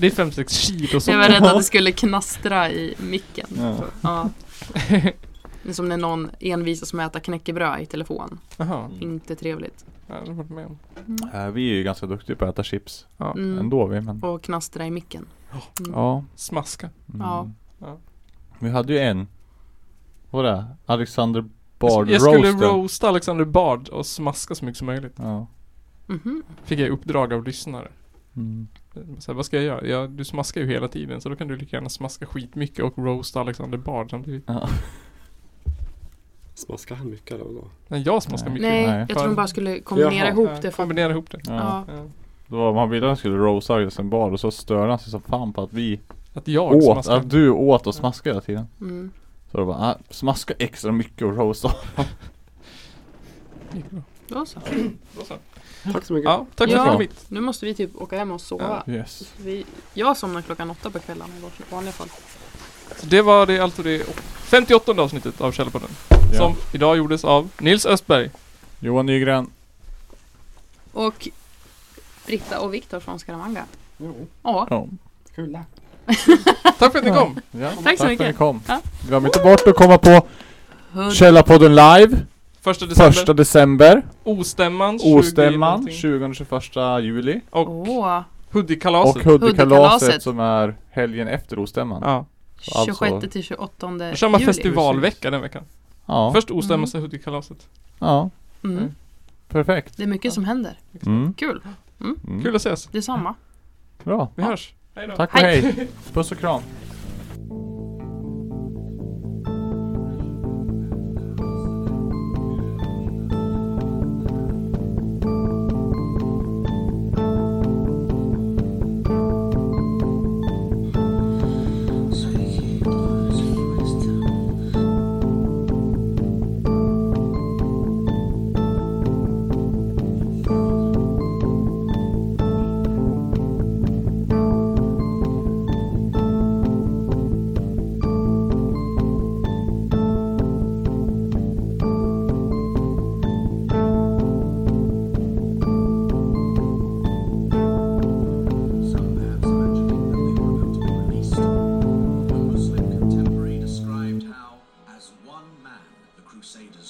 C: Det är 5-6 kilo
D: Jag
C: socker.
D: var rädd att det skulle knastra i micken.
A: Ja.
D: Ja. Det är som när någon envisas med att äta knäckebröd i telefon.
C: Jaha,
D: Inte trevligt.
C: jag har aldrig varit med om.
A: Eh, Vi är ju ganska duktiga på att äta chips
C: Mm. Ja.
D: Mm.
A: ändå vi men
D: Och knastra i micken. Mm.
A: Ja,
C: Smaska.
A: mm.
D: Ja.
C: Ja.
A: Vi hade ju en Vad var det? Alexander Bard
C: jag skulle
A: Roaster
C: roasta Alexander Bard och smaska så mycket som möjligt.
A: ja.
D: Mhm.
C: Fick jag i uppdrag av lyssnare.
A: mm.
C: Så här, vad ska jag göra? Ja, du smaskar ju hela tiden så då kan du lika gärna smaska skitmycket och roasta Alexander Bard samtidigt.
A: ja.
B: Smaskar han mycket då och då?
C: Nej, jag smaskar mycket.
D: Nej,
A: Nej.
D: jag tror de bara skulle kombinera
B: Jaha.
D: ihop det. För...
C: Kombinera ihop det.
A: Ja.
D: Ja.
C: Ja.
A: Då var man ville att han skulle roasta Alexander Bard och så störde han sig som fan på att vi
C: Att jag
A: åt,
C: smaskar.
A: att du åt och smaskade hela tiden
D: Mm.
A: Så då bara, ah, smaska extra mycket och roasta
C: Gick bra.
D: Då så.
C: Då så.
B: Tack så mycket.
C: Ja, tack för
D: Ja.
C: att du kom hit.
D: Nu måste vi typ åka hem och sova.
A: (laughs) Yes
D: Vi, jag somnar klockan åtta på kvällen i vårt vanliga fall.
C: Så det var det alltså det 58 avsnittet av Källarpodden.
A: Ja.
C: Som idag gjordes av Nils Östberg.
A: Johan Nygren
D: Och Britta och Viktor från Skaramanga. Ja,
A: ja.
B: Kul.
C: Tack för att ni
A: Ja.
C: kom.
A: Ja, Tack,
D: så
A: för
D: mycket.
A: att ni kom
D: Ja.
A: Glöm inte bort att komma på Källarpodden live
C: Första december.
A: Första december
C: Ostämman. 20
A: Ostämman
C: någonting.
A: 20-21 juli
C: Och
D: Åh,
C: Hoodiekalaset.
A: Och Huddekalaset
D: Huddekalaset.
A: som är helgen efter Ostämman
C: ja.
A: Alltså-
D: 26 till 28
C: Då
D: juli.
C: kör man festivalvecka den veckan.
A: Ja,
C: Först Ostämman,
D: Mm.
C: sen Hudikkalaset.
A: ja
D: Mm.
A: perfekt
D: Det är mycket som händer.
A: mm.
D: Kul.
A: Mm.
C: Kul att ses.
D: Detsamma.
A: Bra,
C: Vi hörs. Hej då.
A: tack och
D: Hej. (laughs)
A: hej Puss och kram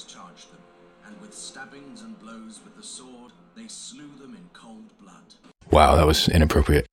F: charged them, and with stabbings and blows with the sword, they slew them in cold blood.
G: Wow, that was inappropriate.